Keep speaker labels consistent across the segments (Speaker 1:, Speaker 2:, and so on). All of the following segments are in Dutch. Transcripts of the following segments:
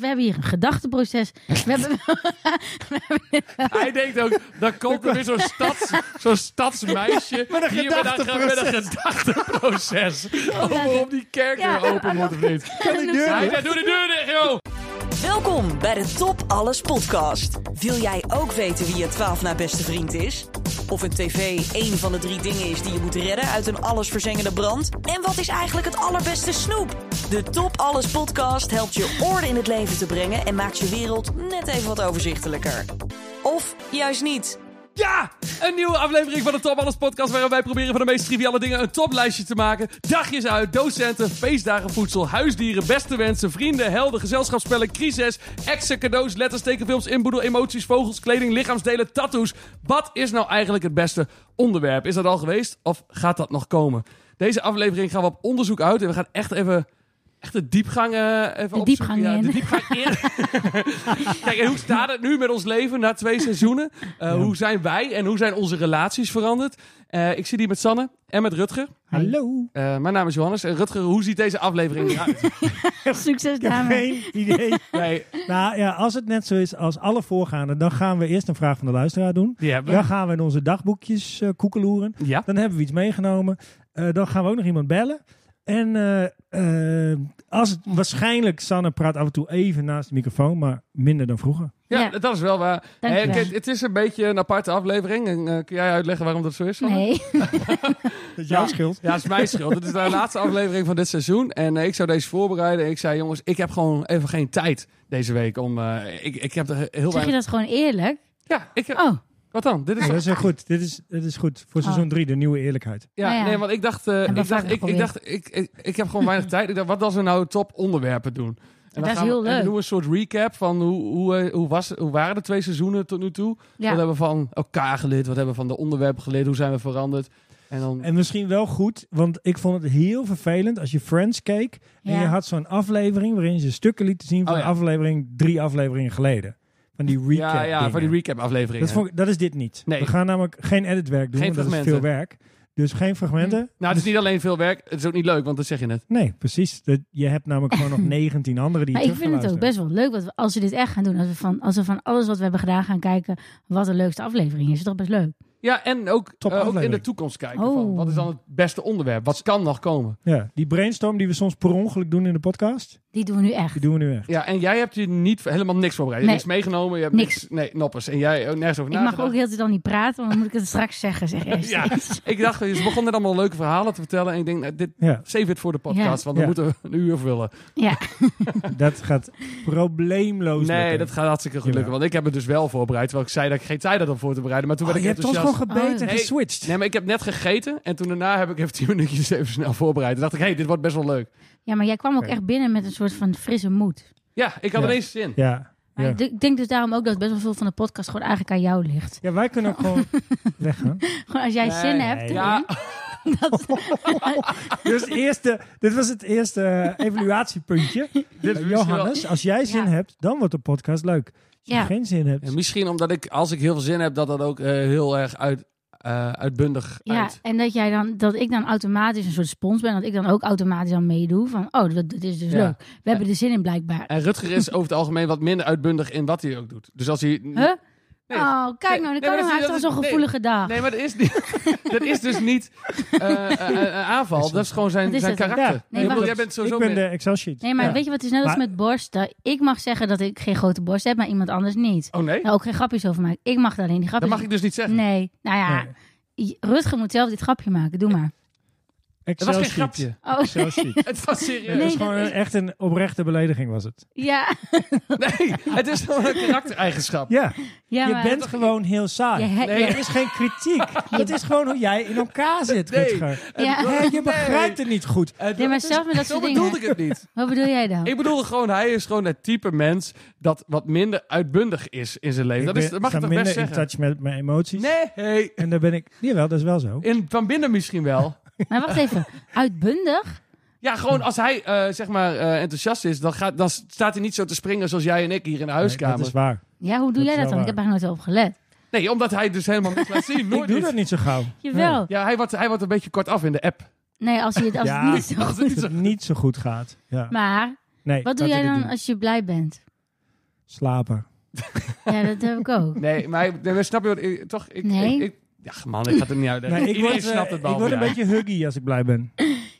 Speaker 1: hebben hier een gedachteproces. We hebben,
Speaker 2: Hij denkt ook, dan komt er weer zo'n stads, zo'n stadsmeisje.
Speaker 3: Met een
Speaker 2: hier met een, met een gedachteproces. Over of die kerk
Speaker 1: Ja.
Speaker 2: weer open moet of niet.
Speaker 3: Kan die deur
Speaker 2: Hij
Speaker 3: dicht?
Speaker 2: zegt, doe de deur dicht, joh!
Speaker 4: Welkom bij de Top Alles podcast. Wil jij ook weten wie je 12 na beste vriend is? Of een tv één van de drie dingen is die je moet redden uit een allesverzengende brand? En wat is eigenlijk het allerbeste snoep? De Top Alles podcast helpt je orde in het leven te brengen en maakt je wereld net even wat overzichtelijker. Of juist niet.
Speaker 2: Ja! Een nieuwe aflevering van de Top Alles podcast... waarin wij proberen van de meest triviale dingen een toplijstje te maken. Dagjes uit, docenten, feestdagen, voedsel, huisdieren, beste wensen... vrienden, helden, gezelschapsspellen, crisis, exen, cadeaus... letters, tekenfilms, inboedel, emoties, vogels, kleding, lichaamsdelen, tattoos. Wat is nou eigenlijk het beste onderwerp? Is dat al geweest of gaat dat nog komen? Deze aflevering gaan we op onderzoek uit... en we gaan echt even... Echt de diepgang eh, even opzoeken.
Speaker 1: diepgang
Speaker 2: ja,
Speaker 1: in.
Speaker 2: de diepgang in. Kijk, en hoe staat het nu met ons leven na twee seizoenen? Uh, Hoe zijn wij en hoe zijn onze relaties veranderd? Eh, ik zit hier met Sanne en met Rutger.
Speaker 3: Hallo.
Speaker 2: Eh, mijn naam is Johannes. En Rutger, hoe ziet deze aflevering eruit?
Speaker 1: succes
Speaker 3: Ik heb
Speaker 1: daarmee.
Speaker 3: geen idee.
Speaker 2: Nee,
Speaker 3: nou ja, als het net zo is als alle voorgaande, dan gaan we eerst een vraag van de luisteraar doen.
Speaker 2: die hebben
Speaker 3: Dan
Speaker 2: we.
Speaker 3: gaan we in onze dagboekjes eh, koekeloeren.
Speaker 2: Ja.
Speaker 3: Dan hebben we iets meegenomen. Eh, dan gaan we ook nog iemand bellen. En eh, eh, als het, waarschijnlijk, Sanne praat af en toe even naast de microfoon, maar minder dan vroeger.
Speaker 2: Ja,
Speaker 1: Ja.
Speaker 2: dat is wel waar.
Speaker 1: Dank je
Speaker 2: Eh,
Speaker 1: wel.
Speaker 2: kijk, het is een beetje een aparte aflevering. En, eh, kun jij uitleggen waarom dat zo is? Sanne?
Speaker 1: Nee.
Speaker 3: Dat is
Speaker 2: Ja.
Speaker 3: jouw schuld.
Speaker 2: Ja, dat is mijn schuld. Dit is de laatste aflevering van dit seizoen. En eh, ik zou deze voorbereiden. En ik zei, jongens, ik heb gewoon even geen tijd deze week. Om, eh, ik, ik heb er heel
Speaker 1: Zeg je
Speaker 2: weinig...
Speaker 1: dat gewoon eerlijk?
Speaker 2: Ja, ik heb...
Speaker 1: Oh,
Speaker 2: Wat dan? Dit is
Speaker 3: Dat is eh, goed. Dit is, dit is goed voor
Speaker 2: Ah.
Speaker 1: Oh.
Speaker 3: seizoen 3, de nieuwe eerlijkheid.
Speaker 2: Ja,
Speaker 1: Nou ja.
Speaker 2: nee, want ik dacht, eh,
Speaker 1: En
Speaker 2: ik,
Speaker 1: wat
Speaker 2: dacht
Speaker 1: waren
Speaker 2: ik,
Speaker 1: we
Speaker 2: ik
Speaker 1: ook
Speaker 2: dacht, ik, ik, ik heb gewoon weinig tijd. Ik dacht, wat als we nou top onderwerpen doen? En
Speaker 1: Dat is
Speaker 2: we,
Speaker 1: heel
Speaker 2: En we
Speaker 1: leuk.
Speaker 2: doen een soort recap van hoe, hoe, eh, hoe, was, hoe waren de twee seizoenen tot nu toe? Wat
Speaker 1: ja.
Speaker 2: hebben we van elkaar geleerd? Wat hebben we van de onderwerpen geleerd? Hoe zijn we veranderd? En dan,
Speaker 3: En misschien wel goed, want ik vond het heel vervelend als je Friends keek. En
Speaker 1: Ja.
Speaker 3: je had zo'n aflevering waarin ze stukken lieten zien van
Speaker 2: Oh ja.
Speaker 3: aflevering drie afleveringen geleden. Van die recap
Speaker 2: ja, ja, van die recap afleveringen.
Speaker 3: dat, vond ik- dat is dit niet.
Speaker 2: Nee.
Speaker 3: We gaan namelijk geen editwerk doen,
Speaker 2: Geen
Speaker 3: want dat is veel
Speaker 2: fragmenten.
Speaker 3: werk. Dus geen fragmenten.
Speaker 2: Nou, het is niet alleen veel werk. Het is ook niet leuk, want dat zeg je net.
Speaker 3: Nee, precies. Dat, je hebt namelijk gewoon nog 19 andere die
Speaker 1: Maar
Speaker 3: je
Speaker 1: ik
Speaker 3: terug
Speaker 1: vind
Speaker 3: kan
Speaker 1: het ook
Speaker 3: luisteren.
Speaker 1: best wel leuk wat we, als we dit echt gaan doen. Als we, van, als we van alles wat we hebben gedaan gaan kijken. wat de leukste aflevering is. is toch best leuk?
Speaker 2: Ja, en ook,
Speaker 3: Top
Speaker 2: eh, ook in de
Speaker 3: aflevering.
Speaker 2: toekomst kijken.
Speaker 1: Oh.
Speaker 2: Van, wat is dan het beste onderwerp? Wat kan nog komen?
Speaker 3: Ja, die brainstorm die we soms per ongeluk doen in de podcast,
Speaker 1: Die doen we nu echt.
Speaker 3: die doen we nu echt.
Speaker 2: Ja, en jij hebt je niet helemaal niks voorbereid. Je hebt
Speaker 1: Nee.
Speaker 2: niks meegenomen. Je hebt
Speaker 1: Niks.
Speaker 2: Nee, noppers. En jij eh, nergens
Speaker 1: Ik
Speaker 2: over
Speaker 1: mag
Speaker 2: nagedacht.
Speaker 1: ook heel de tijd dan niet praten, want dan moet ik het straks zeggen. Zeg eerst.
Speaker 2: Ja. Ik dacht, ze begon net allemaal leuke verhalen te vertellen. En ik denk, nou, dit,
Speaker 3: Ja,
Speaker 2: save it voor de podcast,
Speaker 1: Ja.
Speaker 2: want we
Speaker 3: Ja.
Speaker 2: moeten we een uur vullen.
Speaker 1: Ja.
Speaker 3: dat gaat probleemloos
Speaker 2: Nee,
Speaker 3: lukken.
Speaker 2: dat gaat hartstikke goed
Speaker 3: Jawel.
Speaker 2: lukken. Want ik heb het dus wel voorbereid, terwijl ik zei dat ik geen tijd had om voor te bereiden. Maar toen
Speaker 3: Oh,
Speaker 2: werd
Speaker 3: je
Speaker 2: ik
Speaker 3: hebt ons
Speaker 2: enthousiast.
Speaker 3: gewoon gebeten
Speaker 1: Oh,
Speaker 3: en
Speaker 2: nee.
Speaker 3: geswitcht.
Speaker 2: Nee, maar ik heb net gegeten en toen daarna heb ik even 10 minuutjes even snel voorbereid. Toen dacht ik, hé, hey, dit wordt best wel leuk.
Speaker 1: ja, maar jij kwam ook
Speaker 3: Oké.
Speaker 1: echt binnen met een soort van frisse moed.
Speaker 2: Ja, ik had
Speaker 3: Ja.
Speaker 2: ineens zin.
Speaker 3: Ja.
Speaker 1: Maar
Speaker 3: Ja.
Speaker 1: ik d- ik denk dus daarom ook dat best wel veel van de podcast gewoon eigenlijk aan jou ligt.
Speaker 3: ja, wij kunnen ook gewoon weggaan.
Speaker 1: Gewoon als jij
Speaker 2: Nee,
Speaker 1: zin
Speaker 3: nee,
Speaker 1: hebt.
Speaker 3: ja.
Speaker 2: Ja,
Speaker 1: erin.
Speaker 3: Dus eerste, dit was het eerste eh, evaluatiepuntje.
Speaker 2: dit is misschien
Speaker 3: Johannes, als jij zin
Speaker 1: Ja.
Speaker 3: hebt, dan wordt de podcast leuk. Als je
Speaker 1: Ja.
Speaker 3: geen zin hebt,
Speaker 2: wel- Misschien omdat ik, als ik heel veel zin heb, dat dat ook eh, heel erg uit, eh, uitbundig
Speaker 1: Ja,
Speaker 2: uit.
Speaker 1: en dat, jij dan, dat ik dan automatisch een soort spons ben. Dat ik dan ook automatisch aan meedoe. Van, oh, dat, dat is dus
Speaker 2: Ja.
Speaker 1: leuk. We hebben er zin in blijkbaar.
Speaker 2: En Rutger is over het algemeen wat minder uitbundig in wat hij ook doet. Dus als hij...
Speaker 1: Huh?
Speaker 2: Nee.
Speaker 1: Oh, kijk nou,
Speaker 2: Nee,
Speaker 1: dan kan
Speaker 2: maar dat
Speaker 1: hij
Speaker 2: is-
Speaker 1: heeft al
Speaker 2: dat is-
Speaker 1: zo'n gevoelige dag.
Speaker 2: Nee, maar dat is, niet, dat is dus niet eh, eh, een aanval. Dat is gewoon zijn,
Speaker 1: Wat is
Speaker 2: zijn
Speaker 1: dat?
Speaker 2: karakter.
Speaker 3: Ja,
Speaker 2: Ik
Speaker 1: nee,
Speaker 2: bedoel,
Speaker 1: wacht.
Speaker 2: jij bent sowieso
Speaker 3: ik ben
Speaker 2: meer-
Speaker 3: de Excel sheet.
Speaker 1: Nee, maar
Speaker 3: Ja.
Speaker 1: weet je wat het is net als
Speaker 3: Maar-
Speaker 1: met borsten? Ik mag zeggen dat ik geen grote borst heb, maar iemand anders niet.
Speaker 2: Oh nee,
Speaker 1: Nou, ook geen grapjes over maken. Ik mag daar alleen die
Speaker 2: dat
Speaker 1: grapjes
Speaker 2: mag ik dus niet zeggen.
Speaker 1: Nee, nou ja.
Speaker 3: Nee.
Speaker 1: J- Rutger moet zelf dit grapje maken. Doe maar.
Speaker 2: Het
Speaker 3: Excel
Speaker 2: was geen
Speaker 3: sheet.
Speaker 2: grapje.
Speaker 1: Oh,
Speaker 3: Excel sheet.
Speaker 2: Het was
Speaker 3: Het
Speaker 2: serieus.
Speaker 1: Nee,
Speaker 3: is
Speaker 1: dat
Speaker 3: gewoon een-
Speaker 1: is-
Speaker 3: echt een oprechte belediging was het.
Speaker 1: ja.
Speaker 2: Nee, het is gewoon een karaktereigenschap.
Speaker 3: Ja,
Speaker 1: ja
Speaker 3: je
Speaker 1: maar-
Speaker 3: bent gewoon heel saai.
Speaker 1: Je he-
Speaker 2: Nee.
Speaker 3: Er is geen kritiek. Het is gewoon hoe jij in elkaar zit,
Speaker 2: Nee.
Speaker 3: Rutger.
Speaker 1: Ja.
Speaker 3: Hè, je begrijpt het niet goed.
Speaker 2: Het-
Speaker 1: Nee, maar
Speaker 2: het is-
Speaker 1: zelf met dat
Speaker 2: zo
Speaker 1: soort
Speaker 2: bedoelde
Speaker 1: dingen.
Speaker 2: ik het niet.
Speaker 1: Wat bedoel jij dan?
Speaker 2: Ik bedoel gewoon, hij is gewoon het type mens dat wat minder uitbundig is in zijn leven.
Speaker 3: Ik
Speaker 2: Dat, is,
Speaker 3: ben-
Speaker 2: dat mag
Speaker 3: ga
Speaker 2: je toch
Speaker 3: minder
Speaker 2: best
Speaker 3: in
Speaker 2: zeggen?
Speaker 3: touch met mijn emoties.
Speaker 2: Nee,
Speaker 3: En daar ben ik... Jawel, dat is wel zo.
Speaker 2: in, van binnen misschien wel.
Speaker 1: Maar wacht even. Uitbundig?
Speaker 2: Ja, gewoon als hij eh, zeg maar eh, enthousiast is, dan, gaat, dan staat hij niet zo te springen zoals jij en ik hier in de
Speaker 3: Nee,
Speaker 2: huiskamer.
Speaker 3: dat is waar.
Speaker 1: Ja, hoe doe
Speaker 3: Dat
Speaker 1: jij
Speaker 3: is
Speaker 1: dat
Speaker 3: wel
Speaker 1: dan? Ik heb er nooit op gelet.
Speaker 2: Nee, omdat hij dus helemaal niks laat zien.
Speaker 3: Ik
Speaker 2: Nooit
Speaker 3: doe
Speaker 2: iets.
Speaker 3: dat niet zo gauw.
Speaker 1: Jawel.
Speaker 2: Ja, hij wordt, hij wordt een beetje kort af in de app.
Speaker 1: Nee, als je het, als
Speaker 3: Ja,
Speaker 1: het niet zo
Speaker 2: Als het
Speaker 1: goed
Speaker 2: niet
Speaker 3: Dat
Speaker 2: zo-
Speaker 3: het niet zo goed gaat. Ja.
Speaker 1: Maar
Speaker 3: Nee,
Speaker 1: wat doe jij
Speaker 3: laten we dit
Speaker 1: dan
Speaker 3: doen.
Speaker 1: als je blij bent?
Speaker 3: Slapen.
Speaker 1: Ja, dat heb ik ook.
Speaker 2: Nee, maar ik- nee, maar snap je wat ik... Toch? Ik,
Speaker 1: Nee.
Speaker 2: Ik, ik- ja, man, ik ga het er niet uitleggen.
Speaker 3: Nee, ik
Speaker 2: Iedereen
Speaker 3: word, eh,
Speaker 2: snapt het
Speaker 3: ik
Speaker 2: behalve
Speaker 3: word een
Speaker 2: jij.
Speaker 3: beetje huggy als ik blij ben.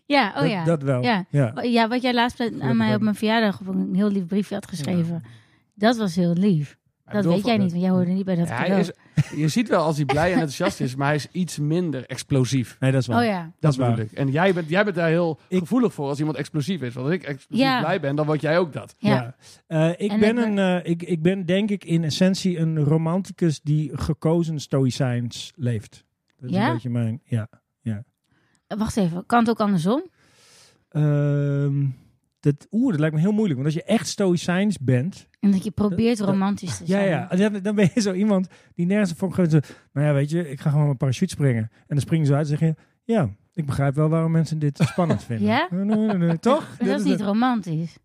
Speaker 1: Ja, oh
Speaker 3: dat,
Speaker 1: ja.
Speaker 3: dat wel.
Speaker 1: Ja.
Speaker 3: Ja.
Speaker 1: Ja, wat jij laatst aan mij op mijn verjaardag op een heel lief briefje had geschreven. Dat was heel lief.
Speaker 2: Maar
Speaker 1: Dat
Speaker 2: bedoel,
Speaker 1: weet jij niet, want jij hoorde niet bij dat
Speaker 2: Ja,
Speaker 1: cadeau.
Speaker 2: hij is, je ziet wel als hij blij en enthousiast is, maar hij is iets minder explosief.
Speaker 3: Nee, dat is waar.
Speaker 1: Oh ja.
Speaker 3: Dat is
Speaker 2: bedoel
Speaker 3: waar.
Speaker 2: ik. En jij bent, jij bent daar heel
Speaker 3: Ik-
Speaker 2: gevoelig voor als iemand explosief is. Want als ik explosief
Speaker 1: Ja.
Speaker 2: blij ben, dan word jij ook dat.
Speaker 1: Ja.
Speaker 3: Ja. Eh, ik,
Speaker 1: En
Speaker 3: ben
Speaker 1: dat-
Speaker 3: een, eh, ik, ik ben denk ik in essentie een romanticus die gekozen stoïcijns leeft. Dat is
Speaker 1: Ja?
Speaker 3: een beetje mijn... Ja.
Speaker 1: Eh, Wacht even, kan het ook andersom?
Speaker 3: Ehm, dat, oeh, dat lijkt me heel moeilijk. Want als je echt stoïcijns bent...
Speaker 1: En dat je probeert
Speaker 3: Dat-
Speaker 1: romantisch te
Speaker 3: Ja,
Speaker 1: zijn.
Speaker 3: ja. Dan, dan ben je zo iemand die nergens voor gaat. Nou ja, weet je, ik ga gewoon mijn parachute springen. En dan springen ze uit en zeg je... Ja, ik begrijp wel waarom mensen dit spannend vinden.
Speaker 1: Ja?
Speaker 3: Nee, nee, nee, nee. Toch?
Speaker 1: Maar dat is niet romantisch.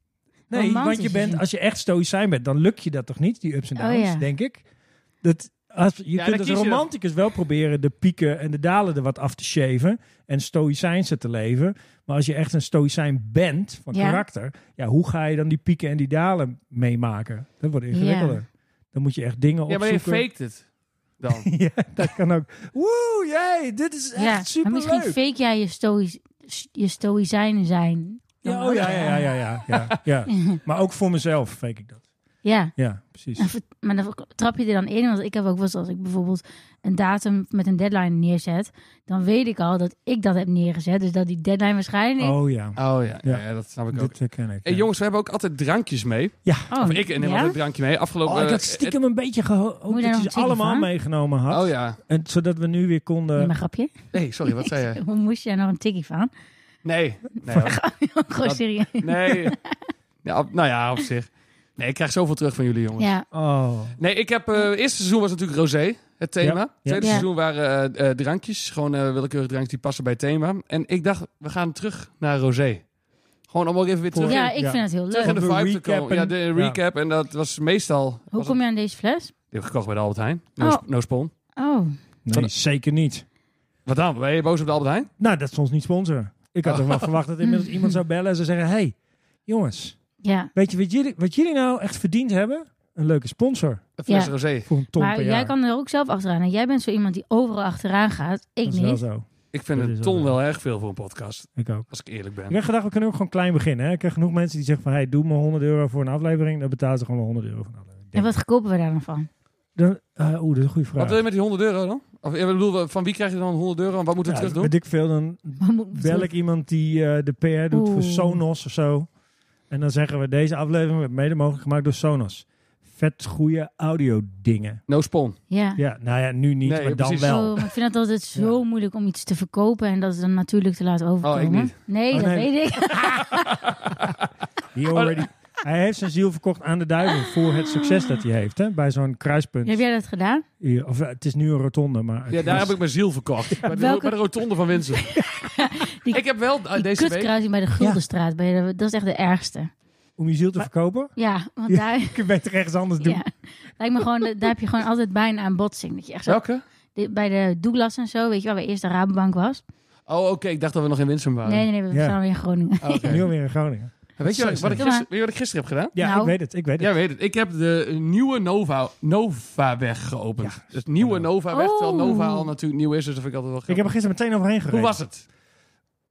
Speaker 3: Nee,
Speaker 1: romantisch
Speaker 3: want je bent,
Speaker 1: gezien.
Speaker 3: als je echt stoïcijn bent, dan lukt je dat toch niet, die ups en
Speaker 1: Oh,
Speaker 3: downs,
Speaker 1: ja.
Speaker 3: denk ik. Dat, als, je
Speaker 2: dan
Speaker 3: kunt
Speaker 2: kies
Speaker 3: als
Speaker 2: je dat.
Speaker 3: romanticus wel proberen de pieken en de dalen er wat af te shaven en stoïcijnse te leven. Maar als je echt een stoïcijn bent van
Speaker 1: Ja.
Speaker 3: karakter, ja, hoe ga je dan die pieken en die dalen meemaken? Dat wordt ingewikkelder. Dan moet je echt dingen
Speaker 2: Ja, maar
Speaker 3: opzoeken.
Speaker 2: je faked het dan.
Speaker 3: Ja, dat kan ook. Woe, jee, dit is echt
Speaker 1: Ja, maar
Speaker 3: superleuk.
Speaker 1: misschien fake jij je, stoï je stoïcijnen zijn.
Speaker 3: Ja, oh, ja, ja, ja, ja, ja, ja. Maar ook voor mezelf fake ik dat.
Speaker 1: Ja,
Speaker 3: Ja, precies.
Speaker 1: en ver- maar dan trap je er dan in. Want ik heb ook wel eens als ik bijvoorbeeld een datum met een deadline neerzet. Dan weet ik al dat ik dat heb neergezet. Dus dat die deadline waarschijnlijk...
Speaker 3: Oh ja.
Speaker 2: Oh ja, ja.
Speaker 3: Ja.
Speaker 2: ja, dat snap ik ook.
Speaker 3: Dit herken ik.
Speaker 2: Hey,
Speaker 3: ja.
Speaker 2: jongens, we hebben ook altijd drankjes mee.
Speaker 1: Oh,
Speaker 2: Of ik neem
Speaker 1: ja?
Speaker 2: altijd een drankje mee. Afgelopen...
Speaker 3: Oh, ik had
Speaker 2: eh,
Speaker 3: stiekem een beetje
Speaker 1: Moet je
Speaker 3: gehoopt
Speaker 1: daar
Speaker 3: dat
Speaker 1: nog
Speaker 3: je
Speaker 1: een
Speaker 3: ze
Speaker 1: tikkie
Speaker 3: allemaal
Speaker 1: van?
Speaker 3: meegenomen had.
Speaker 2: Oh ja.
Speaker 3: en, zodat we nu weer konden...
Speaker 1: Nee, maar grapje.
Speaker 2: Nee, sorry, wat zei jij?
Speaker 1: Hoe moest je daar nog een tikkie van?
Speaker 2: Nee. Nee, hoor.
Speaker 1: Gewoon
Speaker 2: Dat-
Speaker 1: serieus.
Speaker 2: nee. Ja, op- nou ja, op zich. Nee, ik krijg zoveel terug van jullie, jongens.
Speaker 1: Ja,
Speaker 3: Oh,
Speaker 2: Nee, ik heb... eh, eerste seizoen was natuurlijk Rosé, het thema.
Speaker 3: Ja, ja.
Speaker 2: Tweede
Speaker 1: Ja.
Speaker 2: seizoen waren eh, eh, drankjes. Gewoon eh willekeurig drankjes die passen bij het thema. En ik dacht, we gaan terug naar Rosé. Gewoon om ook even weer terug,
Speaker 1: ja ik
Speaker 3: Ja.
Speaker 1: vind het heel
Speaker 2: terug in
Speaker 1: leuk.
Speaker 2: de
Speaker 3: Om de
Speaker 2: vibe te
Speaker 3: recap
Speaker 2: komen.
Speaker 3: en-
Speaker 2: Ja, de
Speaker 3: ja.
Speaker 2: recap. En dat was meestal... was
Speaker 1: Hoe
Speaker 2: het-
Speaker 1: kom je aan deze fles?
Speaker 2: Die heb ik gekocht bij de Albert Heijn. No,
Speaker 1: Oh.
Speaker 2: sp- no spon.
Speaker 1: Oh,
Speaker 3: nee, zeker niet.
Speaker 2: Wat dan? Ben je boos op de Albert Heijn?
Speaker 3: Nou, dat is ons niet sponsoren. Ik had
Speaker 2: Oh.
Speaker 3: toch wel verwacht dat inmiddels iemand zou bellen en zou zeggen... hey, jongens,
Speaker 1: ja.
Speaker 3: weet je wat jullie, wat jullie nou echt verdiend hebben? Een leuke sponsor
Speaker 2: Een fles
Speaker 1: Ja.
Speaker 2: rosé.
Speaker 3: voor een ton
Speaker 1: Maar
Speaker 3: per
Speaker 1: jij
Speaker 3: jaar.
Speaker 1: kan er ook zelf achteraan. En jij bent zo iemand die overal achteraan gaat. Ik
Speaker 3: dat is wel
Speaker 1: niet.
Speaker 3: zo.
Speaker 2: Ik vind
Speaker 3: Dat is
Speaker 2: een
Speaker 3: wel
Speaker 2: ton
Speaker 3: zo.
Speaker 2: wel erg veel voor een podcast.
Speaker 3: Ik ook.
Speaker 2: Als ik eerlijk
Speaker 3: Ik
Speaker 2: ben.
Speaker 3: heb gedacht, we kunnen ook gewoon klein beginnen. Hè? Ik heb genoeg mensen die zeggen van... hey, doe me 100 euro voor een aflevering. Dan betalen ze gewoon wel 100 euro voor een aflevering.
Speaker 1: En wat kopen we daar dan van?
Speaker 3: Dan, eh, Oeh, dat is een goede vraag.
Speaker 2: Wat wil je met die 100 euro dan? Of, ik bedoel, van wie krijg je dan 100 euro en wat moeten we
Speaker 3: Ja,
Speaker 2: terug doen?
Speaker 3: weet ik veel, dan
Speaker 1: Wat moet-
Speaker 3: bel ik iemand die eh, de PR doet voor
Speaker 1: Oeh.
Speaker 3: Sonos of zo. En dan zeggen we, deze aflevering werd mede mogelijk gemaakt door Sonos. Vet goede audio dingen.
Speaker 2: No spon.
Speaker 1: Ja.
Speaker 3: Ja, nou ja, nu niet,
Speaker 2: Nee,
Speaker 3: maar dan
Speaker 2: precies.
Speaker 3: wel.
Speaker 1: Oh, maar ik vind dat altijd zo
Speaker 3: Ja.
Speaker 1: moeilijk om iets te verkopen en dat het dan natuurlijk te laten overkomen.
Speaker 2: Oh, ik niet.
Speaker 1: Nee,
Speaker 3: Oh,
Speaker 1: dat
Speaker 3: nee.
Speaker 1: weet ik.
Speaker 3: He already, hij heeft zijn ziel verkocht aan de duivel voor het succes dat hij heeft. Hè? Bij zo'n kruispunt.
Speaker 1: Heb jij dat gedaan?
Speaker 2: Oh,
Speaker 3: Hier, Of, eh, het is nu een rotonde, maar... het
Speaker 2: Ja, daar
Speaker 3: is-
Speaker 2: heb ik mijn ziel verkocht. bij, de,
Speaker 1: welke-
Speaker 2: bij de rotonde van Winsum.
Speaker 1: Die-
Speaker 2: ik heb wel eh,
Speaker 1: Die
Speaker 2: deze week...
Speaker 1: kutkruising bij de Guldenstraat, bij de- dat is echt de ergste.
Speaker 3: Om je ziel te verkopen?
Speaker 1: Ja, want
Speaker 3: Ja.
Speaker 1: daar,
Speaker 3: Ik kan beter ergens anders doen.
Speaker 1: ja, lijkt me gewoon, daar heb je gewoon altijd bijna aan botsing. Dat je echt zo,
Speaker 2: Welke?
Speaker 1: dit- bij de Douglas en zo, weet je wel, waar eerst de Rabobank was.
Speaker 2: Oh, oké. Ik dacht dat we nog in Winsum waren.
Speaker 1: Nee, nee, nee, we
Speaker 3: Ja.
Speaker 1: staan weer in Groningen.
Speaker 2: Oh, oké.
Speaker 3: Nu alweer in Groningen.
Speaker 2: Weet, je wat, wat ik
Speaker 1: Doe maar.
Speaker 2: gister- weet je wat ik gisteren heb gedaan?
Speaker 3: Ja,
Speaker 1: Nou.
Speaker 3: ik weet het, ik weet het.
Speaker 2: Jij weet het. Ik heb de nieuwe Nova, Nova-weg geopend.
Speaker 3: Ja.
Speaker 2: Dus nieuwe Nova-weg, terwijl
Speaker 1: Oh.
Speaker 2: Nova al natuurlijk nieuw is. Dus dat vind ik altijd wel
Speaker 3: Ik
Speaker 2: grappig.
Speaker 3: heb er gisteren meteen overheen gereden.
Speaker 2: Hoe was het?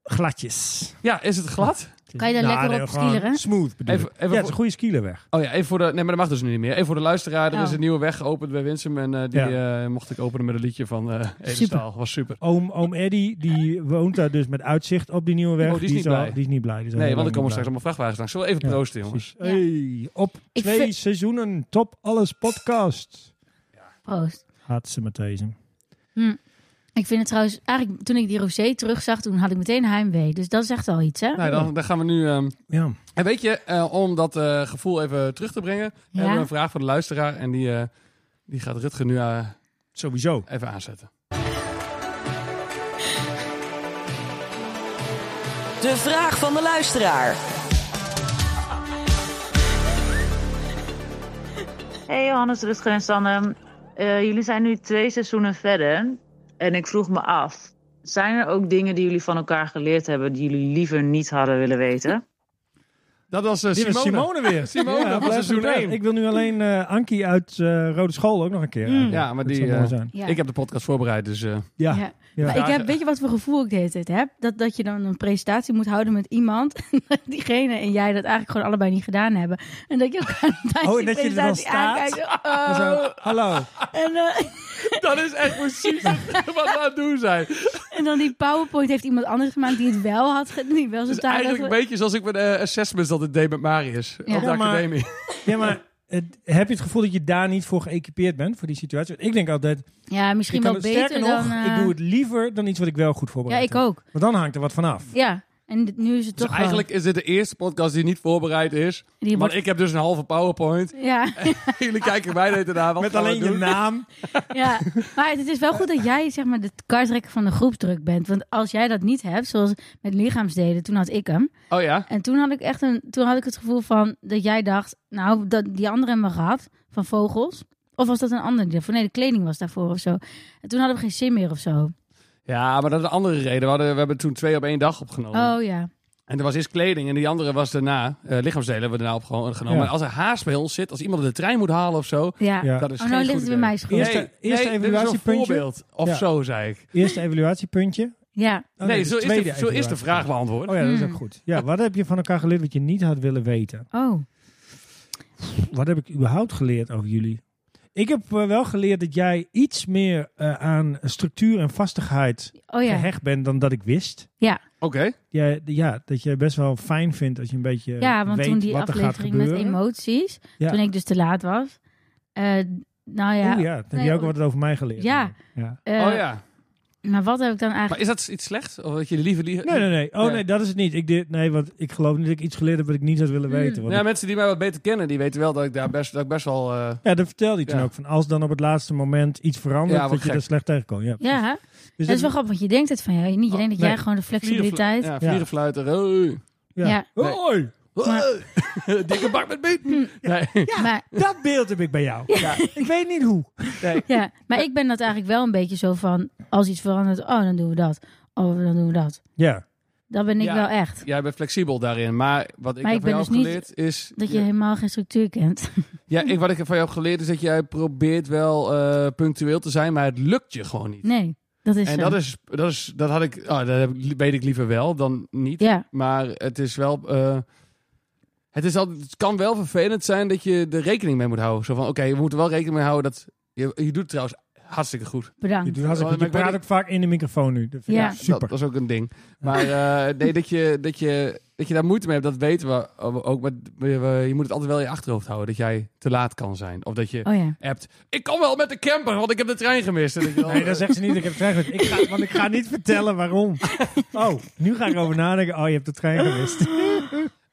Speaker 3: Gladjes.
Speaker 2: Ja, is het glad?
Speaker 1: Kan je daar lekker
Speaker 3: nee,
Speaker 1: op
Speaker 3: gewoon
Speaker 1: skileren?
Speaker 3: Smooth bedoel
Speaker 2: Even-
Speaker 3: ik.
Speaker 2: even
Speaker 3: ja, het
Speaker 2: voor-
Speaker 3: is een goede skielerweg.
Speaker 2: Oh ja, even voor de. Nee, maar dat mag dus nu niet meer. Even voor de luisteraar. Er
Speaker 1: Oh.
Speaker 2: is een nieuwe weg geopend bij Winsum. En eh, die
Speaker 3: Ja.
Speaker 2: eh, mocht ik openen met een liedje van eh Edestaal. Was super.
Speaker 3: Oom, oom Eddy, die woont daar dus met uitzicht op die nieuwe weg.
Speaker 2: Oh, die is niet
Speaker 3: al-
Speaker 2: blij.
Speaker 3: die is niet blij. Die is al
Speaker 2: Nee,
Speaker 3: heel
Speaker 2: want er
Speaker 3: lang
Speaker 2: komen
Speaker 3: niet
Speaker 2: straks allemaal vrachtwagens langs. Zullen we even
Speaker 3: Ja,
Speaker 2: proosten, jongens?
Speaker 3: blij. Hey, op
Speaker 1: Ik
Speaker 3: twee
Speaker 1: vind-
Speaker 3: seizoenen Top Alles podcast.
Speaker 1: Proost.
Speaker 3: Had ze meteen.
Speaker 1: Ik vind het trouwens, eigenlijk toen ik die rosé terugzag, toen had ik meteen heimwee. Dus dat is echt wel iets, hè?
Speaker 2: Nou, dan, dan gaan we nu. ehm,
Speaker 3: Ja.
Speaker 2: en weet je, eh, om dat eh, gevoel even terug te brengen, hebben we een vraag voor de luisteraar. En die, eh, die gaat Rutger nu eh,
Speaker 3: Sowieso.
Speaker 2: even aanzetten.
Speaker 4: De vraag van de luisteraar.
Speaker 5: Hey Johannes, Rutger en Sanne. Eh, jullie zijn nu twee seizoenen verder. En ik vroeg me af: zijn er ook dingen die jullie van elkaar geleerd hebben die jullie liever niet hadden willen weten?
Speaker 2: Dat was eh,
Speaker 3: Dit
Speaker 2: Simone.
Speaker 3: was Simone weer.
Speaker 2: Simone van
Speaker 3: blijf
Speaker 2: seizoen
Speaker 3: vertellen.
Speaker 2: één.
Speaker 3: Ik wil nu alleen eh, Ankie uit eh, Rode School ook nog een keer.
Speaker 1: Mm.
Speaker 3: eigenlijk.
Speaker 2: Ja, maar
Speaker 3: Dat
Speaker 2: die...
Speaker 3: zou mooi
Speaker 2: eh,
Speaker 3: zijn.
Speaker 1: Ja.
Speaker 2: Ik heb de podcast voorbereid, dus... eh,
Speaker 3: Ja.
Speaker 1: Ja.
Speaker 3: Ja.
Speaker 1: Maar ik
Speaker 2: Ja,
Speaker 1: heb, weet je wat voor gevoel ik de hele tijd heb? Dat, dat je dan een presentatie moet houden met iemand. en dat diegene en jij dat eigenlijk gewoon allebei niet gedaan hebben. En dat je elkaar tijdens
Speaker 3: Oh,
Speaker 1: die
Speaker 3: dat je er dan
Speaker 1: presentatie
Speaker 3: staat.
Speaker 1: aankijkt.
Speaker 3: En
Speaker 1: Oh.
Speaker 3: zo, hallo.
Speaker 1: En, eh,
Speaker 2: dat is echt precies het- wat we aan het doen zijn.
Speaker 1: en dan die PowerPoint heeft iemand anders gemaakt die het wel had gedaan. Die wel zijn
Speaker 2: Dus
Speaker 1: taak had
Speaker 2: eigenlijk een
Speaker 1: ge-
Speaker 2: beetje zoals ik met eh, assessments altijd deed met Marius.
Speaker 1: Ja.
Speaker 2: Op de
Speaker 3: Ja, maar-
Speaker 2: academie.
Speaker 3: Ja, maar het- heb je het gevoel dat je daar niet voor geëquipeerd bent, voor die situatie? Want ik denk altijd,
Speaker 1: Ja, misschien
Speaker 3: je kan
Speaker 1: wel
Speaker 3: het,
Speaker 1: beter
Speaker 3: sterker
Speaker 1: dan...
Speaker 3: nog,
Speaker 1: eh,
Speaker 3: ik doe het liever dan iets wat ik wel goed
Speaker 1: ja,
Speaker 3: voorbereid
Speaker 1: ik
Speaker 3: heb.
Speaker 1: ook.
Speaker 3: Want dan hangt er wat vanaf.
Speaker 1: Ja, en dit- nu is het
Speaker 2: Dus
Speaker 1: toch
Speaker 2: eigenlijk is dit de eerste podcast die niet voorbereid is.
Speaker 1: wel- die
Speaker 2: Want
Speaker 1: wordt-
Speaker 2: ik heb dus een halve powerpoint.
Speaker 1: Ja,
Speaker 2: Jullie kijken mij net daarna. Wat
Speaker 3: Met
Speaker 2: gaan we
Speaker 3: alleen je
Speaker 2: doen?
Speaker 3: naam.
Speaker 1: ja, maar het is wel goed dat jij zeg maar de kaartrekker van de groepsdruk bent. Want als jij dat niet hebt, zoals met lichaamsdelen, toen had ik hem.
Speaker 2: Oh ja?
Speaker 1: En toen had ik echt een, toen had ik het gevoel van dat jij dacht, nou, dat die andere hebben we gehad van vogels. Of was dat een ander die daarvoor? Nee, de kleding was daarvoor of zo. En toen hadden we geen zin meer of zo.
Speaker 2: Ja, maar dat is een andere reden. We, hadden, we hebben toen twee op één dag opgenomen.
Speaker 1: Oh ja.
Speaker 2: En er was eerst kleding en die andere was daarna. eh, lichaamsdelen hebben we daarna opgenomen. genomen.
Speaker 3: Ja.
Speaker 2: Maar als er haast bij ons zit, als iemand de trein moet halen of zo.
Speaker 1: Ja.
Speaker 3: Ja.
Speaker 2: Dat is
Speaker 1: Oh,
Speaker 2: geen
Speaker 1: nou
Speaker 2: goed
Speaker 1: ligt het bij
Speaker 2: idee.
Speaker 1: mij schoon.
Speaker 3: Eerste-
Speaker 2: Nee,
Speaker 3: eerste
Speaker 2: nee, dit is
Speaker 3: evaluatiepuntje.
Speaker 2: een voorbeeld. Of
Speaker 3: Ja.
Speaker 2: zo, zei ik.
Speaker 3: Eerste evaluatiepuntje.
Speaker 1: Ja.
Speaker 3: Oh,
Speaker 2: Oh, nee,
Speaker 3: dit
Speaker 2: zo, is
Speaker 3: tweede
Speaker 2: de, zo is de
Speaker 3: evaluatie.
Speaker 2: vraag Hmm. beantwoord.
Speaker 3: Oh ja, dat is
Speaker 1: Mm.
Speaker 3: ook goed. Ja, wat heb je van elkaar geleerd wat je niet had willen weten?
Speaker 1: Oh.
Speaker 3: Wat heb ik überhaupt geleerd over jullie? Ik heb eh, wel geleerd dat jij iets meer eh, aan structuur en vastigheid
Speaker 1: Oh ja.
Speaker 3: gehecht bent dan dat ik wist.
Speaker 2: Oké.
Speaker 3: Ja, d- ja, dat je best wel fijn vindt als je een beetje
Speaker 1: Ja, want
Speaker 3: weet
Speaker 1: toen die
Speaker 3: wat er gaat
Speaker 1: aflevering met
Speaker 3: gebeuren.
Speaker 1: emoties,
Speaker 3: Ja.
Speaker 1: toen ik dus te laat was. eh, nou ja.
Speaker 3: Oeh, ja, dan heb
Speaker 1: Nee,
Speaker 3: je ook
Speaker 1: oh.
Speaker 3: wat over mij geleerd.
Speaker 1: Ja.
Speaker 3: ja.
Speaker 1: eh,
Speaker 2: oh ja.
Speaker 1: Maar wat heb ik dan
Speaker 2: Maar
Speaker 1: eigenlijk?
Speaker 2: is dat iets slechts? Of dat je liever... Li
Speaker 3: Nee, nee, nee. Oh
Speaker 2: Ja.
Speaker 3: nee, dat is het niet. Ik deed, nee, want ik geloof niet dat ik iets geleerd heb wat ik niet had willen
Speaker 1: Mm.
Speaker 3: weten. Want
Speaker 2: Ja, mensen die mij wat beter kennen, die weten wel dat ik daar best, dat ik best wel... eh,
Speaker 3: ik- ja, dat vertelde hij toen
Speaker 2: Ja.
Speaker 3: ook. Van als dan op het laatste moment iets verandert,
Speaker 2: Ja, wat
Speaker 3: dat je
Speaker 2: gek.
Speaker 3: er slecht tegen kan. Ja.
Speaker 1: Ja, hè?
Speaker 3: Dus
Speaker 1: dat is wel
Speaker 3: dat-
Speaker 1: grappig, want je denkt het van jou niet. Je
Speaker 2: Oh,
Speaker 1: denkt dat
Speaker 3: nee.
Speaker 1: jij gewoon de flexibiliteit.
Speaker 2: Vlierenflu- Ja, vlierenfluiten. Hey.
Speaker 1: Ja.
Speaker 3: Ja.
Speaker 2: Nee.
Speaker 3: Hoi!
Speaker 1: Maar- Hm.
Speaker 2: Hey. Dikke bak met beet. Nee.
Speaker 1: Maar
Speaker 3: Dat beeld heb ik bij jou. Ik weet niet hoe.
Speaker 1: Ja, maar ik ben dat eigenlijk wel een beetje zo van... als iets verandert, oh, dan doen we dat. Oh, dan doen we dat.
Speaker 3: Ja.
Speaker 1: Dat ben ik
Speaker 2: Ja.
Speaker 1: wel echt.
Speaker 2: Jij bent flexibel daarin. Maar wat ik
Speaker 1: Maar
Speaker 2: heb
Speaker 1: ik
Speaker 2: van
Speaker 1: ben
Speaker 2: jou
Speaker 1: dus niet-
Speaker 2: geleerd is...
Speaker 1: Dat je
Speaker 2: Ja,
Speaker 1: helemaal geen structuur kent.
Speaker 2: ja, ik, wat ik van jou heb geleerd is dat jij probeert wel eh, punctueel te zijn, maar het lukt je gewoon niet.
Speaker 1: Nee, dat is
Speaker 2: en
Speaker 1: zo.
Speaker 2: dat is, dat is, dat had ik, ah, dat heb ik- weet ik liever wel dan niet.
Speaker 1: Ja,
Speaker 2: Maar het is wel. eh, het, is altijd, het kan wel vervelend zijn dat je er rekening mee moet houden. Zo van: oké, we moeten wel rekening mee houden dat. Je, je doet het trouwens hartstikke goed.
Speaker 3: Je,
Speaker 1: bedankt.
Speaker 3: doet hartstikke
Speaker 2: Oh,
Speaker 3: goed.
Speaker 2: maar ik
Speaker 3: je praat
Speaker 2: weet-
Speaker 3: ook vaak in de microfoon nu. Dat vind ik
Speaker 1: Ja.
Speaker 3: echt super.
Speaker 2: Dat, dat is ook een ding. Maar eh, nee, dat je, dat, je, dat je daar moeite mee hebt, dat weten we ook. Maar we- we- je moet het altijd wel in je achterhoofd houden dat jij te laat kan zijn. Of dat je
Speaker 1: Oh ja.
Speaker 2: appt: ik kan wel met de camper, want ik heb de trein gemist. En dat je dan-
Speaker 3: Nee, dat zegt ze niet. Ik heb het gezegd. Ik ga, want ik ga niet vertellen waarom. Oh, nu ga ik erover nadenken. Oh, je hebt de trein gemist.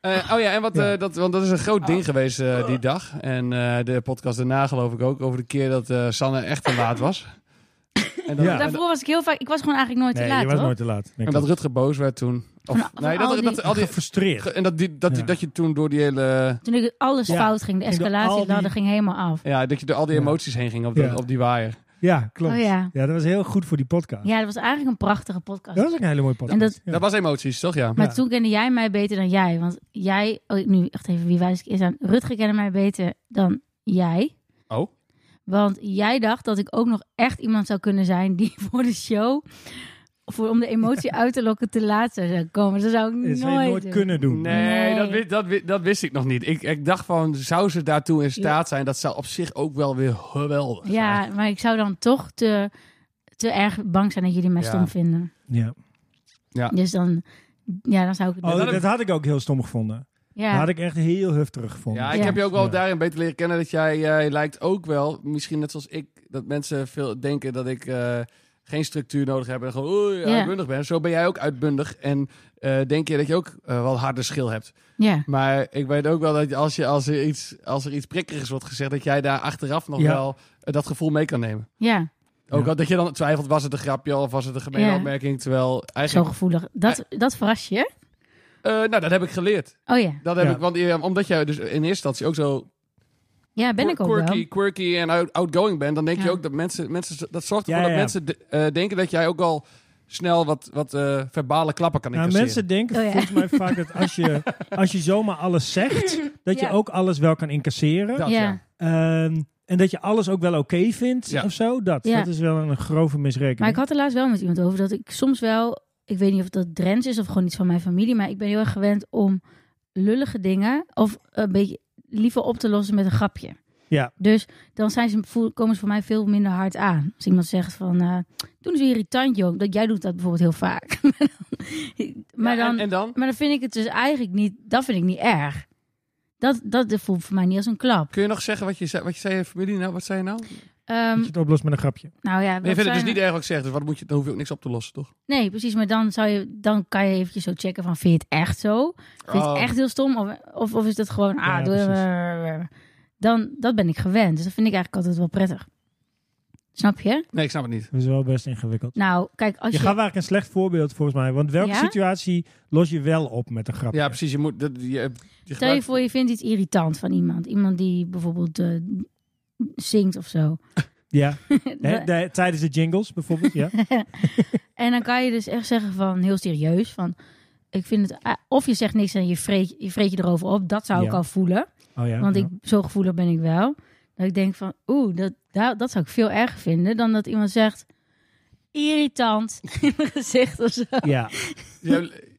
Speaker 2: Eh, oh ja, en wat,
Speaker 3: Ja.
Speaker 2: eh, dat, want dat is een groot
Speaker 1: Oh.
Speaker 2: ding geweest eh, die dag. En eh, de podcast daarna geloof ik ook. Over de keer dat eh, Sanne echt te laat was. En dat,
Speaker 3: Ja.
Speaker 2: en, dat-
Speaker 1: Daarvoor was ik heel vaak... Ik was gewoon eigenlijk nooit
Speaker 3: Nee,
Speaker 1: te
Speaker 3: je
Speaker 1: laat,
Speaker 3: was
Speaker 1: hoor.
Speaker 3: nooit te laat. Nee,
Speaker 2: en dat Rutger boos werd toen. Of,
Speaker 1: Van- van
Speaker 2: nee, dat,
Speaker 1: Nou, al die-
Speaker 2: dat, al die,
Speaker 3: gefrustreerd.
Speaker 2: en dat, die, dat, die-
Speaker 3: Ja.
Speaker 2: dat je toen door die hele...
Speaker 1: Toen ik alles
Speaker 3: Ja.
Speaker 1: fout ging, de
Speaker 3: Ging door al
Speaker 1: escalatieladder
Speaker 3: die-
Speaker 1: ging helemaal af.
Speaker 2: Ja, dat je door al die
Speaker 3: Ja.
Speaker 2: emoties heen ging op, dat-
Speaker 3: Ja.
Speaker 2: op die waaier.
Speaker 3: Ja, klopt.
Speaker 1: Oh ja.
Speaker 3: ja. dat was heel goed voor die podcast.
Speaker 1: Ja, dat was eigenlijk een prachtige podcast.
Speaker 3: Dat was ook een hele mooie podcast.
Speaker 1: En dat-
Speaker 3: Ja.
Speaker 2: Dat was emoties, toch? Ja.
Speaker 1: Maar
Speaker 3: Ja.
Speaker 1: toen kende jij mij beter dan jij. Want jij... Oh, nu, echt even, wie wijs ik is aan? Rutger kende mij beter dan jij.
Speaker 2: Oh.
Speaker 1: Want jij dacht dat ik ook nog echt iemand zou kunnen zijn die voor de show... Voor, om de emotie uit te lokken te laat zou komen. Dat zou ik
Speaker 3: Dat
Speaker 1: nooit,
Speaker 3: zou je nooit
Speaker 1: doen.
Speaker 3: kunnen doen.
Speaker 2: Nee,
Speaker 1: Nee.
Speaker 2: dat, wi- dat, wi- dat wist ik nog niet. Ik, ik dacht van, zou ze daartoe in staat zijn? Dat zou op zich ook wel weer geweldig zijn.
Speaker 1: Ja, maar ik zou dan toch te, te erg bang zijn dat jullie mij
Speaker 2: Ja.
Speaker 1: stom vinden.
Speaker 3: Ja.
Speaker 1: Dus dan, ja, dan zou ik het
Speaker 3: Oh,
Speaker 1: doen.
Speaker 3: dat had ik ook heel stom gevonden. Dat
Speaker 1: Ja.
Speaker 3: had ik echt heel heftig gevonden.
Speaker 2: Ja, ik
Speaker 1: Ja.
Speaker 2: heb je ook wel
Speaker 3: Ja.
Speaker 2: daarin beter leren kennen dat jij, jij lijkt ook wel, misschien net zoals ik, dat mensen veel denken dat ik eh, geen structuur nodig heb en gewoon oei,
Speaker 1: Ja.
Speaker 2: uitbundig ben. Zo ben jij ook uitbundig en eh, denk je dat je ook eh, wel harde schil hebt.
Speaker 1: ja.
Speaker 2: Maar ik weet ook wel dat als, je, als, er, iets, als er iets prikkerigs wordt gezegd, dat jij daar achteraf nog
Speaker 3: Ja.
Speaker 2: wel eh, dat gevoel mee kan nemen.
Speaker 1: Ja,
Speaker 2: Ook
Speaker 3: Ja.
Speaker 2: al dat je dan twijfelt, was het een grapje of was het een gemene
Speaker 1: Ja.
Speaker 2: opmerking? Terwijl
Speaker 1: zo
Speaker 2: eigenlijk,
Speaker 1: gevoelig. Dat, dat verrast je.
Speaker 2: Eh, nou dat heb ik geleerd.
Speaker 1: Oh ja,
Speaker 2: Dat heb
Speaker 3: Ja.
Speaker 2: ik, want, eh, omdat jij dus in eerste instantie ook zo
Speaker 1: ja ben ik ook
Speaker 2: quirky,
Speaker 1: wel.
Speaker 2: quirky en out- outgoing bent, dan denk
Speaker 1: Ja.
Speaker 2: je ook dat mensen, mensen dat zorgt ervoor dat
Speaker 3: Ja, ja, ja.
Speaker 2: mensen de- eh, denken dat jij ook al snel wat, wat eh, verbale klappen kan
Speaker 3: Nou,
Speaker 2: incasseren.
Speaker 3: mensen denken
Speaker 1: Oh ja.
Speaker 3: volgens mij vaak dat als je, als je zomaar alles zegt, dat je
Speaker 1: Ja.
Speaker 3: ook alles wel kan incasseren.
Speaker 2: Dat,
Speaker 1: Ja.
Speaker 2: ja.
Speaker 3: Ehm, en dat je alles ook wel oké vindt
Speaker 2: Ja.
Speaker 3: of zo. Dat.
Speaker 1: Ja.
Speaker 3: dat is wel een grove misrekening.
Speaker 1: Maar ik had er laatst wel met iemand over dat ik soms wel, ik weet niet of dat Drents is of gewoon iets van mijn familie, maar ik ben heel erg gewend om lullige dingen of een beetje liever op te lossen met een grapje.
Speaker 3: Ja.
Speaker 1: Dus dan zijn ze, voel- komen ze voor mij veel minder hard aan. Als iemand zegt van, eh doen ze irritant joh, dat jij doet dat bijvoorbeeld heel vaak. maar dan, maar,
Speaker 2: Ja,
Speaker 1: dan,
Speaker 2: en, en dan?
Speaker 1: maar dan vind ik het dus eigenlijk niet, dat vind ik niet erg. Dat, dat voelt voor mij niet als een klap.
Speaker 2: Kun je nog zeggen wat je zei, wat je zei in je familie? Nou, wat zei je nou? Nee,
Speaker 1: Ehm,
Speaker 3: Dat je het oplost met een grapje.
Speaker 1: nou ja,
Speaker 2: je
Speaker 1: wat
Speaker 2: vindt
Speaker 1: zijn
Speaker 2: het dus
Speaker 1: we?
Speaker 2: niet erg wat ik zeg. Dus wat moet je, dan hoef je ook niks op te lossen, toch?
Speaker 1: Nee, precies. Maar dan, zou je, dan kan je eventjes zo checken van, vind je het echt zo? Vind je
Speaker 2: Oh.
Speaker 1: het echt heel stom? Of, of, of is dat gewoon, ah,
Speaker 3: Ja,
Speaker 1: doe- Dan, dat ben ik gewend. Dus dat vind ik eigenlijk altijd wel prettig. Snap je?
Speaker 2: Nee, ik snap het niet.
Speaker 3: Dat is wel best ingewikkeld.
Speaker 1: Nou, kijk, als
Speaker 3: je
Speaker 1: je...
Speaker 3: gaf eigenlijk een slecht voorbeeld volgens mij. Want welke
Speaker 1: Ja?
Speaker 3: situatie los je wel op met een grapje?
Speaker 2: Ja, precies. Je moet, dat, je, je
Speaker 1: Stel je
Speaker 2: gebruikt-
Speaker 1: voor, je vindt iets irritant van iemand. Iemand die bijvoorbeeld eh, zingt of zo.
Speaker 3: Ja. Hè, de- tijdens de jingles bijvoorbeeld. Ja.
Speaker 1: En dan kan je dus echt zeggen van heel serieus van ik vind het eh, of je zegt niks en je vreet je, vreet je erover op. Dat zou ik
Speaker 3: Ja.
Speaker 1: al voelen,
Speaker 3: Oh ja.
Speaker 1: want
Speaker 3: ja.
Speaker 1: ik zo gevoelig ben ik wel. Dat ik denk van oeh, dat, dat dat zou ik veel erger vinden dan dat iemand zegt irritant in mijn gezicht of zo.
Speaker 3: Ja,
Speaker 2: Je-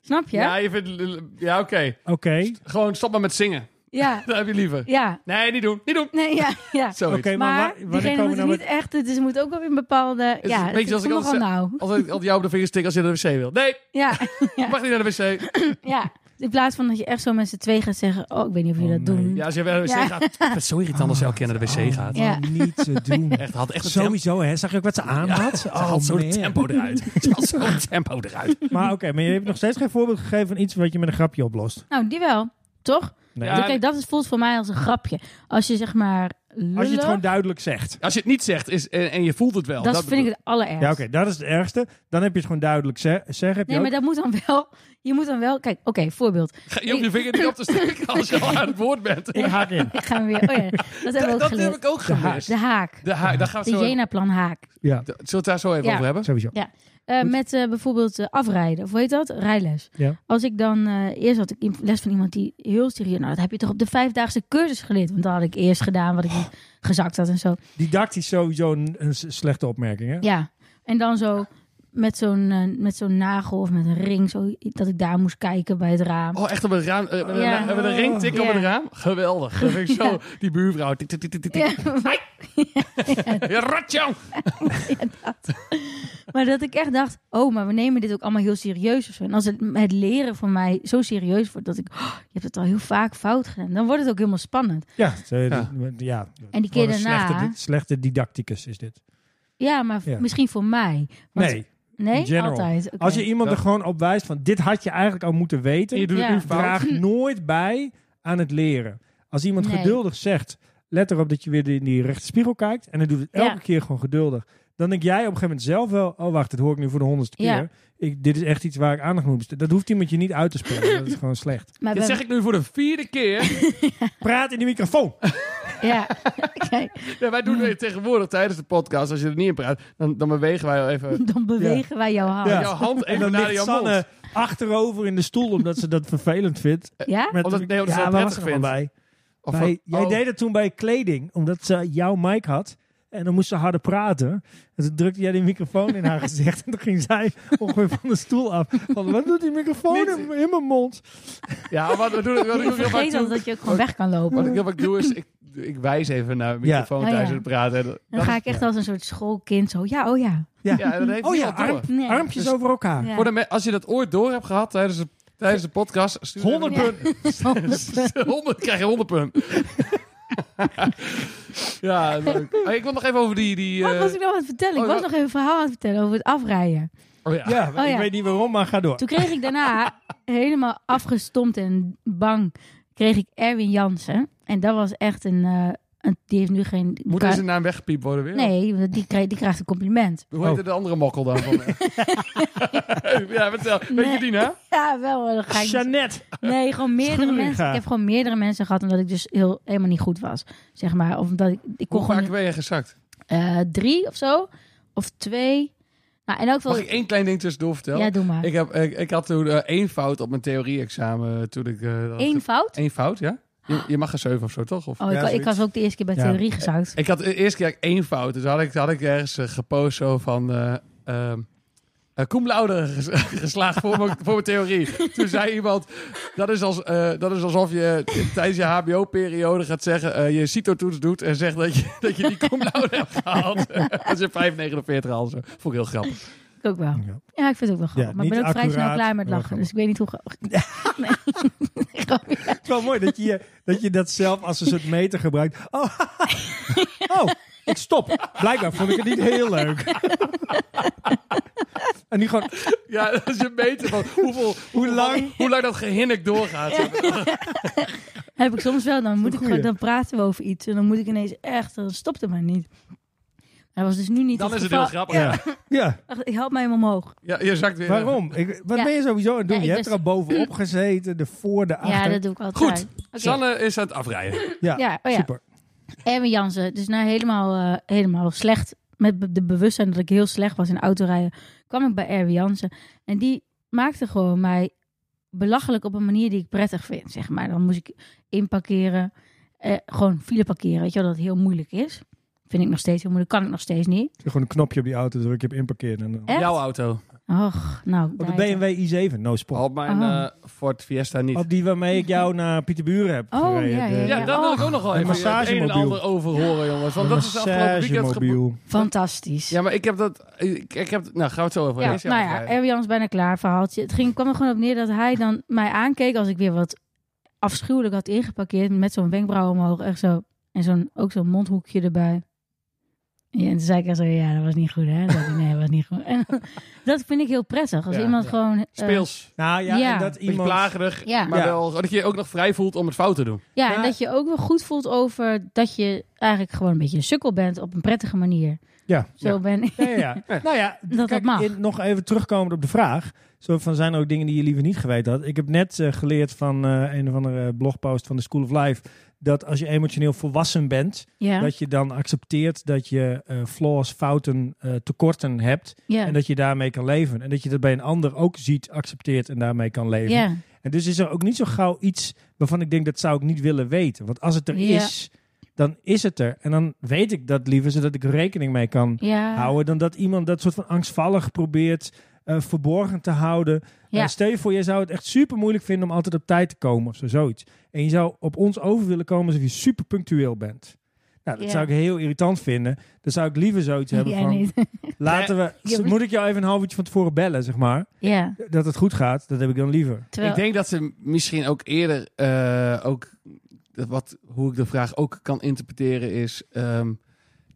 Speaker 1: Snap je?
Speaker 2: ja?
Speaker 1: Ja.
Speaker 2: je vindt... Ja, oké.
Speaker 3: oké.
Speaker 2: Gewoon stop maar met zingen.
Speaker 1: Ja.
Speaker 2: Dat heb je liever.
Speaker 1: ja.
Speaker 2: Nee, niet doen. Niet doen.
Speaker 1: Nee, ja, ja.
Speaker 2: Zoiets.
Speaker 3: Oké, maar
Speaker 1: maar
Speaker 3: waar- wanneer
Speaker 1: diegene
Speaker 3: komen
Speaker 1: moet
Speaker 3: we nou
Speaker 1: het
Speaker 3: met-
Speaker 1: niet echt, dus het moet ook wel in bepaalde...
Speaker 2: is
Speaker 1: ja,
Speaker 2: een beetje zoals ik
Speaker 1: al
Speaker 2: altijd
Speaker 1: nou.
Speaker 2: Altijd, altijd jou op de vingers tikken als je naar de wc wil. Nee,
Speaker 1: Ja,
Speaker 2: je mag niet naar de wc.
Speaker 1: ja. In plaats van dat je echt zo met z'n twee gaat zeggen, oh, ik weet niet of
Speaker 3: Oh,
Speaker 1: jullie dat
Speaker 3: nee.
Speaker 1: doen.
Speaker 2: Ja, als je naar de wc
Speaker 1: Ja.
Speaker 2: gaat. Ik vind het zo irritant als je elke keer naar de wc gaat.
Speaker 1: Ja.
Speaker 3: Oh, Niet te doen.
Speaker 2: Echt, had echt een tempo.
Speaker 3: Sowieso, hè? Zag je ook wat ze aan had?
Speaker 2: Ze haalt zo de
Speaker 3: man.
Speaker 2: tempo eruit. Ze haalt zo de tempo eruit.
Speaker 3: Maar oké, maar je hebt nog steeds geen voorbeeld gegeven van iets wat je met een grapje oplost.
Speaker 1: Nou, die wel. Toch?
Speaker 3: Nee.
Speaker 2: Ja,
Speaker 1: Dus kijk, dat is, voelt voor mij als een grapje. Als je zeg maar lullig,
Speaker 3: Als je het gewoon duidelijk zegt.
Speaker 2: Als je het niet zegt is, en, en je voelt het wel.
Speaker 1: dat, vind ik het allerergst.
Speaker 3: Ja, oké, dat is het ergste. Dan heb je het gewoon duidelijk ze- zeggen. Heb je
Speaker 1: Nee, maar
Speaker 3: ook-
Speaker 1: dat moet dan wel. Je moet dan wel. Kijk, oké, voorbeeld.
Speaker 2: bedoel ik. Ga- Je hoeft je vinger niet op te steken als je al aan het woord bent.
Speaker 3: Ik haak in.
Speaker 1: Ik ga hem weer. Oh ja, dat hebben we ook
Speaker 2: dat
Speaker 1: geleerd.
Speaker 2: heb ik ook gemist.
Speaker 1: De haak.
Speaker 2: De haak, daar gaan we
Speaker 1: De
Speaker 2: het zo even-
Speaker 1: Jena-plan haak.
Speaker 3: Ja,
Speaker 2: Zullen we het daar zo even
Speaker 1: Ja.
Speaker 2: over hebben?
Speaker 3: sowieso.
Speaker 1: Eh,
Speaker 3: Goed.
Speaker 1: met eh, bijvoorbeeld eh, afrijden, of hoe heet dat? Rijles.
Speaker 3: Ja.
Speaker 1: Als ik dan, eh, eerst had ik in- les van iemand die heel serieus, nou dat heb je toch op de vijfdaagse cursus geleerd? Want dat had ik eerst gedaan, wat ik
Speaker 2: Oh.
Speaker 1: niet gezakt had en zo.
Speaker 3: Didactisch sowieso een, een s- slechte opmerking, hè?
Speaker 1: Ja, en dan zo met zo'n eh, met zo'n nagel of met een ring, zo, dat ik daar moest kijken bij het raam.
Speaker 2: Oh, echt op een raam. eh, met een
Speaker 1: Ja.
Speaker 2: raam- Hebben we een ring tikken op
Speaker 1: Ja.
Speaker 2: het raam? Geweldig. Dat vind ik zo. Die buurvrouw. Tik, tik, tik, tik, tik, tik.
Speaker 1: Ja, maar,
Speaker 2: Ja, ratjong.
Speaker 1: maar dat ik echt dacht, oh, maar we nemen dit ook allemaal heel serieus of zo. En als het, het leren voor mij zo serieus wordt, dat ik, oh, je hebt het al heel vaak fout gedaan, dan wordt het ook helemaal spannend.
Speaker 3: Ja. ze-
Speaker 2: Ja.
Speaker 3: ja.
Speaker 1: En die keer
Speaker 3: Gewoon een
Speaker 1: daarna-
Speaker 3: Slechte, di- slechte didacticus is dit.
Speaker 1: Ja, maar v-
Speaker 3: Ja.
Speaker 1: misschien voor mij. Want-
Speaker 3: Nee, in
Speaker 1: Nee,
Speaker 3: general.
Speaker 1: altijd. Oké.
Speaker 3: als je iemand
Speaker 2: Ja.
Speaker 3: er gewoon op wijst van dit had je eigenlijk al moeten weten.
Speaker 2: Je doet het
Speaker 1: Ja.
Speaker 2: nu fout.
Speaker 3: draagt nooit bij aan het leren. Als iemand
Speaker 1: Nee.
Speaker 3: geduldig zegt, let erop dat je weer in die rechte spiegel kijkt. En hij doet het elke
Speaker 1: Ja.
Speaker 3: keer gewoon geduldig. Dan denk jij op een gegeven moment zelf wel, oh wacht, dit hoor ik nu voor de honderdste
Speaker 1: Ja.
Speaker 3: keer. Ik, dit is echt iets waar ik aandacht moet besteden. Dat hoeft iemand je niet uit te spelen. dat is gewoon slecht.
Speaker 1: Maar
Speaker 2: Dit
Speaker 1: bij-
Speaker 2: zeg ik nu voor de vierde keer.
Speaker 3: Praat in die microfoon.
Speaker 1: Ja, kijk,
Speaker 2: Ja, wij doen
Speaker 3: Hmm.
Speaker 2: het tegenwoordig tijdens de podcast. Als je er niet in praat, dan, dan bewegen wij wel even
Speaker 1: dan bewegen wij jouw hand.
Speaker 3: Ja.
Speaker 1: Ja?
Speaker 2: jouw hand
Speaker 3: En
Speaker 2: even
Speaker 3: dan
Speaker 2: naar
Speaker 3: ligt
Speaker 2: jouw mond.
Speaker 3: Sanne achterover in de stoel omdat ze dat vervelend vindt. Met
Speaker 2: Omdat- nee, omdat ze
Speaker 3: ja,
Speaker 2: dat
Speaker 3: waar was
Speaker 2: prettig
Speaker 3: ze dan bij?
Speaker 2: Of
Speaker 3: Bij-
Speaker 2: van-
Speaker 3: jij
Speaker 2: oh.
Speaker 3: deed het toen bij kleding, omdat ze jouw mic had. En dan moest ze harder praten. En toen drukte jij die microfoon in haar gezicht. En toen ging zij ongeveer van de stoel af. Van, wat doet die microfoon in, in mijn mond?
Speaker 2: Ja, wat, wat, doe ik- wat, ik
Speaker 1: Ik
Speaker 2: ook heel vaak
Speaker 1: vergeet
Speaker 2: doe,
Speaker 1: altijd dat je ook gewoon weg kan
Speaker 2: wat
Speaker 1: lopen.
Speaker 2: ik heel vaak doe, is ik, ik wijs even naar de microfoon
Speaker 1: Ja. Oh,
Speaker 2: tijdens
Speaker 1: ja.
Speaker 2: het praten. En dat-
Speaker 1: Dan ga ik echt als een soort schoolkind zo, ja, oh ja.
Speaker 3: Ja.
Speaker 2: ja, dat heeft
Speaker 3: oh ja,
Speaker 2: niemand door.
Speaker 3: arm-
Speaker 1: Nee.
Speaker 3: armpjes over elkaar.
Speaker 1: Ja.
Speaker 2: Voor de me- als je dat ooit door hebt gehad tijdens de, tijdens de podcast... stuur
Speaker 3: 100
Speaker 2: even-
Speaker 3: punten.
Speaker 2: Ja. 100 krijg je 100 punten. ja, leuk. Hey, ik wil nog even over die... die
Speaker 1: Wat
Speaker 2: eh,
Speaker 1: was ik nou aan het vertellen?
Speaker 2: oh,
Speaker 1: ik was
Speaker 2: ja.
Speaker 1: nog even een verhaal aan het vertellen over het afrijden.
Speaker 2: oh ja.
Speaker 3: Ja,
Speaker 1: Oh ja.
Speaker 3: ik weet niet waarom, maar ga door.
Speaker 1: Toen kreeg ik daarna helemaal afgestompt en bang, kreeg ik Erwin Jansen. En dat was echt een, eh, een die heeft nu geen...
Speaker 2: Moet
Speaker 1: ka-
Speaker 2: deze naam weggepiept worden weer?
Speaker 1: nee, want die, kreeg, die krijgt een compliment.
Speaker 2: Hoe heette
Speaker 3: Oh.
Speaker 2: de andere mokkel dan? Van, ja, vertel. Weet je
Speaker 1: Nee.
Speaker 2: die nou?
Speaker 1: Ja, wel. Dan ga ik dus-
Speaker 3: Jeannette.
Speaker 1: Nee, gewoon meerdere
Speaker 3: Schuringa.
Speaker 1: mensen. Ik heb gewoon meerdere mensen gehad omdat ik dus heel, helemaal niet goed was. Zeg maar. Of omdat ik, ik kon
Speaker 2: Hoe
Speaker 1: gewoon
Speaker 2: vaak ben je gezakt?
Speaker 1: eh, drie of zo. Of twee. Nou, Maar in elk
Speaker 2: Mag
Speaker 1: geval...
Speaker 2: ik één klein ding tussendoor vertellen?
Speaker 1: Ja, doe maar.
Speaker 2: Ik, heb, ik, ik had toen eh, één fout op mijn theorie-examen. Toen ik, eh, dat-
Speaker 1: Eén fout?
Speaker 2: één fout, ja? Je, je mag een 7 of zo, toch? Of,
Speaker 1: Oh, ik,
Speaker 3: Ja,
Speaker 1: wa- ik
Speaker 3: zoiets.
Speaker 1: was ook de eerste keer bij
Speaker 3: Ja.
Speaker 1: theorie gezout.
Speaker 2: Ik had de eerste keer één fout. Dus had ik, had ik ergens eh, gepost zo van... eh ehm eh, cum laude ges- geslaagd voor mijn, voor mijn theorie. Toen zei iemand, dat is, als, eh, dat is alsof je tijdens je hbo-periode gaat zeggen... eh, je cito-toets doet en zegt dat je, dat je die cum laude hebt gehaald. dat is in 5,49 al zo. Vond ik heel grappig.
Speaker 1: Ik ook wel.
Speaker 3: Ja.
Speaker 1: Ja, ik vind het ook wel grappig.
Speaker 3: Ja,
Speaker 1: maar ik ben ook
Speaker 3: niet
Speaker 1: vrij snel
Speaker 3: accuraat,
Speaker 1: klaar met
Speaker 3: maar
Speaker 1: lachen. Dus ik weet niet hoe grappig. Nee. Grapje.
Speaker 3: Het is wel mooi dat je je- dat, je dat zelf als een soort meter gebruikt. Oh, oh, ik stop. Blijkbaar vond ik het niet heel leuk. en nu gewoon,
Speaker 2: Ja, dat is een meter van hoeveel,
Speaker 3: hoe lang?
Speaker 2: hoe lang dat gehinnik doorgaat.
Speaker 1: Heb ik soms wel. Dan, moet ik
Speaker 3: goeie.
Speaker 1: gewoon, dan praten we over iets. En dan moet ik ineens echt... Dan stopt het maar niet. Dat was dus nu niet
Speaker 2: Dan is het
Speaker 1: geval.
Speaker 2: heel grappig. Ja.
Speaker 3: Ja. ja.
Speaker 1: Wacht, help mij hem omhoog.
Speaker 2: je zakt weer.
Speaker 3: Waarom? Ik, wat
Speaker 1: Ja.
Speaker 3: ben je sowieso aan het doen?
Speaker 1: Ja,
Speaker 3: je
Speaker 1: ik
Speaker 3: hebt er
Speaker 1: ben-
Speaker 3: al bovenop gezeten, de voor, de achter.
Speaker 1: Ja, dat doe ik altijd.
Speaker 2: Goed.
Speaker 1: Oké.
Speaker 2: Sanne is aan het afrijden.
Speaker 3: Ja,
Speaker 1: Ja, oh ja.
Speaker 3: super.
Speaker 1: Erwin Jansen, dus nou helemaal, eh, helemaal slecht. Met be- de bewustzijn dat ik heel slecht was in autorijden, kwam ik bij Erwin Jansen. En die maakte gewoon mij belachelijk op een manier die ik prettig vind, zeg maar. Dan moest ik inparkeren, eh, gewoon file parkeren. Weet je wel, dat het heel moeilijk is. Vind ik nog steeds heel moeilijk, kan ik nog steeds niet.
Speaker 3: Gewoon een knopje op die auto dus druk je op inparkeren. En dan...
Speaker 1: Echt?
Speaker 2: Jouw auto.
Speaker 1: Och, nou.
Speaker 3: Op de
Speaker 1: daar-
Speaker 3: BMW i7, no spot.
Speaker 2: Op mijn
Speaker 1: Oh.
Speaker 2: eh, Ford Fiesta niet.
Speaker 3: Op die waarmee ik jou naar Pieterburen heb
Speaker 1: Oh,
Speaker 3: gereden.
Speaker 1: ja, ja,
Speaker 3: De-
Speaker 1: ja.
Speaker 2: ja, daar wil ik ook nog wel
Speaker 3: Oh. Een
Speaker 2: even het een en
Speaker 3: massagemobiel.
Speaker 2: ander over horen, jongens. Want dat is afgelopen weekend gebeurd.
Speaker 3: massagemobiel.
Speaker 1: Fantastisch.
Speaker 2: Ja, maar ik heb dat... Ik, ik heb, nou, gaan we het zo over
Speaker 1: Ja,
Speaker 2: eens.
Speaker 1: nou ja, Erwin Jans bijna klaar verhaaltje. Het ging, kwam er gewoon op neer dat hij dan mij aankeek als ik weer wat afschuwelijk had ingeparkeerd met zo'n wenkbrauw omhoog echt zo en zo'n ook zo'n mondhoekje erbij. Ja, en toen zei ik echt zo, ja, dat was niet goed, hè? Dat ik, nee, dat was niet goed. En dat vind ik heel prettig als
Speaker 2: Ja,
Speaker 1: iemand
Speaker 2: ja.
Speaker 1: gewoon eh,
Speaker 2: Speels.
Speaker 3: Nou ja,
Speaker 1: Ja.
Speaker 3: en dat
Speaker 2: Beetje
Speaker 3: iemand...
Speaker 2: plagerig.
Speaker 1: Ja.
Speaker 2: Maar
Speaker 3: Ja.
Speaker 2: wel... Dat je je ook nog vrij voelt om het fout te doen.
Speaker 1: ja, en
Speaker 3: Maar-
Speaker 1: dat je ook wel goed voelt over dat je eigenlijk gewoon een beetje een sukkel bent op een prettige manier.
Speaker 3: Ja.
Speaker 1: Zo
Speaker 2: Ja.
Speaker 1: ben ik.
Speaker 3: Ja, ja, ja. Nou ja,
Speaker 1: dat
Speaker 3: kijk,
Speaker 1: mag.
Speaker 3: in- nog even terugkomend op de vraag. Zo van, zijn er ook dingen die je liever niet geweten had? Ik heb net eh, geleerd van eh, een of andere blogpost van de School of Life... dat als je emotioneel volwassen bent...
Speaker 1: Ja.
Speaker 3: dat je dan accepteert dat je eh, flaws, fouten, eh, tekorten hebt...
Speaker 1: Ja.
Speaker 3: en dat je daarmee kan leven. En dat je dat bij een ander ook ziet, accepteert en daarmee kan leven.
Speaker 1: Ja.
Speaker 3: En dus is er ook niet zo gauw iets waarvan ik denk... dat zou ik niet willen weten. Want als het er
Speaker 1: Ja.
Speaker 3: is, dan is het er. En dan weet ik dat liever, zodat ik er rekening mee kan
Speaker 1: Ja.
Speaker 3: houden dan dat iemand dat soort van angstvallig probeert eh, verborgen te houden.
Speaker 1: Ja.
Speaker 3: Eh, stel je voor, je zou het echt super moeilijk vinden om altijd op tijd te komen of zo, zoiets. En je zou op ons over willen komen alsof je super punctueel bent. Nou, dat
Speaker 1: Ja.
Speaker 3: zou ik heel irritant vinden. Dan zou ik liever zoiets hebben
Speaker 1: Jij
Speaker 3: van,
Speaker 1: niet.
Speaker 3: laten we,
Speaker 1: Ja.
Speaker 3: moet ik jou even een half uurtje van tevoren bellen, zeg maar.
Speaker 1: Ja.
Speaker 3: Dat het goed gaat, dat heb ik dan liever.
Speaker 1: Terwijl,
Speaker 2: Ik denk dat ze misschien ook eerder... eh, ook dat wat, hoe ik de vraag ook kan interpreteren is... ehm,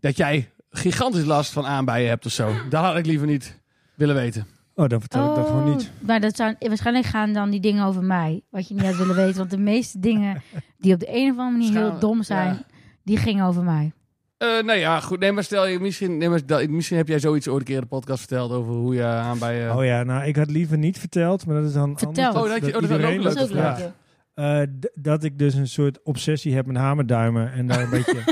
Speaker 2: dat jij gigantisch last van aanbijen hebt of zo. Dat had ik liever niet willen weten.
Speaker 3: Oh, dan vertel ik dat gewoon niet.
Speaker 1: Oh, Maar dat zou, waarschijnlijk gaan dan die dingen over mij, wat je niet had willen weten. Want de meeste dingen die op de een of andere manier heel
Speaker 2: Schaam-
Speaker 1: dom zijn,
Speaker 2: ja.
Speaker 1: die gingen over mij.
Speaker 2: Eh, nou ja, goed. Nee, maar stel je misschien, nee, maar dat, misschien heb jij zoiets ooit een keer in de podcast verteld over hoe je aan bij. eh,
Speaker 3: Oh ja, nou, ik had liever niet verteld, maar dat is dan
Speaker 1: Vertel.
Speaker 3: anders
Speaker 2: Oh, dat je- oh, dat is ook
Speaker 3: iedereen
Speaker 2: leuk.
Speaker 1: Dat is ook
Speaker 2: Ja.
Speaker 1: leuk.
Speaker 3: Eh, d- dat ik dus een soort obsessie heb met hamerduimen en daar een beetje.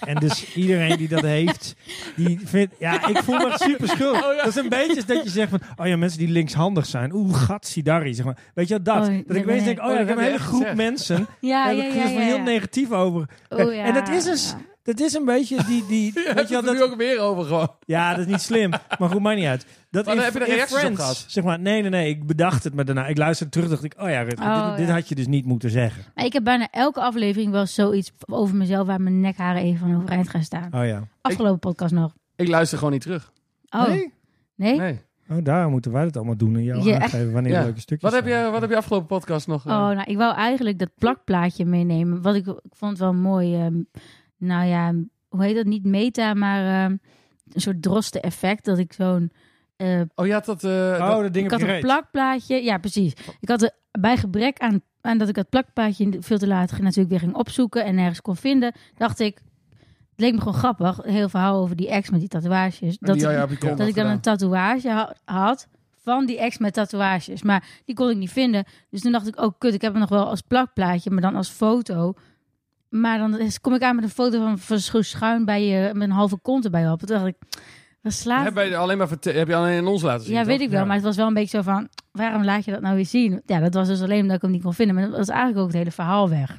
Speaker 3: En dus iedereen die dat heeft, die vindt. Ja, ik voel me echt super schuldig.
Speaker 2: Oh, ja.
Speaker 3: Dat is een beetje als dat je zegt van. Oh ja, mensen die linkshandig zijn. Oeh, gatsidari. Zeg maar. Weet je wat dat?
Speaker 1: Oh,
Speaker 3: dat
Speaker 1: nee,
Speaker 3: ik ineens
Speaker 1: nee.
Speaker 3: denk, oh ja,
Speaker 2: Oh,
Speaker 3: ik
Speaker 2: dat
Speaker 3: heb een
Speaker 2: heb
Speaker 3: hele
Speaker 2: je
Speaker 3: groep
Speaker 2: echt gezegd. Ah,
Speaker 3: mensen.
Speaker 1: Ja,
Speaker 3: daar
Speaker 1: ja,
Speaker 3: heb ik
Speaker 1: ja.
Speaker 3: dus
Speaker 1: ja,
Speaker 3: heel
Speaker 1: ja.
Speaker 3: negatief over.
Speaker 1: Oh, ja.
Speaker 3: En dat is dus. Dat is een beetje die. die
Speaker 2: je
Speaker 3: weet
Speaker 2: hebt
Speaker 3: je wel,
Speaker 2: het er
Speaker 3: dat,
Speaker 2: nu ook weer over gewoon.
Speaker 3: ja, dat is niet slim. Maar goed, maakt niet uit. Dat
Speaker 2: Maar
Speaker 3: in-
Speaker 2: dan heb je er
Speaker 3: in
Speaker 2: reacties op
Speaker 3: Friends,
Speaker 2: gehad.
Speaker 3: Zeg maar, nee, nee, nee. Ik bedacht het, maar daarna. Ik luisterde terug, dacht ik, oh ja, Rutger,
Speaker 1: Oh,
Speaker 3: dit, dit
Speaker 1: ja.
Speaker 3: had je dus niet moeten zeggen.
Speaker 1: Maar ik heb bijna elke aflevering wel zoiets over mezelf waar mijn nekharen even van overeind gaan staan.
Speaker 3: Oh ja.
Speaker 1: Afgelopen podcast nog.
Speaker 2: Ik luister gewoon niet terug.
Speaker 1: Oh, nee?
Speaker 3: Nee? Oh, daar moeten wij het allemaal doen en jou
Speaker 1: Ja.
Speaker 3: aangeven wanneer
Speaker 2: Ja.
Speaker 3: leuke stukjes
Speaker 2: Wat heb,
Speaker 3: zijn.
Speaker 2: je, wat heb je afgelopen podcast nog? eh,
Speaker 1: Oh, nou, ik wou eigenlijk dat plakplaatje meenemen. Wat ik, ik vond wel mooi. ehm, nou ja, hoe heet dat? Niet meta, maar ehm, een soort droste effect. Dat ik zo'n eh,
Speaker 2: oh, je had dat. eh, dat-
Speaker 3: Oh, dat ding
Speaker 1: ik
Speaker 3: op
Speaker 1: had
Speaker 3: je
Speaker 1: een
Speaker 3: reet.
Speaker 1: plakplaatje. Ja, precies. Ik had er bij gebrek aan, aan dat ik dat plakplaatje veel te laat natuurlijk weer ging opzoeken en nergens kon vinden, dacht ik. Het leek me gewoon grappig, een heel verhaal over die ex met die tatoeages. Dat,
Speaker 2: die-
Speaker 1: ik-
Speaker 2: ja, heb ik ook
Speaker 1: dat
Speaker 2: nog
Speaker 1: ik dan
Speaker 2: gedaan.
Speaker 1: een tatoeage ha- had van die ex met tatoeages. Maar die kon ik niet vinden. Dus toen dacht ik, oh kut, ik heb hem nog wel als plakplaatje, maar dan als foto. Maar dan is- kom ik aan met een foto van, van schu- schuin bij je, met een halve kont erbij op. Toen dacht ik, Dan slaat...
Speaker 2: Heb je alleen maar verte- heb je alleen in ons laten zien?
Speaker 1: Ja,
Speaker 2: toch?
Speaker 1: weet ik wel.
Speaker 3: Ja.
Speaker 1: Maar het was wel een beetje zo van, waarom laat je dat nou weer zien? Ja, dat was dus alleen omdat ik hem niet kon vinden. Maar dat was eigenlijk ook het hele verhaal weg.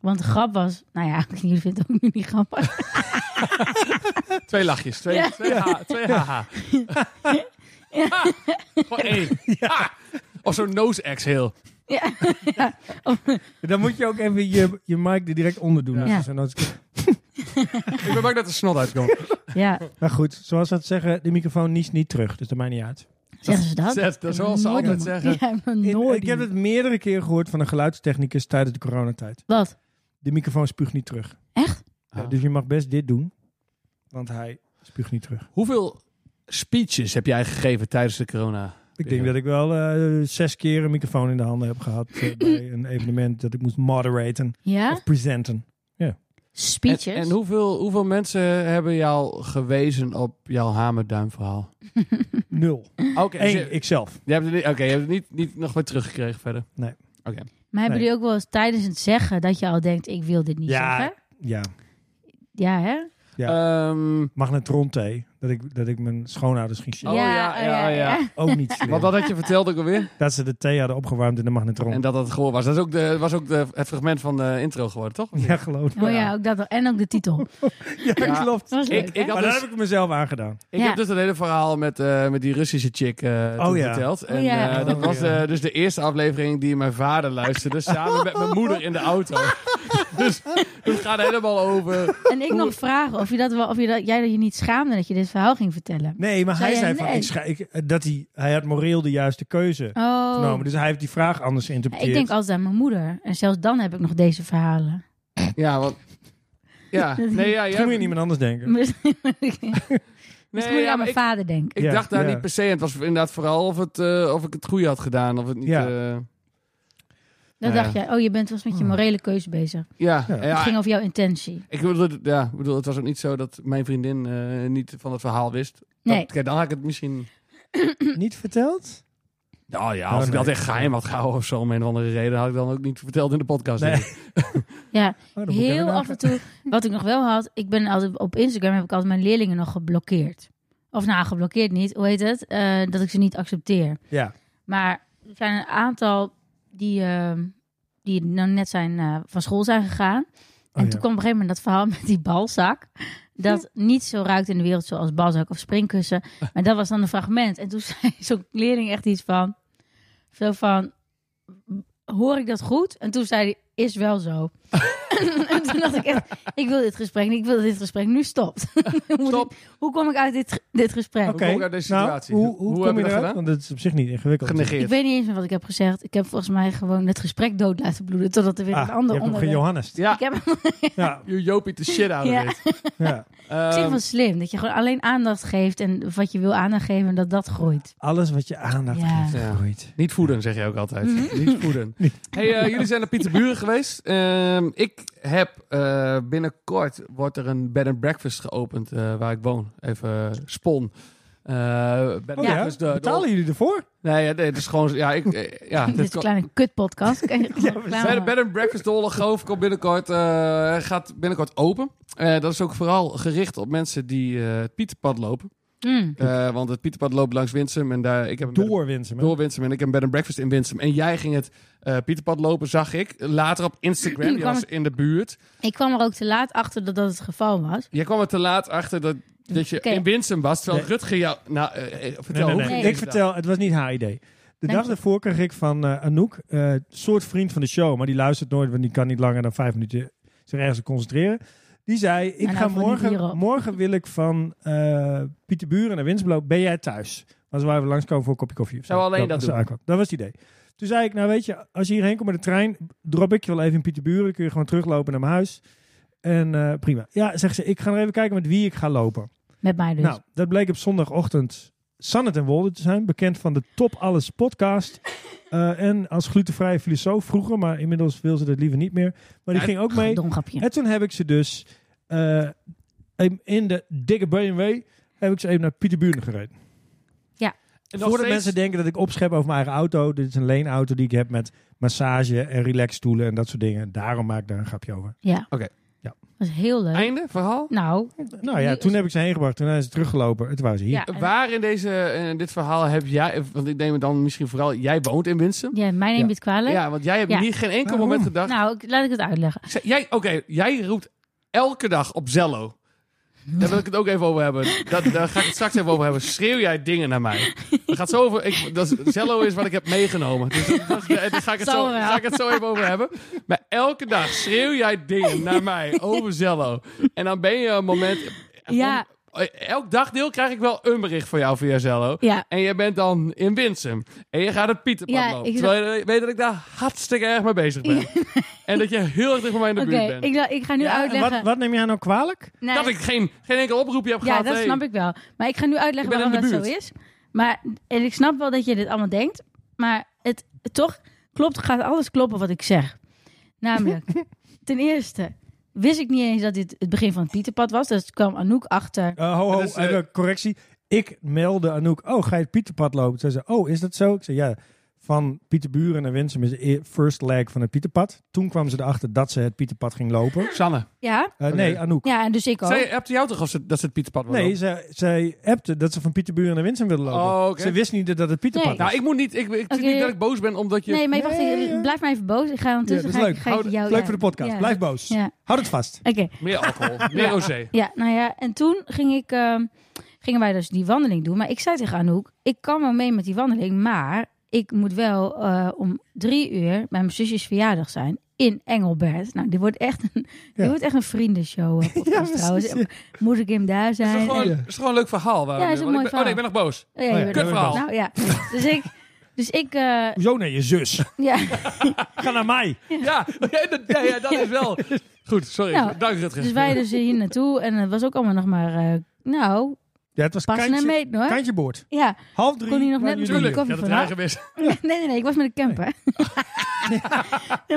Speaker 1: Want de grap was, nou ja, jullie vinden het ook nu niet grappig.
Speaker 2: Twee lachjes. Twee,
Speaker 1: Ja.
Speaker 2: twee, ha, twee haha. Ha. Gewoon één. Ha. Of zo'n nose ex heel.
Speaker 1: ja.
Speaker 3: Dan moet je ook even je, je mic er direct onder doen.
Speaker 1: Ja.
Speaker 3: als je zo'n noot-
Speaker 2: Ik ben bang dat er snot uitkomt.
Speaker 1: ja,
Speaker 3: Maar goed, zoals ze dat zeggen, de microfoon niest niet terug. Dus dat maakt niet uit.
Speaker 1: zeggen ze dat?
Speaker 2: Zet, dat is zoals ze
Speaker 1: Nooit
Speaker 2: altijd
Speaker 1: iemand-
Speaker 2: zeggen.
Speaker 1: Ja, maar
Speaker 3: Ik-
Speaker 1: nooit.
Speaker 3: ik heb
Speaker 1: iemand.
Speaker 3: het meerdere keren gehoord van een geluidstechnicus tijdens de coronatijd.
Speaker 1: Wat?
Speaker 3: De microfoon spuugt niet terug.
Speaker 1: Echt?
Speaker 3: Ja,
Speaker 2: Ah.
Speaker 3: dus je mag best dit doen, want hij spuugt niet terug.
Speaker 2: Hoeveel speeches heb jij gegeven tijdens de corona?
Speaker 3: Ik denk dat ik wel eh, zes keer een microfoon in de handen heb gehad eh, bij een evenement dat ik moest moderaten
Speaker 1: Ja?
Speaker 3: of presenten.
Speaker 1: Speeches?
Speaker 2: En, en hoeveel, hoeveel mensen hebben jou gewezen op jouw hamerduimverhaal?
Speaker 3: Nul.
Speaker 2: Oké, dus
Speaker 3: Eén,
Speaker 2: je,
Speaker 3: ikzelf.
Speaker 2: je hebt het niet, oké, je hebt het niet, niet nog weer teruggekregen verder.
Speaker 1: Maar hebben
Speaker 3: Nee.
Speaker 1: jullie ook wel eens tijdens het zeggen dat je al denkt, ik wil dit niet
Speaker 3: Ja.
Speaker 1: zeggen?
Speaker 3: Ja,
Speaker 1: Ja, hè?
Speaker 2: Ehm,
Speaker 3: magnetron thee. Dat ik, dat ik mijn schoonouders ging
Speaker 2: oh
Speaker 3: shit.
Speaker 2: ja,
Speaker 1: oh,
Speaker 2: ja, ja.
Speaker 3: Ook niet slim.
Speaker 2: Want wat had je verteld ook alweer?
Speaker 3: Dat ze de thee hadden opgewarmd in de magnetron.
Speaker 2: En dat dat het gehoor was. Dat is ook de, was ook de, het fragment van de intro geworden, toch?
Speaker 3: ja, geloof me.
Speaker 1: Oh ja, ook dat wel. En ook de titel.
Speaker 3: Ja,
Speaker 2: Ja.
Speaker 3: klopt.
Speaker 1: Dat was leuk,
Speaker 2: Ik,
Speaker 1: hè?
Speaker 2: ik, had
Speaker 3: Maar daar
Speaker 2: dus,
Speaker 3: heb ik mezelf aangedaan.
Speaker 2: ik
Speaker 1: Ja.
Speaker 2: heb dus dat hele verhaal met, eh, met die Russische chick eh
Speaker 3: Oh
Speaker 2: toen
Speaker 3: ja.
Speaker 2: verteld. En
Speaker 1: Oh ja.
Speaker 2: eh, dat
Speaker 3: Oh
Speaker 2: was
Speaker 3: ja.
Speaker 2: eh, dus de eerste aflevering die mijn vader luisterde. samen met mijn moeder in de auto. dus het gaat helemaal over.
Speaker 1: En ik nog vragen of, je dat wel, of je dat, jij dat je niet schaamde dat je dit verhaal ging vertellen.
Speaker 3: Nee, maar
Speaker 1: Zei jij
Speaker 3: hij zei van,
Speaker 1: nee?
Speaker 3: ik scha- ik, eh, dat hij, hij had moreel de juiste keuze
Speaker 1: Oh.
Speaker 3: genomen. Dus hij heeft die vraag anders geïnterpreteerd.
Speaker 1: Ik denk altijd aan mijn moeder. En zelfs dan heb ik nog deze verhalen.
Speaker 2: Ja, want. Ja, nee, ja,
Speaker 3: Toen moet je
Speaker 2: jij,
Speaker 3: niemand anders denken.
Speaker 1: Misschien Dus moet
Speaker 2: nee,
Speaker 1: je
Speaker 2: ja,
Speaker 1: aan
Speaker 2: maar
Speaker 1: mijn
Speaker 2: ik,
Speaker 1: vader denken.
Speaker 2: ik
Speaker 3: Ja,
Speaker 2: dacht daar
Speaker 3: ja.
Speaker 2: niet per se. aan. Het was inderdaad vooral of, het, eh, of ik het goede had gedaan. Of het niet.
Speaker 3: Ja.
Speaker 2: eh,
Speaker 1: Dan
Speaker 2: Nou
Speaker 1: dacht
Speaker 2: ja.
Speaker 1: jij, oh, je bent wel eens met je morele keuze bezig.
Speaker 2: ja,
Speaker 3: Ja.
Speaker 2: ja.
Speaker 1: het ging over jouw intentie.
Speaker 2: Ik bedoel, ja, ik bedoel, het was ook niet zo dat mijn vriendin eh, niet van het verhaal wist. Dat-
Speaker 1: Nee.
Speaker 2: kijk, dan had ik het misschien.
Speaker 3: Niet verteld?
Speaker 2: Nou ja,
Speaker 3: Oh,
Speaker 2: als ik
Speaker 3: nee.
Speaker 2: dat echt geheim had gehouden of zo, om een of andere reden, had ik dan ook niet verteld in de podcast.
Speaker 3: Nee.
Speaker 2: denk ik.
Speaker 1: Ja,
Speaker 3: Oh, dan moet ik even
Speaker 1: heel af
Speaker 3: nagaan.
Speaker 1: en toe. Wat ik nog wel had, ik ben altijd op Instagram heb ik altijd mijn leerlingen nog geblokkeerd. Of nou, geblokkeerd niet. Hoe heet het? Eh, dat ik ze niet accepteer.
Speaker 3: Ja.
Speaker 1: Maar er zijn een aantal die, ehm, die nou net zijn, eh, van school zijn gegaan. En
Speaker 3: Oh, ja.
Speaker 1: toen kwam op een gegeven moment dat verhaal met die balzak. Dat niet zo ruikt in de wereld zoals balzak of springkussen. Maar dat was dan een fragment. En toen zei zo'n leerling echt iets van... Zo van, hoor ik dat goed? En toen zei hij, is wel zo. en toen dacht ik echt, ik wil dit gesprek niet. Ik wil dat dit gesprek nu stopt. Hoe moet
Speaker 2: Stop.
Speaker 1: ik- hoe kom ik uit dit, dit gesprek?
Speaker 3: Oké,
Speaker 2: kom ik uit deze situatie?
Speaker 3: Nou, hoe,
Speaker 2: Hoe-
Speaker 3: hoe,
Speaker 2: hoe heb
Speaker 3: kom
Speaker 2: je
Speaker 3: je
Speaker 2: dat
Speaker 3: eruit?
Speaker 2: gedaan?
Speaker 3: Want dat is op zich niet ingewikkeld.
Speaker 2: Genegeerd.
Speaker 1: Ik weet niet eens meer wat ik heb gezegd. Ik heb volgens mij gewoon het gesprek dood laten bloeden. Totdat er weer
Speaker 3: Ah,
Speaker 1: een
Speaker 3: je
Speaker 1: ander
Speaker 3: hebt hem
Speaker 1: onderwerp...
Speaker 3: gejohannes.
Speaker 2: Ja,
Speaker 1: Ik heb
Speaker 3: Ja,
Speaker 2: je jopie de shit out of
Speaker 1: Ja.
Speaker 2: it.
Speaker 3: ja.
Speaker 1: op
Speaker 2: Ehm,
Speaker 1: zich wel slim. Dat je gewoon alleen aandacht geeft. En wat je wil aandacht geven. En dat dat groeit.
Speaker 3: Alles wat je aandacht
Speaker 1: Ja.
Speaker 3: geeft,
Speaker 2: Ja.
Speaker 3: groeit.
Speaker 2: Niet voeden, zeg je ook altijd. Niet voeden. Hey, eh, jullie zijn naar Pieterburen geweest. Ehm, ik heb eh, binnenkort wordt er een bed and breakfast geopend eh, waar ik woon. Even eh, spon. Eh, bed and
Speaker 3: Oh ja?
Speaker 2: breakfast, dus de- de-
Speaker 3: Betalen jullie ervoor?
Speaker 2: Nee, ja, nee, het is gewoon. Ja, ik, eh, ja,
Speaker 1: Dit is een kleine kutpodcast. Kan je gewoon reclame
Speaker 2: Bed,
Speaker 1: maken.
Speaker 2: bed and Breakfast de Hollegoof komt binnenkort, eh, gaat binnenkort open. Eh, dat is ook vooral gericht op mensen die eh, het Pieterpad lopen.
Speaker 1: Mm.
Speaker 2: Eh, want het Pieterpad loopt langs Winsum en daar, ik heb een bed-
Speaker 3: Door Winsum. hè?
Speaker 2: door Winsum en ik heb een Bed and Breakfast in Winsum. En jij ging het eh, Pieterpad lopen, zag ik. Later op Instagram, je
Speaker 1: kwam
Speaker 2: was
Speaker 1: ik-
Speaker 2: in de buurt.
Speaker 1: Ik kwam er ook te laat achter dat dat het geval was.
Speaker 2: Jij kwam er te laat achter dat, dat je
Speaker 1: Oké.
Speaker 2: in Winsum was, terwijl
Speaker 3: Nee.
Speaker 2: Rutger jou... Nou, eh, eh,
Speaker 3: Nee,
Speaker 2: vertel, hoe
Speaker 3: nee, nee.
Speaker 1: Nee.
Speaker 2: ging
Speaker 3: Ik
Speaker 2: deze dag?
Speaker 3: vertel, het was niet haar idee. De
Speaker 1: Dank
Speaker 3: dag
Speaker 1: je.
Speaker 3: daarvoor kreeg ik van eh, Anouk, eh, soort vriend van de show, maar die luistert nooit, want die kan niet langer dan vijf minuten zich ergens op concentreren. Die zei, ik
Speaker 1: En
Speaker 3: ga
Speaker 1: nou voor die
Speaker 3: morgen,
Speaker 1: hierop.
Speaker 3: morgen wil ik van eh Pieter Buren naar Winsblo. Ben jij thuis? Als we even langskomen voor een kopje koffie. of zo.
Speaker 2: Zou we alleen dat
Speaker 3: was
Speaker 2: doen?
Speaker 3: eigenlijk wel- Dat was het idee. Toen zei ik, nou weet je, als je hierheen komt met de trein, drop ik je wel even in Pieter Buren. Dan kun je gewoon teruglopen naar mijn huis. En eh, prima. Ja, zegt ze, ik ga nog even kijken met wie ik ga lopen.
Speaker 1: Met mij dus.
Speaker 3: Nou, dat bleek op zondagochtend Sannet en Wolde te zijn. Bekend van de Top Alles podcast. Eh, en als glutenvrije filosoof vroeger, maar inmiddels wil ze dat liever niet meer. Maar die
Speaker 2: Ja,
Speaker 3: ging ook mee. Eh.
Speaker 1: Dom grapje.
Speaker 3: En toen heb ik ze dus eh, in- in de dikke BMW heb ik ze even naar Pieterburen gereden.
Speaker 2: En nog
Speaker 3: Voordat
Speaker 2: steeds-
Speaker 3: mensen denken dat ik opschep over mijn eigen auto. Dit is een leenauto die ik heb met massage en relaxstoelen en dat soort dingen. Daarom maak ik daar een grapje over.
Speaker 1: Ja.
Speaker 2: Oké.
Speaker 3: Ja.
Speaker 1: was heel leuk.
Speaker 2: Einde, verhaal?
Speaker 1: Nou,
Speaker 3: Nou ja,
Speaker 1: Die-
Speaker 3: toen heb ik ze heen gebracht. Toen zijn ze teruggelopen. Het waren ze hier.
Speaker 1: ja, en-
Speaker 2: Waar in deze, eh, dit verhaal heb jij, want ik neem het dan misschien vooral, jij woont in Winsum.
Speaker 1: ja, mij neemt
Speaker 3: Ja.
Speaker 1: het kwalijk.
Speaker 2: Ja, want jij hebt
Speaker 1: Ja.
Speaker 2: hier geen enkel
Speaker 3: Waarom?
Speaker 2: moment gedacht.
Speaker 1: Nou, ik- laat ik het uitleggen.
Speaker 2: Ik zei, jij, oké, jij roept elke dag op Zello. Daar wil ik het ook even over hebben. Dat, daar ga ik het straks even over hebben. Schreeuw jij dingen naar mij? Dat gaat zo over. Ik, dat is- Zello is wat ik heb meegenomen. Dus dat, dat- daar ga ik, het zo,
Speaker 1: Zo wel.
Speaker 2: daar ga ik het zo even over hebben. Maar elke dag schreeuw jij dingen naar mij over Zello. En dan ben je een moment.
Speaker 1: Ja.
Speaker 2: Elk dagdeel krijg ik wel een bericht van jou via Zello.
Speaker 1: Ja,
Speaker 2: En je bent dan in Winsum. En je gaat het Pieterpad
Speaker 1: Ja,
Speaker 2: lopen.
Speaker 1: ik-
Speaker 2: Terwijl je weet dat ik daar hartstikke erg mee bezig ben. En dat je heel erg dicht bij mij in de
Speaker 1: oké.
Speaker 2: buurt bent.
Speaker 1: ik, la- ik ga nu
Speaker 3: Ja, en
Speaker 1: uitleggen.
Speaker 3: Wat, wat neem jij nou kwalijk?
Speaker 1: Nee,
Speaker 2: Dat ik geen, geen enkel oproepje heb
Speaker 1: ja,
Speaker 2: gehad.
Speaker 1: dat
Speaker 2: hey.
Speaker 1: snap ik wel. Maar ik ga nu
Speaker 2: Ik
Speaker 1: uitleggen
Speaker 2: ben in
Speaker 1: waarom dat
Speaker 2: de
Speaker 1: zo
Speaker 2: buurt.
Speaker 1: is. Maar, en ik snap wel dat je dit allemaal denkt. Maar het, het toch klopt, gaat alles kloppen wat ik zeg. Namelijk, ten eerste wist ik niet eens dat dit het begin van het Pieterpad was. Dus kwam Anouk achter.
Speaker 3: Eh, ho, ho,
Speaker 2: Dat is, eh,
Speaker 3: even correctie. Ik meldde Anouk, oh, ga je het Pieterpad lopen? Zij zei, oh, is dat zo? Ik zei, ja, van Pieterburen naar Winsum is de e- first leg van het Pieterpad. Toen kwam ze erachter dat ze het Pieterpad ging lopen.
Speaker 2: Sanne,
Speaker 1: Ja,
Speaker 3: Eh, Nee, Anouk.
Speaker 1: ja en dus ik ook.
Speaker 2: zij hebt jou toch of ze, dat ze het Pieterpad wil
Speaker 3: Nee,
Speaker 2: lopen?
Speaker 3: zij, zij appte dat ze van Pieterburen naar Winsum wilde lopen.
Speaker 2: Oh, oké.
Speaker 3: Ze wist niet dat het Pieterpad
Speaker 1: Nee.
Speaker 3: was.
Speaker 2: Nou, ik moet niet... Ik, ik zie
Speaker 1: Oké.
Speaker 2: niet dat ik boos ben omdat je...
Speaker 1: nee, maar wacht,
Speaker 3: Nee,
Speaker 1: ik-
Speaker 3: ja.
Speaker 1: blijf maar even boos. Ik ga
Speaker 3: Ja,
Speaker 1: ondertussen
Speaker 3: dat is
Speaker 1: ga ik-
Speaker 3: leuk.
Speaker 1: ga Dus ik
Speaker 2: Hou-
Speaker 1: jou...
Speaker 3: Leuk
Speaker 1: ja.
Speaker 3: voor de podcast.
Speaker 1: Ja.
Speaker 3: Blijf boos.
Speaker 1: Ja,
Speaker 3: Houd het vast.
Speaker 1: oké.
Speaker 2: Meer alcohol, meer rosé.
Speaker 1: Ja, nou ja, en toen ging ik, ehm, gingen wij dus die wandeling doen. Maar ik zei tegen Anouk, ik kan wel mee met die wandeling, maar ik moet wel eh, om drie uur bij mijn zusjes verjaardag zijn in Engelbert. Nou, dit wordt echt een, dit wordt echt een vriendenshow. eh, podcast
Speaker 3: precies,
Speaker 1: trouwens. Eh,
Speaker 3: ja.
Speaker 1: Moet ik hem daar
Speaker 2: Het is
Speaker 1: zijn?
Speaker 2: gewoon,
Speaker 1: En-
Speaker 2: het is gewoon een leuk verhaal. Waar
Speaker 1: Ja, het is een mooi
Speaker 2: ik ben, Oh nee, ik ben nog boos.
Speaker 1: Oh ja, je
Speaker 3: Oh ja,
Speaker 1: bent-
Speaker 2: Kut verhaal.
Speaker 1: nou ja, dus ik, dus ik, eh,
Speaker 3: Hoezo nee, je zus?
Speaker 1: ja.
Speaker 3: Ga naar mij.
Speaker 2: Ja, ja, dat- ja, ja, dat is wel... Goed, sorry.
Speaker 1: Nou,
Speaker 2: Dank Rutger.
Speaker 1: Dus wij dus hier naartoe en het was ook allemaal nog maar, eh, nou,
Speaker 3: Ja, het was
Speaker 1: pas en
Speaker 3: kantje,
Speaker 1: meet hoor.
Speaker 3: kantje boord.
Speaker 1: Ja,
Speaker 3: Half drie.
Speaker 1: Kon hij nog
Speaker 3: waren
Speaker 1: net
Speaker 3: jullie
Speaker 1: natuurlijk
Speaker 2: Tuurlijk,
Speaker 3: hier.
Speaker 2: ik
Speaker 1: koffie
Speaker 2: had het
Speaker 1: vandaag.
Speaker 2: eigen wist.
Speaker 1: Nee, nee, nee, ik was met een camper. Nee.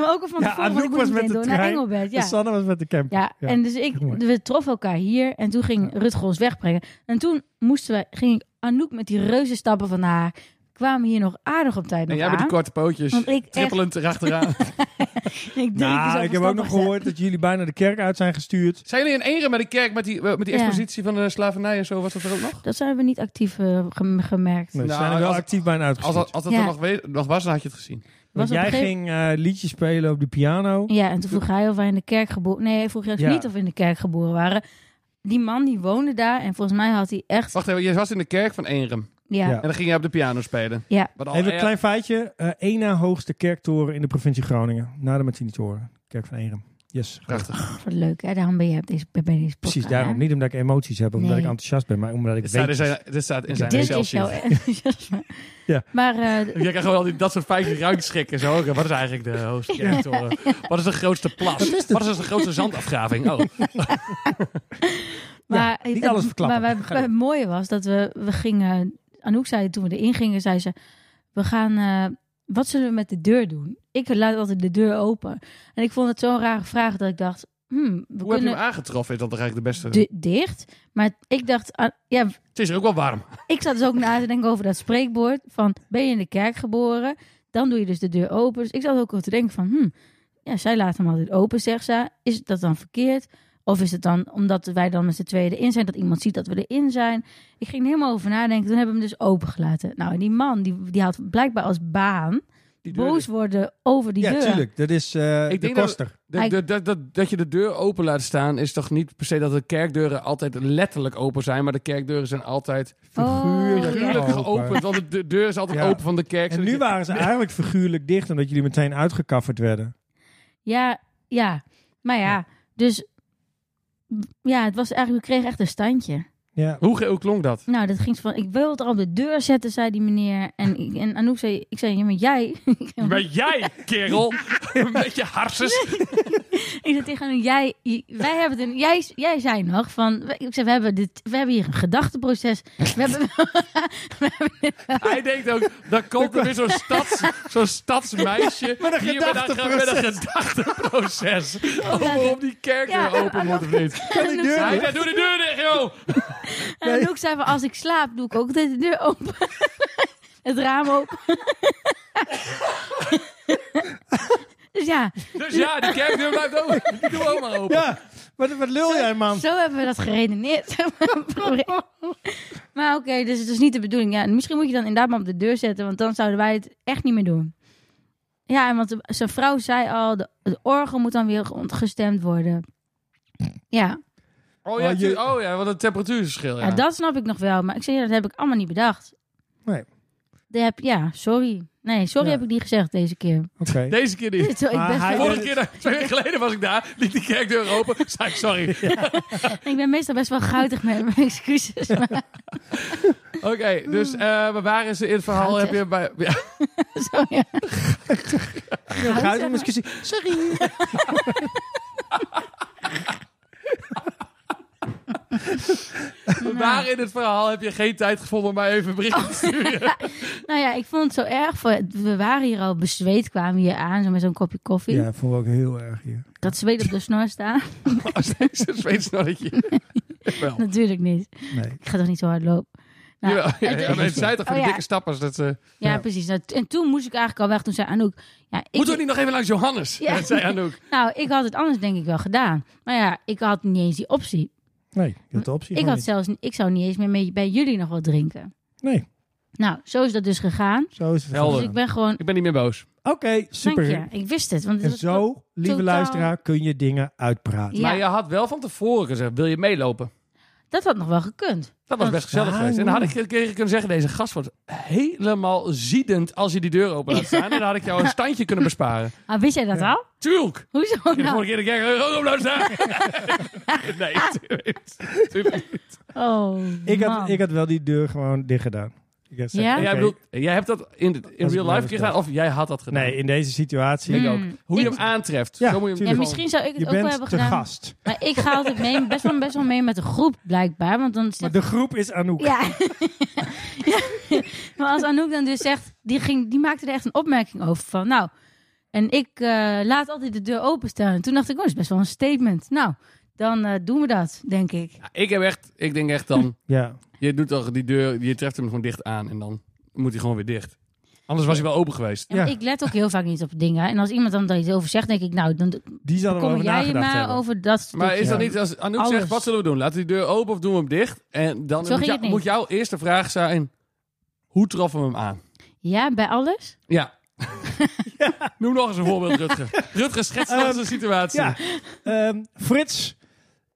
Speaker 1: maar ook al van
Speaker 3: Ja,
Speaker 1: tevoren, want
Speaker 3: Anouk
Speaker 1: ik moet
Speaker 3: was
Speaker 1: meteen
Speaker 3: met de
Speaker 1: door naar
Speaker 3: trein.
Speaker 1: Engelbert. Ja.
Speaker 3: Dus Sanne was met de camper.
Speaker 1: Ja, en dus ik,
Speaker 3: mooi.
Speaker 1: we troffen elkaar hier en toen ging Rutger ons wegbrengen. En toen moesten we, ging ik Anouk met die reuze stappen van haar, kwamen hier nog aardig op tijd
Speaker 2: En
Speaker 1: nog
Speaker 2: jij met die
Speaker 1: aan.
Speaker 2: korte pootjes.
Speaker 1: Want ik echt-
Speaker 2: Trippelend erachteraan.
Speaker 1: ik, denk,
Speaker 3: Nou,
Speaker 1: dus
Speaker 3: ik heb ook nog gehoord dat jullie bijna de kerk uit zijn gestuurd.
Speaker 2: Zijn jullie in Ere met de kerk, met die, eh, met die
Speaker 1: Ja.
Speaker 2: expositie van de slavernij en zo? Was dat er ook nog?
Speaker 1: Dat zijn we niet actief eh, gem- gemerkt.
Speaker 3: Nee, ze
Speaker 2: Nou,
Speaker 3: zijn er wel
Speaker 2: als-
Speaker 3: actief
Speaker 2: Als
Speaker 3: bijna uitgestuurd.
Speaker 2: dat, als dat
Speaker 1: Ja.
Speaker 2: er nog, we- nog was, dan had je het gezien.
Speaker 1: Was
Speaker 3: Want
Speaker 1: op een
Speaker 3: jij
Speaker 1: gegeven-
Speaker 3: ging eh, liedjes spelen op de piano.
Speaker 1: Ja, en toen vroeg hij of wij in de kerk geboren... Nee, hij vroeg juist
Speaker 3: Ja.
Speaker 1: niet of we in de kerk geboren waren. Die man die woonde daar en volgens mij had hij echt...
Speaker 2: Wacht even, je was in de kerk van Eenrum.
Speaker 1: Ja,
Speaker 3: Ja.
Speaker 1: ja.
Speaker 2: En dan ging je op de piano spelen.
Speaker 1: ja.
Speaker 2: Wat al
Speaker 3: Even een
Speaker 2: erg-
Speaker 3: klein feitje. Eh één na hoogste kerktoren in de provincie Groningen. Na de Martinitoren. Kerk van Eenrum. Yes.
Speaker 2: Prachtig.
Speaker 1: Wat leuk hè, daarom ben je op deze, bij deze podcast.
Speaker 3: Precies,
Speaker 1: hè?
Speaker 3: daarom. Niet omdat ik emoties heb, omdat
Speaker 1: Nee.
Speaker 3: ik enthousiast ben, maar omdat ik
Speaker 2: Dit staat, in
Speaker 3: weet...
Speaker 2: zijn, dit staat in zijn
Speaker 1: Dit
Speaker 2: Excel
Speaker 1: is jouw
Speaker 2: sheet.
Speaker 1: enthousiasme.
Speaker 3: Ja.
Speaker 1: Maar eh,
Speaker 2: Je krijgt gewoon al die, dat soort feitjes ruikschikken. Zo. Oké, Wat is eigenlijk de hoogste kerktoren? Wat is de grootste plas? Wat is, dus de grootste zandafgraving? Oh,
Speaker 1: maar,
Speaker 3: niet alles verklappen.
Speaker 1: Maar, wij- het mooie was dat we, we gingen... Anouk zei toen we erin gingen, zei ze... We gaan... eh, wat zullen we met de deur doen? Ik laat altijd de deur open. En ik vond het zo'n rare vraag dat ik dacht... hmm, we
Speaker 2: hoe heb je hem
Speaker 1: kunnen
Speaker 2: aangetroffen? Is dat toch eigenlijk de beste?
Speaker 1: di- dicht. Maar ik dacht... ah, ja,
Speaker 2: Het is ook wel warm.
Speaker 1: ik zat dus ook na te denken over dat spreekwoord van ben je in de kerk geboren, dan doe je dus de deur open. Dus ik zat ook al te denken van, hm, ja, zij laat hem altijd open, zegt ze. Is dat dan verkeerd? Of is het dan omdat wij dan met z'n tweeën erin zijn, dat iemand ziet dat we erin zijn? Ik ging er helemaal over nadenken. Toen hebben we hem dus opengelaten. Nou, en die man, die, die had blijkbaar als baan
Speaker 2: Die deur-
Speaker 1: boos worden over die
Speaker 3: Ja,
Speaker 1: deur.
Speaker 3: tuurlijk. Dat is eh,
Speaker 2: Ik
Speaker 3: de
Speaker 2: denk dat-
Speaker 3: koster.
Speaker 2: de- de- dat- dat- Dat je de deur open laat staan is toch niet per se dat de kerkdeuren altijd letterlijk open zijn. Maar de kerkdeuren zijn altijd
Speaker 1: Oh, ja.
Speaker 2: figuurlijk
Speaker 3: Open.
Speaker 2: geopend. Want de- de deur is altijd
Speaker 3: Ja.
Speaker 2: open van de kerk.
Speaker 3: En
Speaker 2: zodat
Speaker 3: nu
Speaker 2: je-
Speaker 3: waren ze eigenlijk figuurlijk dicht, omdat jullie meteen uitgekafferd werden.
Speaker 1: Ja, ja. Maar ja, dus ja, het was eigenlijk, we kregen echt een standje.
Speaker 3: Ja.
Speaker 2: Hoe, ge- hoe klonk dat?
Speaker 1: Nou, dat ging ze van, ik wil het er op de deur zetten, zei die meneer. En, ik- en Anouk zei, ik zei, ja, maar jij.
Speaker 2: Maar jij, kerel, een beetje harses.
Speaker 1: ik zei tegen Anouk, jij, wij hebben het, een, jij, jij zei nog van, ik zei, we hebben, dit, we hebben hier een gedachteproces. We hebben,
Speaker 2: Hij denkt ook, dan komt er weer zo'n stads, zo'n stadsmeisje. Met een Met een gedachteproces. Over op die kerk
Speaker 1: Ja.
Speaker 2: weer open moet of niet.
Speaker 1: en Anouk, zei,
Speaker 2: Hij zegt, doe de deur dicht, joh!
Speaker 1: en Anouk zei van, als ik slaap, doe ik ook de deur open. het raam open. dus ja, Dus
Speaker 2: Dus ja, die kerkdeur blijft open. Die doen we ook maar open.
Speaker 3: Ja, Wat, wat lul jij, man?
Speaker 1: Zo hebben we dat geredeneerd. maar oké, dus het is niet de bedoeling. Ja, en misschien moet je dan inderdaad maar op de deur zetten, want dan zouden wij het echt niet meer doen. Ja, en want de- zijn vrouw zei al, de, de orgel moet dan weer ontgestemd worden. Ja,
Speaker 2: Oh ja,
Speaker 3: Oh, je-
Speaker 2: tuurlijk. oh, ja wat een temperatuurverschil. Ja.
Speaker 1: ja, dat snap ik nog wel. Maar ik zeg je, dat heb ik allemaal niet bedacht.
Speaker 3: Nee.
Speaker 1: Dat heb, ja, sorry. Nee, sorry
Speaker 3: Ja.
Speaker 1: heb ik niet gezegd deze keer.
Speaker 3: Oké.
Speaker 2: Deze keer
Speaker 1: Dit is
Speaker 2: niet.
Speaker 1: wel- ik,
Speaker 3: Maar
Speaker 1: ben
Speaker 3: hij-
Speaker 1: wel-
Speaker 2: Vorige keer, twee jaar geleden was ik daar, liet die kerkdeur open, zei ik sorry.
Speaker 1: ik ben meestal best wel goudig met mijn excuses. Maar
Speaker 2: Oké, dus eh, maar waar is in het verhaal?
Speaker 1: Goud,
Speaker 2: Heb je bij, ja,
Speaker 1: zo, ja.
Speaker 3: Heel goud, maar excuus. Sorry.
Speaker 2: Waar in het verhaal heb je geen tijd gevonden om mij even een berichtje te sturen?
Speaker 1: Nou ja, ik vond het zo erg. voor- We waren hier al bezweet, kwamen we hier aan zo met zo'n kopje koffie.
Speaker 3: Ja, vond ik ook heel erg hier.
Speaker 1: Ik had zweet op de snor staan.
Speaker 2: Als deze een Zweeds snorretje. Wel.
Speaker 1: Natuurlijk niet.
Speaker 3: Nee.
Speaker 1: Ik ga toch niet zo hard lopen. Nou,
Speaker 2: Jawel, ja,
Speaker 1: het-
Speaker 2: ja, maar Nou, het zei toch van die
Speaker 1: Oh, ja.
Speaker 2: dikke stappers dat eh, ze...
Speaker 1: ja,
Speaker 3: Ja.
Speaker 1: precies. Nou, t- en toen moest ik eigenlijk al weg. Toen zei Anouk... Ja, ik,
Speaker 2: Moeten we niet nog even langs Johannes?
Speaker 1: Ja.
Speaker 2: Dat zei Anouk.
Speaker 1: Nou, ik had het anders denk ik wel gedaan. Maar ja, ik had niet eens die optie.
Speaker 3: Nee, je had de optie
Speaker 1: Ik,
Speaker 3: gewoon
Speaker 1: had zelfs, niet- ik zou niet eens meer mee- bij jullie nog wat drinken.
Speaker 3: niet. Nee,
Speaker 1: Nou, zo is dat dus gegaan.
Speaker 3: zo is het.
Speaker 2: Helder.
Speaker 1: Dus ik ben gewoon...
Speaker 2: Ik ben niet meer boos.
Speaker 3: Oké, super.
Speaker 1: Dank je. Dus Ik wist het. Want het
Speaker 3: En
Speaker 1: was-
Speaker 3: zo, lieve
Speaker 1: totaal-
Speaker 3: luisteraar, kun je dingen uitpraten.
Speaker 1: Ja,
Speaker 2: Maar je had wel van tevoren gezegd, wil je meelopen?
Speaker 1: dat had nog wel gekund.
Speaker 2: Dat was
Speaker 1: Dat-
Speaker 2: best gezellig
Speaker 3: Ah,
Speaker 2: geweest. En dan had
Speaker 3: ja.
Speaker 2: ik een keer kunnen zeggen, deze gast wordt helemaal ziedend als je die deur open laat staan. En dan had ik jou een standje kunnen besparen.
Speaker 1: Ah, wist jij dat al?
Speaker 2: Tuurlijk!
Speaker 1: Hoezo
Speaker 2: De vorige
Speaker 1: nou?
Speaker 2: keer de kerk ook op laat staan. Nee, tuurlijk niet. Tuurlijk niet.
Speaker 1: Oh,
Speaker 3: Ik
Speaker 1: man.
Speaker 3: had, ik had wel die deur gewoon dicht gedaan. Ik had gezegd,
Speaker 1: Ja?
Speaker 2: En
Speaker 3: oké.
Speaker 2: Jij, bedoelt, jij hebt dat in, de- in
Speaker 3: ik
Speaker 2: real
Speaker 3: mij
Speaker 2: life gedaan? Of jij had dat gedaan?
Speaker 3: Nee, in deze situatie.
Speaker 2: Ik
Speaker 1: Mm.
Speaker 2: ook. Hoe je
Speaker 1: Ik-
Speaker 2: hem aantreft.
Speaker 3: Ja,
Speaker 2: zo moet je hem
Speaker 1: Ja,
Speaker 3: tuurlijk.
Speaker 1: misschien zou ik het
Speaker 3: Je
Speaker 1: ook wel hebben
Speaker 3: bent te
Speaker 1: gedaan.
Speaker 3: gast.
Speaker 1: Maar ik ga altijd mee, best wel, best wel mee met de groep, blijkbaar. Want dan
Speaker 3: Maar
Speaker 1: zegt...
Speaker 3: de groep is Anouk.
Speaker 1: Ja. Ja. Maar als Anouk dan dus zegt... Die, ging, die maakte er echt een opmerking over van... Nou, en ik eh, laat altijd de deur openstaan. En toen dacht ik, oh, dat is best wel een statement. Nou, dan eh, doen we dat, denk ik.
Speaker 2: Ja, ik, heb echt, ik denk echt dan,
Speaker 3: Ja.
Speaker 2: je doet toch die deur, je treft hem gewoon dicht aan en dan moet hij gewoon weer dicht. Anders was hij wel open geweest.
Speaker 1: En
Speaker 3: Ja.
Speaker 1: Ik let ook heel vaak niet op dingen. En als iemand dan daar iets over zegt, denk ik... Nou, dan
Speaker 3: Die zal er wel
Speaker 1: kom
Speaker 3: over
Speaker 1: jij
Speaker 3: nagedacht
Speaker 1: maar
Speaker 3: hebben.
Speaker 1: over dat
Speaker 2: Maar is
Speaker 1: stukje.
Speaker 2: dat niet, als Anouk
Speaker 1: Alles.
Speaker 2: zegt, wat zullen we doen? Laten we die deur open of doen we hem dicht? En dan
Speaker 1: Zo
Speaker 2: moet,
Speaker 1: ging
Speaker 2: jou-
Speaker 1: het niet.
Speaker 2: moet jouw eerste vraag zijn, hoe troffen we hem aan?
Speaker 1: Ja, bij alles?
Speaker 2: Ja. Noem nog eens een voorbeeld, Rutger. Rutger schetst nog eens een situatie.
Speaker 3: Ja. Ehm, Frits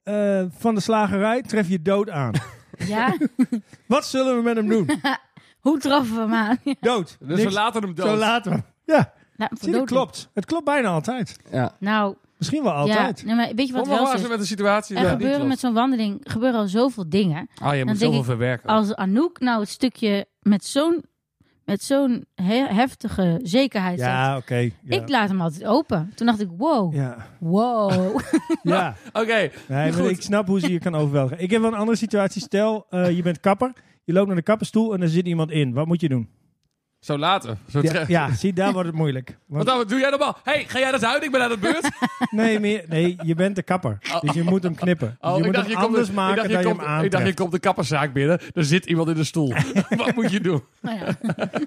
Speaker 3: eh, van de slagerij tref je dood aan.
Speaker 1: Ja?
Speaker 3: Wat zullen we met hem doen?
Speaker 1: Hoe troffen we hem aan?
Speaker 3: Dood.
Speaker 2: Dus we
Speaker 3: Niks.
Speaker 2: laten hem dood.
Speaker 3: Zo laten we hem. Ja,
Speaker 1: Nou,
Speaker 3: zie, dat
Speaker 1: verdood.
Speaker 3: klopt. Het klopt bijna altijd.
Speaker 2: ja.
Speaker 1: Nou,
Speaker 3: Misschien wel altijd.
Speaker 1: Ja, nee, maar weet je wat
Speaker 2: Kom
Speaker 1: wel
Speaker 2: maar wel
Speaker 1: zo
Speaker 2: eens
Speaker 1: is?
Speaker 2: met een situatie.
Speaker 1: Er
Speaker 2: die niet
Speaker 1: gebeuren
Speaker 2: klopt.
Speaker 1: met zo'n wandeling gebeuren al zoveel dingen.
Speaker 2: Ah, je moet
Speaker 1: denk
Speaker 2: zoveel
Speaker 1: ik,
Speaker 2: verwerken.
Speaker 1: Als Anouk nou het stukje met zo'n met zo'n he- heftige zekerheid zegt.
Speaker 3: Ja, oké. ja.
Speaker 1: Ik laat hem altijd open. Toen dacht ik, wow,
Speaker 3: Ja,
Speaker 1: wow.
Speaker 3: ja.
Speaker 2: Oké,
Speaker 3: Nee, maar
Speaker 2: Goed.
Speaker 3: ik snap hoe ze je kan overweldigen. Ik heb wel een andere situatie. Stel, eh, je bent kapper. Je loopt naar de kapperstoel en er zit iemand in. Wat moet je doen?
Speaker 2: zo later. Zo
Speaker 3: Ja,
Speaker 2: terug.
Speaker 3: ja, zie, daar wordt het moeilijk.
Speaker 2: Wat
Speaker 3: Want,
Speaker 2: dan, wat doe jij normaal? Hé, hey, ga jij dat uit? Ik ben aan de beurt. Oh,
Speaker 3: nee, meer, nee, je bent de kapper. Dus je moet hem knippen. Dus
Speaker 2: Oh,
Speaker 3: je
Speaker 2: ik
Speaker 3: moet
Speaker 2: dacht,
Speaker 3: hem
Speaker 2: je komt,
Speaker 3: anders
Speaker 2: ik
Speaker 3: maken
Speaker 2: dacht, je
Speaker 3: dan je
Speaker 2: komt,
Speaker 3: hem aantreft.
Speaker 2: ik dacht, je komt de kapperszaak binnen. Er zit iemand in de stoel. Wat moet je doen?
Speaker 1: Nou ja.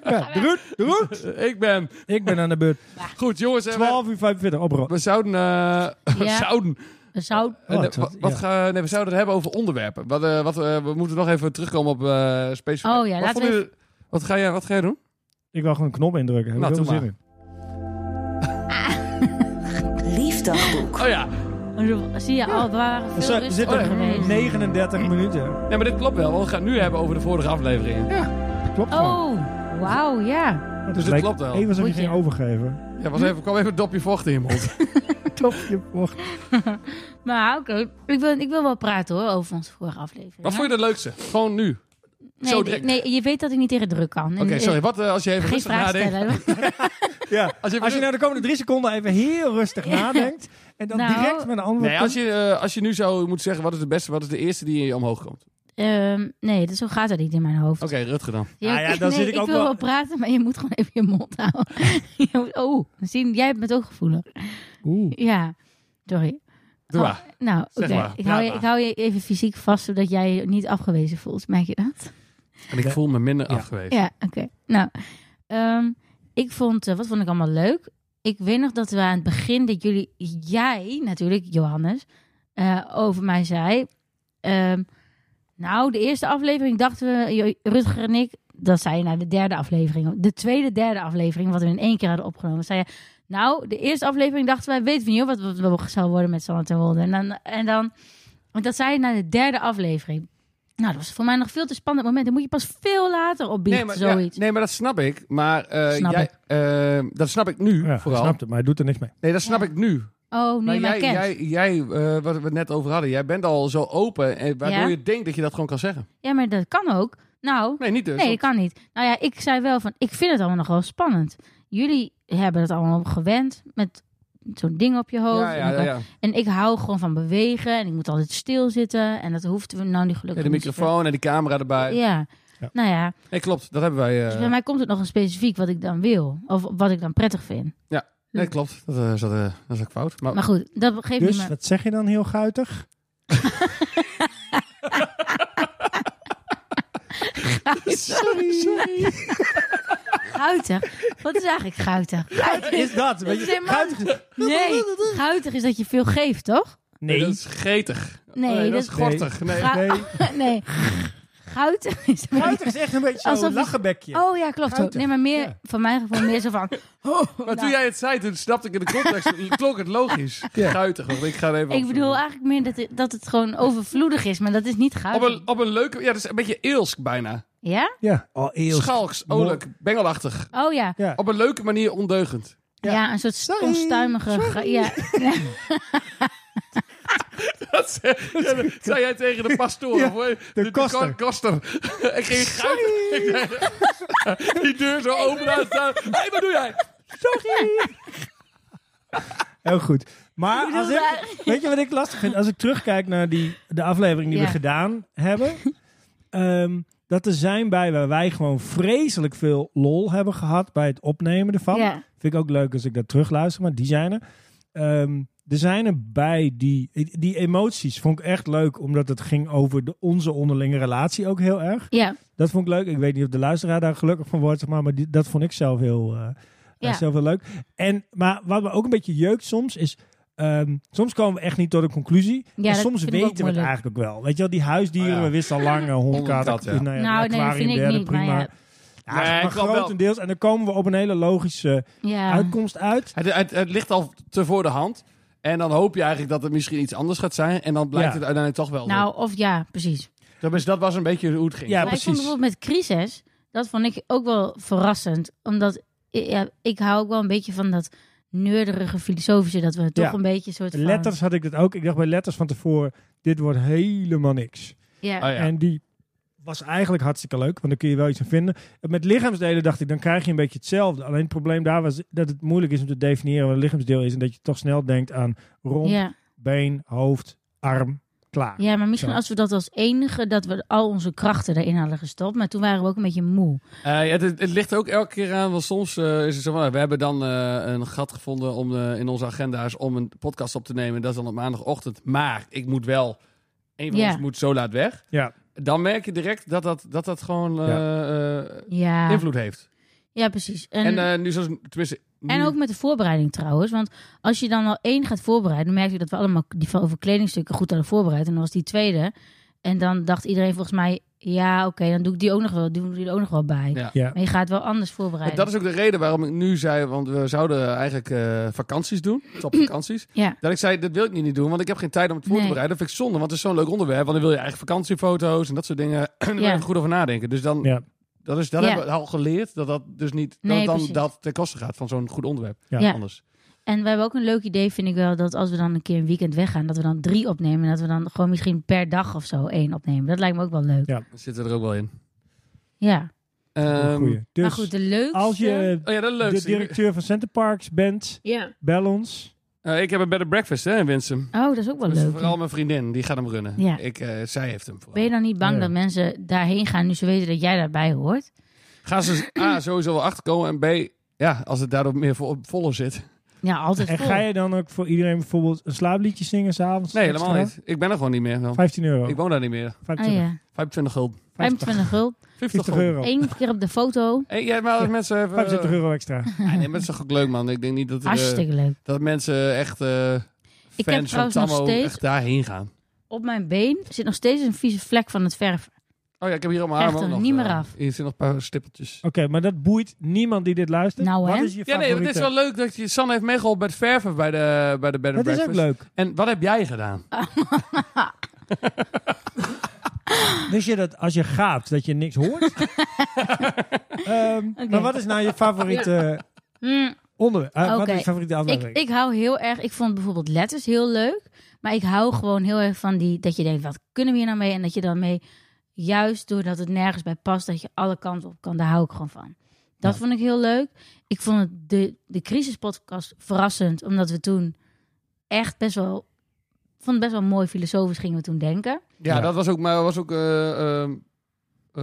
Speaker 3: Ja, de Ruud, de Ruud.
Speaker 2: Ik ben...
Speaker 3: Ik ben aan de beurt.
Speaker 2: Goed, jongens. eh, We,
Speaker 3: 12 uur 45, oprol.
Speaker 2: we zouden... eh, we
Speaker 1: Ja.
Speaker 2: zouden...
Speaker 1: Dat zou
Speaker 2: eh, nee,
Speaker 3: Oh, dat-
Speaker 2: wat,
Speaker 3: ja.
Speaker 2: wat gaan- nee, we zouden het hebben over onderwerpen. Wat, eh, wat, eh, we moeten nog even terugkomen op eh specifiek.
Speaker 1: Oh ja,
Speaker 2: wat,
Speaker 1: laten
Speaker 2: vonden
Speaker 1: we
Speaker 2: jullie- wat, ga jij, wat ga jij doen?
Speaker 3: Ik wil gewoon een knop indrukken. Heb
Speaker 2: Nou,
Speaker 3: ik heel
Speaker 2: doe
Speaker 3: veel zin in.
Speaker 4: Liefdagboek.
Speaker 2: Oh ja,
Speaker 1: zie je al, we waren
Speaker 3: We
Speaker 1: veel
Speaker 3: zijn- we zitten
Speaker 1: rustiger geweest.
Speaker 3: 39 minuten.
Speaker 2: nee, maar dit klopt wel. want we gaan het nu hebben over de vorige afleveringen.
Speaker 3: Klopt gewoon.
Speaker 1: Oh, wauw, ja.
Speaker 3: Dus
Speaker 2: het klopt wel.
Speaker 3: Even alsof je
Speaker 1: Moet je.
Speaker 3: ging overgeven.
Speaker 2: Ja, was even, kwam even een dopje vocht in je mond.
Speaker 3: Top, je vocht.
Speaker 1: Maar oké, ik, wil, ik wil wel praten hoor, over onze vorige aflevering.
Speaker 2: Wat vond je het leukste? Gewoon nu.
Speaker 1: nee,
Speaker 2: zo
Speaker 1: nee,
Speaker 2: direct?
Speaker 1: nee, je weet dat ik niet tegen druk kan.
Speaker 2: Oké, sorry. Wat eh, als je even
Speaker 1: Geen
Speaker 2: rustig
Speaker 1: vraag
Speaker 2: nadenkt?
Speaker 1: stellen.
Speaker 3: Ja.
Speaker 2: Als je,
Speaker 3: Als je nou de komende drie seconden even heel rustig nadenkt. En dan
Speaker 1: Nou.
Speaker 3: direct met een antwoord.
Speaker 2: nee, als je, eh, als je nu zo moet zeggen, wat is de beste, wat is de eerste die in je omhoog komt? Oké,
Speaker 1: Ehm, nee, dat, zo gaat dat niet in mijn hoofd.
Speaker 2: Rutger dan.
Speaker 1: Ja,
Speaker 3: Ah ja, dan
Speaker 1: nee,
Speaker 3: zit ik ook
Speaker 1: wil
Speaker 3: wel-
Speaker 1: wel praten, maar je moet gewoon even je mond houden. Je moet- oh, zien, jij bent ook gevoelig.
Speaker 3: Oeh.
Speaker 1: Ja, sorry.
Speaker 2: Doe
Speaker 1: Oh,
Speaker 2: maar.
Speaker 1: nou, oké.
Speaker 2: Zeg maar,
Speaker 1: Ik,
Speaker 2: praat
Speaker 1: hou je-
Speaker 2: maar.
Speaker 1: ik hou je even fysiek vast, zodat jij je niet afgewezen voelt. Merk je dat?
Speaker 2: En ik voel me minder
Speaker 3: Ja.
Speaker 2: afgewezen.
Speaker 1: Ja, oké. Nou, ehm, ik vond, eh, wat vond ik allemaal leuk? Ik weet nog dat we aan het begin, dat jullie, jij natuurlijk, Johannes, eh, eh, over mij zei. Ehm, nou, de eerste aflevering dachten we, Jo- Rutger en ik, dat zei je nou de derde aflevering. De tweede, derde aflevering, wat we in één keer hadden opgenomen. Zei je, nou, de eerste aflevering dachten wij, weten we niet hoor, wat wat- wat we zou worden met Sanne ten Wolde. En dan, en dan, want dat zei je na de derde aflevering. Nou, dat was voor mij nog veel te spannend moment. Dan moet je pas veel later opbiechten,
Speaker 2: Nee maar, ja,
Speaker 1: zoiets.
Speaker 2: nee, maar dat snap ik. Maar eh,
Speaker 1: Snap
Speaker 2: jij,
Speaker 1: ik.
Speaker 2: eh, dat snap ik nu
Speaker 3: Ja,
Speaker 2: vooral.
Speaker 3: snapt het, maar hij doet er niks mee.
Speaker 2: Nee, dat snap
Speaker 1: Ja.
Speaker 2: ik nu.
Speaker 1: Oh, nu
Speaker 2: Maar
Speaker 1: je mij
Speaker 2: jij,
Speaker 1: kent.
Speaker 2: jij, jij eh, wat we het net over hadden, jij bent al zo open, en waardoor
Speaker 1: Ja.
Speaker 2: je denkt dat je dat gewoon kan zeggen.
Speaker 1: Ja, maar dat kan ook. Nou,
Speaker 2: Nee, niet dus.
Speaker 1: nee, dat kan niet. Nou ja, ik zei wel van, ik vind het allemaal nog wel spannend. Jullie hebben het allemaal gewend met zo'n ding op je hoofd.
Speaker 2: ja, ja,
Speaker 1: en,
Speaker 2: ja,
Speaker 1: elkaar-
Speaker 2: ja.
Speaker 1: en ik hou gewoon van bewegen en ik moet altijd stilzitten. En dat hoeft we nou niet
Speaker 2: Ja,
Speaker 1: gelukkig
Speaker 2: de
Speaker 1: niet zoveel.
Speaker 2: microfoon en die camera erbij.
Speaker 1: Ja.
Speaker 3: Ja.
Speaker 1: nou ja,
Speaker 2: Nee, klopt. Dat hebben wij. eh,
Speaker 1: dus bij mij komt het nog een specifiek wat ik dan wil. Of wat ik dan prettig vind.
Speaker 2: Nee, klopt. Dat, eh, zat, eh, dat is ook fout. Maar,
Speaker 1: Maar goed, dat geeft niet
Speaker 3: Dus
Speaker 1: meer.
Speaker 3: wat zeg je dan heel guitig? sorry, sorry.
Speaker 1: Guitig? Wat is eigenlijk guitig?
Speaker 3: Wat is dat? Weet
Speaker 1: Dat
Speaker 3: je,
Speaker 1: is helemaal-
Speaker 3: guitig is-
Speaker 1: Nee, guitig is dat je veel geeft, toch?
Speaker 2: nee,
Speaker 3: Nee,
Speaker 2: dat is gretig.
Speaker 1: Nee,
Speaker 2: Oh, dat,
Speaker 1: dat
Speaker 2: is
Speaker 1: is-
Speaker 2: gortig. Nee.
Speaker 1: Ga-
Speaker 3: nee.
Speaker 1: nee. Guitig is...
Speaker 3: Guitig is echt een beetje
Speaker 1: Alsof
Speaker 3: zo'n
Speaker 1: je-
Speaker 3: lachenbekje.
Speaker 1: Oh ja, klopt. hoor.
Speaker 3: Guitig,
Speaker 1: Nee, maar meer,
Speaker 3: ja.
Speaker 1: van mijn gevoel meer zo van...
Speaker 2: Maar toen jij het zei, toen snapte ik in de context, klonk het logisch.
Speaker 3: Ja.
Speaker 2: Guitig, want ik ga er even
Speaker 1: Ik
Speaker 2: op-
Speaker 1: bedoel eigenlijk meer dat het, dat het gewoon overvloedig is, maar dat is niet
Speaker 2: Op
Speaker 1: goud.
Speaker 2: een, op een leuke... Ja, dat is een beetje eelsk bijna.
Speaker 1: Ja?
Speaker 3: Ja. Oh, eeuw.
Speaker 2: Schalks, olijk, bengelachtig.
Speaker 1: Oh ja.
Speaker 3: Ja.
Speaker 2: Op een leuke manier ondeugend.
Speaker 1: Ja,
Speaker 3: Ja.
Speaker 1: een soort
Speaker 3: Sorry.
Speaker 1: onstuimige... gra- Ja.
Speaker 2: Dat ze- ja, dat zei jij tegen de pastoor.
Speaker 3: Ja,
Speaker 2: of hoe heet-
Speaker 3: de
Speaker 2: ko-
Speaker 3: koster.
Speaker 2: koster. ik ging guitig. Die deur zo open aan staan. Hé, hey, wat doe jij?
Speaker 3: Heel goed. Maar
Speaker 1: bedoel,
Speaker 3: als
Speaker 1: daar-
Speaker 3: ik, weet je wat ik lastig vind? Als ik terugkijk naar die, de aflevering die
Speaker 1: Ja.
Speaker 3: we gedaan hebben. ehm, dat er zijn bij waar wij gewoon vreselijk veel lol hebben gehad bij het opnemen ervan.
Speaker 1: ja.
Speaker 3: Vind ik ook leuk als ik dat terugluister, maar die zijn er. Ehm, er zijn er bij die, die emoties vond ik echt leuk, omdat het ging over de, onze onderlinge relatie ook heel erg.
Speaker 1: Ja.
Speaker 3: Dat vond ik leuk. Ik weet niet of de luisteraar daar gelukkig van wordt, zeg maar, maar die, dat vond ik zelf heel, eh, eh,
Speaker 1: Ja.
Speaker 3: zelf heel leuk. En, maar wat me ook een beetje jeukt soms is. ehm, soms komen we echt niet tot een conclusie.
Speaker 1: Ja,
Speaker 3: en
Speaker 1: dat
Speaker 3: soms
Speaker 1: vind ik ook
Speaker 3: weten we het
Speaker 1: moeilijk.
Speaker 3: eigenlijk ook wel. Weet je wel, die huisdieren,
Speaker 2: Oh ja.
Speaker 3: we wisten al lang, eh, hond,
Speaker 2: Hond en
Speaker 3: kat,
Speaker 2: kat, ja.
Speaker 3: nou ja,
Speaker 1: Nou,
Speaker 3: de
Speaker 1: nee, dat vind ik
Speaker 3: aquariumbeer,
Speaker 1: niet,
Speaker 3: prima.
Speaker 1: maar ja.
Speaker 3: Ja,
Speaker 2: Nee,
Speaker 3: maar
Speaker 2: ik klopt wel.
Speaker 3: grotendeels. En dan komen we op een hele logische
Speaker 1: ja.
Speaker 3: uitkomst uit.
Speaker 2: Het, het, het ligt al te voor de hand. En dan hoop je eigenlijk dat het misschien iets anders gaat zijn. En dan blijkt
Speaker 3: Ja.
Speaker 2: het uiteindelijk toch wel. zo.
Speaker 1: Nou, of ja, precies.
Speaker 2: Dus dat was een beetje hoe het ging.
Speaker 3: Ja,
Speaker 1: maar ik vond
Speaker 3: precies.
Speaker 1: bijvoorbeeld met crisis, dat vond ik ook wel verrassend. Omdat ik, ja, ik hou ook wel een beetje van dat neurderige filosofische, dat we toch
Speaker 3: Ja.
Speaker 1: een beetje een soort van...
Speaker 3: Letters had ik dat ook. Ik dacht bij letters van tevoren, dit wordt helemaal niks.
Speaker 1: Ja.
Speaker 2: Oh ja.
Speaker 3: En die was eigenlijk hartstikke leuk, want daar kun je wel iets aan vinden. En Met lichaamsdelen dacht ik, dan krijg je een beetje hetzelfde. Alleen het probleem daar was dat het moeilijk is om te definiëren wat een lichaamsdeel is. En dat je toch snel denkt aan rond,
Speaker 1: ja.
Speaker 3: been, hoofd, arm, klaar.
Speaker 1: Ja, maar misschien
Speaker 3: Zo.
Speaker 1: als we dat als enige, dat we al onze krachten erin hadden gestopt. Maar toen waren we ook een beetje moe.
Speaker 2: Eh, ja, het, het ligt ook elke keer aan, want soms eh, is het zo van, nou, we hebben dan eh, een gat gevonden om, eh, in onze agenda's om een podcast op te nemen. Dat is dan op maandagochtend. Maar ik moet wel, een van
Speaker 1: Ja.
Speaker 2: ons moet zo laat weg.
Speaker 3: Ja.
Speaker 2: Dan merk je direct dat dat, dat, dat gewoon eh, eh,
Speaker 1: Ja,
Speaker 2: invloed heeft.
Speaker 1: ja precies. En,
Speaker 2: En,
Speaker 1: en,
Speaker 2: eh, nu zoals, tenminste... nu-
Speaker 3: Mm.
Speaker 1: ook met de voorbereiding trouwens. Want als je dan al één gaat voorbereiden, dan merk je dat we allemaal die van over kledingstukken goed hadden voorbereid. En dan was die tweede. En dan dacht iedereen volgens mij, ja oké, dan doe ik die ook nog wel, doe ik die er ook nog wel bij.
Speaker 2: Ja.
Speaker 3: Ja.
Speaker 1: Maar je gaat wel anders
Speaker 2: En
Speaker 1: voorbereiden.
Speaker 2: dat is ook de reden waarom ik nu zei, want we zouden eigenlijk eh, vakanties doen, topvakanties.
Speaker 1: Ja.
Speaker 2: Dat ik zei, dat wil ik niet doen, want ik heb geen tijd om het voor te
Speaker 1: Nee.
Speaker 2: bereiden. Dat vind ik zonde, want het is zo'n leuk onderwerp. Want dan wil je eigen vakantiefoto's en dat soort dingen. Daar moet je
Speaker 1: Ja.
Speaker 2: even goed over nadenken. Dus dan,
Speaker 3: Ja.
Speaker 2: dat, is, dat
Speaker 1: Ja.
Speaker 2: hebben we al geleerd, dat dat dus niet, dat
Speaker 1: Nee,
Speaker 2: het dan
Speaker 1: precies.
Speaker 2: dat ten koste gaat van zo'n goed onderwerp.
Speaker 3: Ja.
Speaker 1: Ja.
Speaker 2: Anders.
Speaker 1: En we hebben ook een leuk idee, vind ik wel, dat als we dan een keer een weekend weggaan, dat we dan drie opnemen. En dat we dan gewoon misschien per dag of zo één opnemen. Dat lijkt me ook wel leuk. Ja.
Speaker 3: Ja.
Speaker 2: Dan zitten we er ook wel in. Ehm,
Speaker 3: Goeie. Dus
Speaker 1: maar goed, eh, de leukste...
Speaker 3: als je
Speaker 2: oh ja, dat is
Speaker 3: de
Speaker 2: leuk.
Speaker 3: directeur van Center Parks bent,
Speaker 1: Ja.
Speaker 3: bel ons.
Speaker 2: Eh, ik heb een better breakfast hè, in Winsum.
Speaker 1: Oh, dat is ook wel
Speaker 2: Dus
Speaker 1: leuk.
Speaker 2: vooral mijn vriendin, die gaat hem runnen.
Speaker 1: Ja.
Speaker 2: Ik, eh, zij heeft hem vooral.
Speaker 1: Ben je nou- dan niet bang
Speaker 3: Ja.
Speaker 1: dat mensen daarheen gaan nu ze weten dat jij daarbij hoort?
Speaker 2: Gaan ze A, sowieso wel achterkomen en B, ja, als het daardoor meer vo voller zit.
Speaker 1: Ja, altijd
Speaker 3: En
Speaker 1: vol.
Speaker 3: ga je dan ook voor iedereen bijvoorbeeld een slaapliedje zingen s'avonds?
Speaker 2: Nee, helemaal
Speaker 3: extra?
Speaker 2: niet. Ik ben er gewoon niet meer. wel.
Speaker 3: 15 euro.
Speaker 2: Ik woon daar niet meer.
Speaker 1: Oh
Speaker 3: 25,
Speaker 1: ja, Eh,
Speaker 2: 25 gulden.
Speaker 1: 25 gulden.
Speaker 3: 50 euro.
Speaker 1: Eén keer op de foto.
Speaker 2: Hey, ja, maar als mensen even...
Speaker 3: 75 euro extra.
Speaker 2: Ja, nee, maar het is toch ook leuk, man. Ik denk niet dat, er, eh,
Speaker 1: Hartstikke leuk.
Speaker 2: dat mensen echt eh,
Speaker 1: Ik heb
Speaker 2: fans van
Speaker 1: trouwens nog
Speaker 2: Tammo
Speaker 1: steeds-
Speaker 2: echt daarheen gaan.
Speaker 1: Op mijn been zit nog steeds een vieze vlek van het verven.
Speaker 2: Oh ja, ik heb hier allemaal
Speaker 1: Echt
Speaker 2: armen
Speaker 1: er
Speaker 2: nog,
Speaker 1: niet meer
Speaker 2: eh,
Speaker 1: af. Oh,
Speaker 2: Hier zitten nog een paar stippeltjes.
Speaker 3: maar dat boeit niemand die dit luistert.
Speaker 1: Nou,
Speaker 3: Wat
Speaker 1: hè?
Speaker 3: is je
Speaker 2: Ja, nee,
Speaker 3: favoriete?
Speaker 2: maar dit is wel leuk dat je... Sanne heeft meegeholpen met verven bij de, bij de bed and
Speaker 3: Dat is ook
Speaker 2: breakfast.
Speaker 3: leuk.
Speaker 2: En wat heb jij gedaan?
Speaker 3: Wist Dus je dat als je gaapt, dat je niks hoort? Ehm, Maar wat is nou je favoriete
Speaker 1: Hm,
Speaker 3: onderwerp? Eh, Wat
Speaker 1: Oké.
Speaker 3: is je favoriete
Speaker 1: ik,
Speaker 3: aflevering?
Speaker 1: ik hou heel erg... Ik vond bijvoorbeeld letters heel leuk. Maar ik hou gewoon heel erg van die... Dat je denkt, wat kunnen we hier nou mee? En dat je dan mee... Juist doordat het nergens bij past, dat je alle kanten op kan. Daar hou ik gewoon van. Dat vond ik heel leuk. Ik vond het de, de crisispodcast verrassend. Omdat we toen echt best wel... Ik vond het best wel mooi filosofisch gingen we toen denken.
Speaker 2: Ja,
Speaker 3: Ja.
Speaker 2: dat was ook... Maar was ook eh, ehm, eh,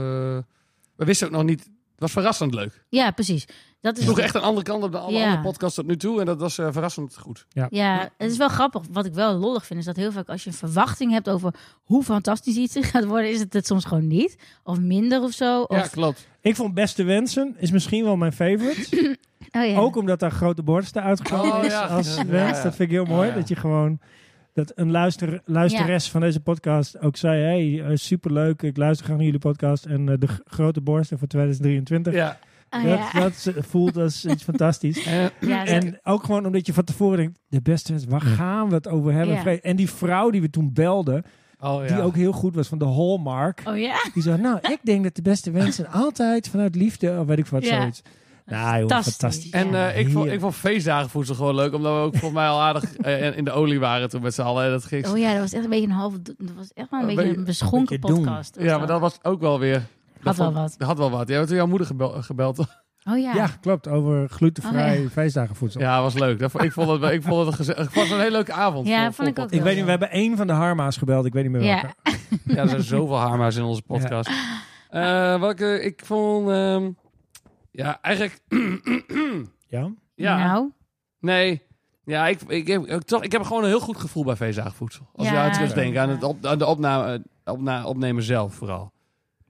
Speaker 2: we wisten ook nog niet... Het was verrassend leuk.
Speaker 1: Ja, precies. Dat
Speaker 2: Het
Speaker 1: is
Speaker 2: sloeg echt een andere kant op dan alle
Speaker 1: Ja.
Speaker 2: andere podcasts tot nu toe. En dat was eh, verrassend goed.
Speaker 1: Ja, het is wel grappig. Wat ik wel lollig vind, is dat heel vaak als je een verwachting hebt over hoe fantastisch iets gaat worden, is het het soms gewoon niet. Of minder of zo. Of,
Speaker 2: Ja, klopt.
Speaker 3: Ik vond Beste Wensen is misschien wel mijn favorite.
Speaker 1: oh, ja.
Speaker 3: Ook omdat daar grote borsten uitgekomen
Speaker 2: Oh,
Speaker 3: is
Speaker 2: ja.
Speaker 3: als
Speaker 2: Ja,
Speaker 3: wens.
Speaker 2: ja.
Speaker 3: Dat vind ik heel mooi.
Speaker 2: Ja.
Speaker 3: Dat je gewoon... Dat een luister, luisteres van deze podcast ook zei... hey, eh, superleuk, ik luister graag naar jullie podcast. En eh, de g- grote borsten voor 2023.
Speaker 2: Ja.
Speaker 1: Oh,
Speaker 3: dat,
Speaker 1: ja.
Speaker 3: dat ze- voelt als iets fantastisch.
Speaker 2: Eh,
Speaker 1: Ja, dat-
Speaker 3: En ook gewoon omdat je van tevoren denkt, de beste is, waar gaan we het over hebben?
Speaker 1: Ja.
Speaker 3: Vre- En die vrouw die we toen belden,
Speaker 2: oh, ja.
Speaker 3: die ook heel goed was van de Hallmark.
Speaker 1: oh ja,
Speaker 3: Die zei, nou, ik denk dat de beste mensen altijd vanuit liefde, of weet ik wat,
Speaker 1: Ja.
Speaker 3: zoiets. Nou joh,
Speaker 1: Fantastisch.
Speaker 3: fantastisch.
Speaker 2: En
Speaker 1: Ja.
Speaker 2: eh, ik, vond, ik
Speaker 3: Heerlijk.
Speaker 2: vond feestdagenvoedsel gewoon leuk, omdat we ook volgens mij al aardig eh, in de olie waren toen met z'n allen. Dat ging...
Speaker 1: oh ja, dat was echt een beetje een halve. Dat was echt wel een
Speaker 2: Een
Speaker 1: beetje
Speaker 2: beetje-
Speaker 1: een beschonken
Speaker 3: een beetje doen.
Speaker 1: podcast.
Speaker 2: ja, maar dat was ook wel weer...
Speaker 1: had
Speaker 2: dat
Speaker 1: wel
Speaker 2: vond-
Speaker 1: wat.
Speaker 2: Dat had wel wat. Jij hebt toen jouw moeder gebel- gebeld.
Speaker 1: Oh ja. Oh,
Speaker 3: Ja. klopt, over glutenvrij feestdagenvoedsel.
Speaker 2: Ja, was leuk. Dat vond- ik vond het, wel- ik vond het, een geze- het was een hele leuke avond.
Speaker 1: Ja,
Speaker 2: Vol-
Speaker 1: vond ik
Speaker 2: vol-
Speaker 1: ook
Speaker 3: Ik
Speaker 1: wel,
Speaker 3: weet niet,
Speaker 1: ja.
Speaker 3: we hebben één van de Harma's gebeld, ik weet niet meer
Speaker 1: Ja.
Speaker 3: welke.
Speaker 2: Ja, er zijn zoveel harma's in onze podcast. Eh, wat ik, eh, ik vond... ehm, ja, eigenlijk...
Speaker 3: Ja?
Speaker 2: ja,
Speaker 1: Nou,
Speaker 2: nee. Ja, ik, ik, heb, ik, toch, ik heb gewoon een heel goed gevoel bij feestdagenvoedsel. Als
Speaker 1: Ja.
Speaker 2: je aan terugdenkt, aan, het op, aan de opname, opna, opnemen zelf vooral.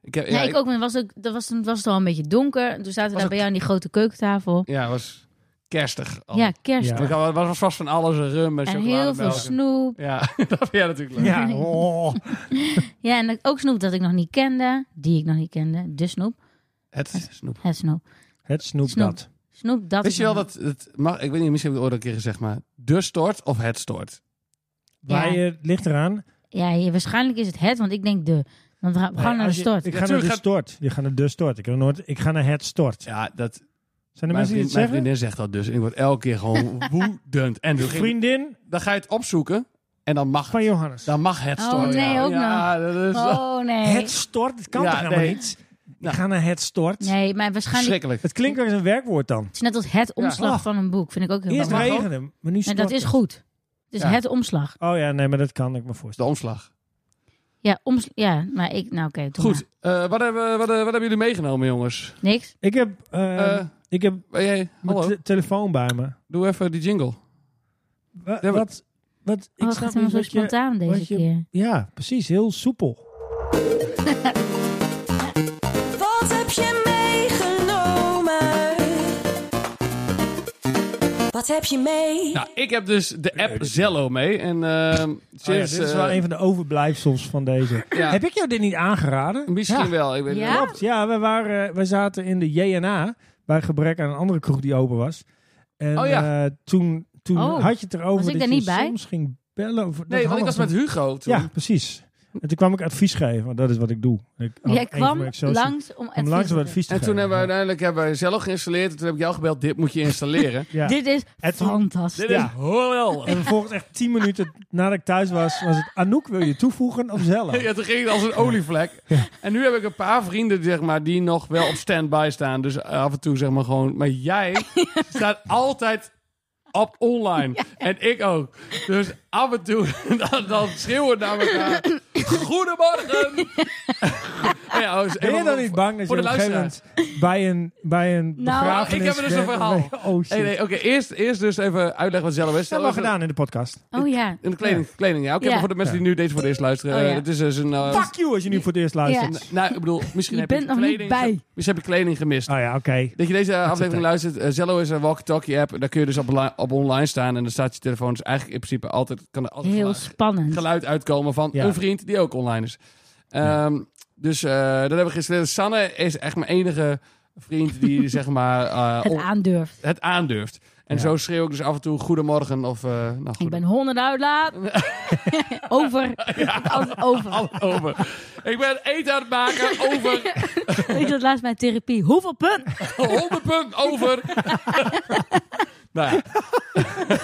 Speaker 2: Ik heb,
Speaker 1: ja, ik ook. maar het was ook dat was, toen was het al een beetje donker. En Toen zaten we
Speaker 2: Was
Speaker 1: daar
Speaker 2: ook-
Speaker 1: bij jou aan die grote keukentafel.
Speaker 2: Ja, het was kerstig. al.
Speaker 1: Ja, kerst.
Speaker 3: Ja.
Speaker 2: Er was- was vast van alles, een rum en
Speaker 1: En
Speaker 2: chocolade.
Speaker 1: heel veel snoep.
Speaker 2: Ja, dat vind jij natuurlijk leuk.
Speaker 3: Ja, oh.
Speaker 1: Ja, en ook snoep dat ik nog niet kende. Die ik nog niet kende. De snoep.
Speaker 2: Het snoep.
Speaker 1: Het snoep.
Speaker 3: het snoep
Speaker 1: Snoep.
Speaker 3: dat.
Speaker 1: Snoep dat nou.
Speaker 2: Wist
Speaker 1: ik
Speaker 2: je wel
Speaker 1: nog-
Speaker 2: dat, het mag, ik weet niet, misschien heb ik het ooit al een keer gezegd, maar de stort of het stort?
Speaker 3: Waar
Speaker 1: Ja.
Speaker 3: je ligt eraan.
Speaker 1: Ja, ja, waarschijnlijk is het het, want ik denk de. Want we gaan we gaan
Speaker 3: Nee,
Speaker 1: naar de
Speaker 3: als je-
Speaker 1: stort.
Speaker 3: Ik
Speaker 2: Ja,
Speaker 3: ga naar
Speaker 2: tuurlijk
Speaker 3: de
Speaker 2: gaat-
Speaker 3: stort. Je gaat naar de stort. Ik, heb nooit, ik ga naar het stort.
Speaker 2: Ja, dat,
Speaker 3: Zijn er
Speaker 2: mijn,
Speaker 3: mensen die
Speaker 2: vriend,
Speaker 3: het
Speaker 2: mijn
Speaker 3: zeggen?
Speaker 2: vriendin zegt dat dus. En ik word elke keer gewoon woedend. En dan, ging-
Speaker 3: Vriendin
Speaker 2: dan ga je het opzoeken en dan mag
Speaker 3: van
Speaker 2: het.
Speaker 3: Johannes.
Speaker 2: Dan mag het
Speaker 1: Oh,
Speaker 2: stort.
Speaker 1: nee,
Speaker 2: ja.
Speaker 1: ook
Speaker 2: ja, dat is
Speaker 1: Oh nee.
Speaker 3: Het stort, het kan
Speaker 2: Ja,
Speaker 3: toch helemaal
Speaker 2: nee.
Speaker 3: niet? Ik
Speaker 2: Nou.
Speaker 3: ga naar het stort.
Speaker 1: Nee, maar waarschijnlijk.
Speaker 2: verschrikkelijk.
Speaker 3: Het klinkt als een werkwoord dan.
Speaker 1: Het is net als het omslag
Speaker 3: Oh.
Speaker 1: van een boek. Vind ik ook heel
Speaker 3: Eerst
Speaker 1: belangrijk.
Speaker 3: regenen, maar nu
Speaker 1: En
Speaker 3: stort
Speaker 1: dat is
Speaker 3: het.
Speaker 1: goed. Het is
Speaker 2: Ja.
Speaker 1: het omslag.
Speaker 3: Oh ja, nee, maar dat kan ik me
Speaker 2: De
Speaker 3: voorstellen.
Speaker 2: omslag.
Speaker 1: Ja, omslag. Ja, maar ik. Nou, oké. doe
Speaker 2: Goed, eh, wat, hebben, wat, eh, wat hebben jullie meegenomen, jongens?
Speaker 1: maar. Niks.
Speaker 3: Ik heb, eh,
Speaker 2: Eh,
Speaker 3: ik heb
Speaker 2: hey, hey,
Speaker 3: mijn
Speaker 2: hallo,
Speaker 3: te- telefoon bij me.
Speaker 2: doe even die jingle.
Speaker 3: Wa-
Speaker 2: Ja, maar-
Speaker 3: Wat, wat, ik
Speaker 1: Oh, het
Speaker 3: snap
Speaker 1: gaat
Speaker 3: niet
Speaker 1: helemaal zo
Speaker 3: wat je...
Speaker 1: spontaan deze
Speaker 3: wat je-
Speaker 1: keer.
Speaker 3: Ja, precies, heel soepel.
Speaker 4: Wat heb je meegenomen? Wat heb je mee?
Speaker 2: Nou, ik heb dus de app Zello mee. En ehm, sinds...
Speaker 3: Oh ja, dit is wel
Speaker 2: eh,
Speaker 3: een van de overblijfsels van deze.
Speaker 2: Ja.
Speaker 3: Heb ik jou dit niet aangeraden?
Speaker 2: Misschien
Speaker 3: Ja.
Speaker 2: wel. Ik weet
Speaker 1: Ja?
Speaker 2: niet.
Speaker 3: Klopt, ja. We, waren, we zaten in de JNA. Bij gebrek aan een andere kroeg die open was. En
Speaker 2: Oh ja.
Speaker 3: eh, toen, toen
Speaker 1: Oh,
Speaker 3: had je het erover
Speaker 1: was ik
Speaker 3: dat
Speaker 1: daar
Speaker 3: je
Speaker 1: niet bij?
Speaker 3: soms ging bellen. Of,
Speaker 2: Nee, want ik was met Hugo toen.
Speaker 3: Ja, precies. En toen kwam ik advies geven, want dat is wat ik doe. Oh, Ik had
Speaker 1: Jij
Speaker 3: één
Speaker 1: kwam
Speaker 3: gebruik social-
Speaker 1: langs om
Speaker 3: om
Speaker 1: advies
Speaker 3: langs
Speaker 1: te
Speaker 3: wat advies te
Speaker 2: En toen
Speaker 3: geven.
Speaker 2: hebben we uiteindelijk hebben wij Zello geïnstalleerd. En toen heb ik jou gebeld, dit moet je installeren.
Speaker 3: ja.
Speaker 1: doen. Dit is
Speaker 3: Het-
Speaker 1: fantastisch.
Speaker 2: dit
Speaker 3: Ja.
Speaker 2: is wel.
Speaker 3: En vervolgens echt tien minuten nadat ik thuis was, was het Anouk, wil je toevoegen of zelf?
Speaker 2: Ja, toen ging het als een olievlek. En nu heb ik een paar vrienden zeg maar, die nog wel op standby staan. Dus af en toe zeg maar gewoon. Maar jij staat altijd op online. En ik ook. Dus af en toe dan, dan schreeuwen we naar elkaar. Goedemorgen! Oh ja, oh, is-
Speaker 3: Ben je
Speaker 2: even-
Speaker 3: dan niet bang dat je
Speaker 2: voor
Speaker 3: op
Speaker 2: de
Speaker 3: een gegeven moment bij een, bij een
Speaker 1: Nou,
Speaker 3: begrafenis...
Speaker 2: ik heb dus een
Speaker 3: bent-
Speaker 2: verhaal.
Speaker 3: Oh shit.
Speaker 2: Hey, nee, Oké, eerst, eerst dus even uitleggen wat Zello is.
Speaker 3: dat
Speaker 2: Zello
Speaker 3: hebben
Speaker 2: is
Speaker 3: we gedaan in de podcast.
Speaker 1: Oh ja.
Speaker 2: In de kleding, ja. kleding ja. Oké,
Speaker 1: Ja.
Speaker 2: maar voor de mensen die nu deze voor het eerst luisteren.
Speaker 1: Oh, ja.
Speaker 2: eh, het is dus een... eh,
Speaker 3: Fuck you als je nu voor het eerst luistert.
Speaker 1: Ja.
Speaker 2: n- nou, ik bedoel, misschien
Speaker 1: Je
Speaker 2: heb
Speaker 1: bent
Speaker 2: je
Speaker 1: nog niet
Speaker 2: kleding...
Speaker 1: bij.
Speaker 2: Misschien, misschien heb je kleding gemist.
Speaker 3: Oh ja, oké.
Speaker 2: Dat je deze eh,
Speaker 3: het.
Speaker 2: aflevering luistert. eh, Zello is een walkie-talkie app. Daar kun je dus op, li- op online staan. En dan staat je telefoon dus eigenlijk in principe altijd... Kan er altijd
Speaker 1: Heel
Speaker 2: geluid-
Speaker 1: spannend.
Speaker 2: geluid uitkomen van
Speaker 3: Ja.
Speaker 2: een vriend die ook online is. Ehm, Dus eh, dat hebben we gisteren. Sanne is echt mijn enige vriend die zeg maar eh,
Speaker 1: Het
Speaker 2: on-
Speaker 1: aandurft.
Speaker 2: het aandurft. En
Speaker 3: Ja.
Speaker 2: zo schreeuw ik dus af en toe goedemorgen of eh nou, goed.
Speaker 1: Ik ben honderd uit laat. over. Altijd over.
Speaker 2: over. Ik ben eten aan het maken over
Speaker 1: Ik zat laatst bij therapie. Hoeveel punten?
Speaker 2: 100 punt over. nou ja.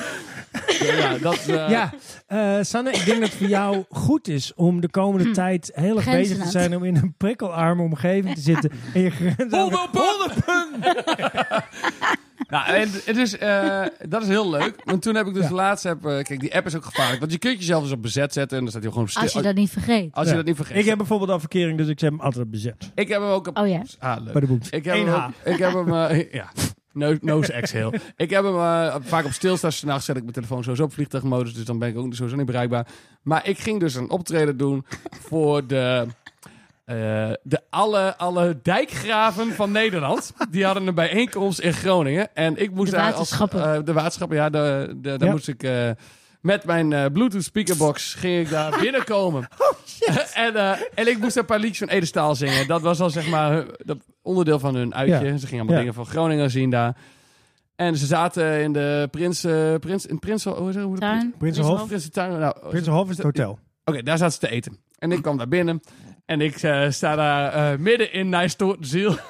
Speaker 2: ja, dat, eh,
Speaker 3: Ja, eh, Sanne, ik denk dat het voor jou goed is om de komende
Speaker 1: Hm.
Speaker 3: tijd heel erg
Speaker 1: Grenzen
Speaker 3: bezig te
Speaker 1: aan.
Speaker 3: zijn om in een prikkelarme omgeving te zitten. En je grenzen aan-
Speaker 2: Hoeveel punten? nou, en, en dus, eh, dat is heel leuk. Want toen heb ik dus
Speaker 3: Ja.
Speaker 2: laatst... Heb, eh, kijk, die app is ook gevaarlijk. Want je kunt jezelf dus op bezet zetten. En dan staat hij gewoon op stil.
Speaker 1: Als je dat niet vergeet.
Speaker 2: als je
Speaker 3: Ja.
Speaker 2: dat niet vergeet.
Speaker 3: Ik heb bijvoorbeeld al verkering, dus ik heb hem altijd bezet.
Speaker 2: Ik heb hem ook op...
Speaker 1: Oh ja.
Speaker 2: Ah, leuk.
Speaker 3: Bij de boet.
Speaker 2: Ik heb
Speaker 3: Eén
Speaker 2: hem,
Speaker 3: H.
Speaker 2: ook- ik heb hem eh, ja, no- nose exhale. ik heb hem eh, vaak op stilstaan. S'nachts zet ik mijn telefoon sowieso op vliegtuigmodus, dus dan ben ik ook sowieso niet bereikbaar. Maar ik ging dus een optreden doen voor de, eh, de alle, alle dijkgraven van Nederland. Die hadden een bijeenkomst in Groningen. En ik moest
Speaker 1: De
Speaker 2: daar
Speaker 1: waterschappen.
Speaker 2: Als, eh, de waterschappen, ja, de, de, daar
Speaker 3: Ja.
Speaker 2: moest ik... eh, met mijn eh, Bluetooth speakerbox ging ik daar binnenkomen. en, eh, en ik moest een paar liedjes van Ede Staal zingen. Dat was al zeg maar hun- dat onderdeel van hun uitje.
Speaker 3: Ja.
Speaker 2: Ze gingen allemaal
Speaker 3: Ja.
Speaker 2: dingen van Groningen zien daar. En ze zaten in de Prins... eh, prins in Prins... Hoe is dat? Hoe dat?
Speaker 1: Tuin.
Speaker 3: Prinsenhof.
Speaker 2: Prinsentuin. Nou, Oké,
Speaker 3: Prinsenhof is het hotel.
Speaker 2: daar zaten ze te eten. En ik kwam daar binnen. En ik eh, sta daar eh, midden in Nijstoortenziel.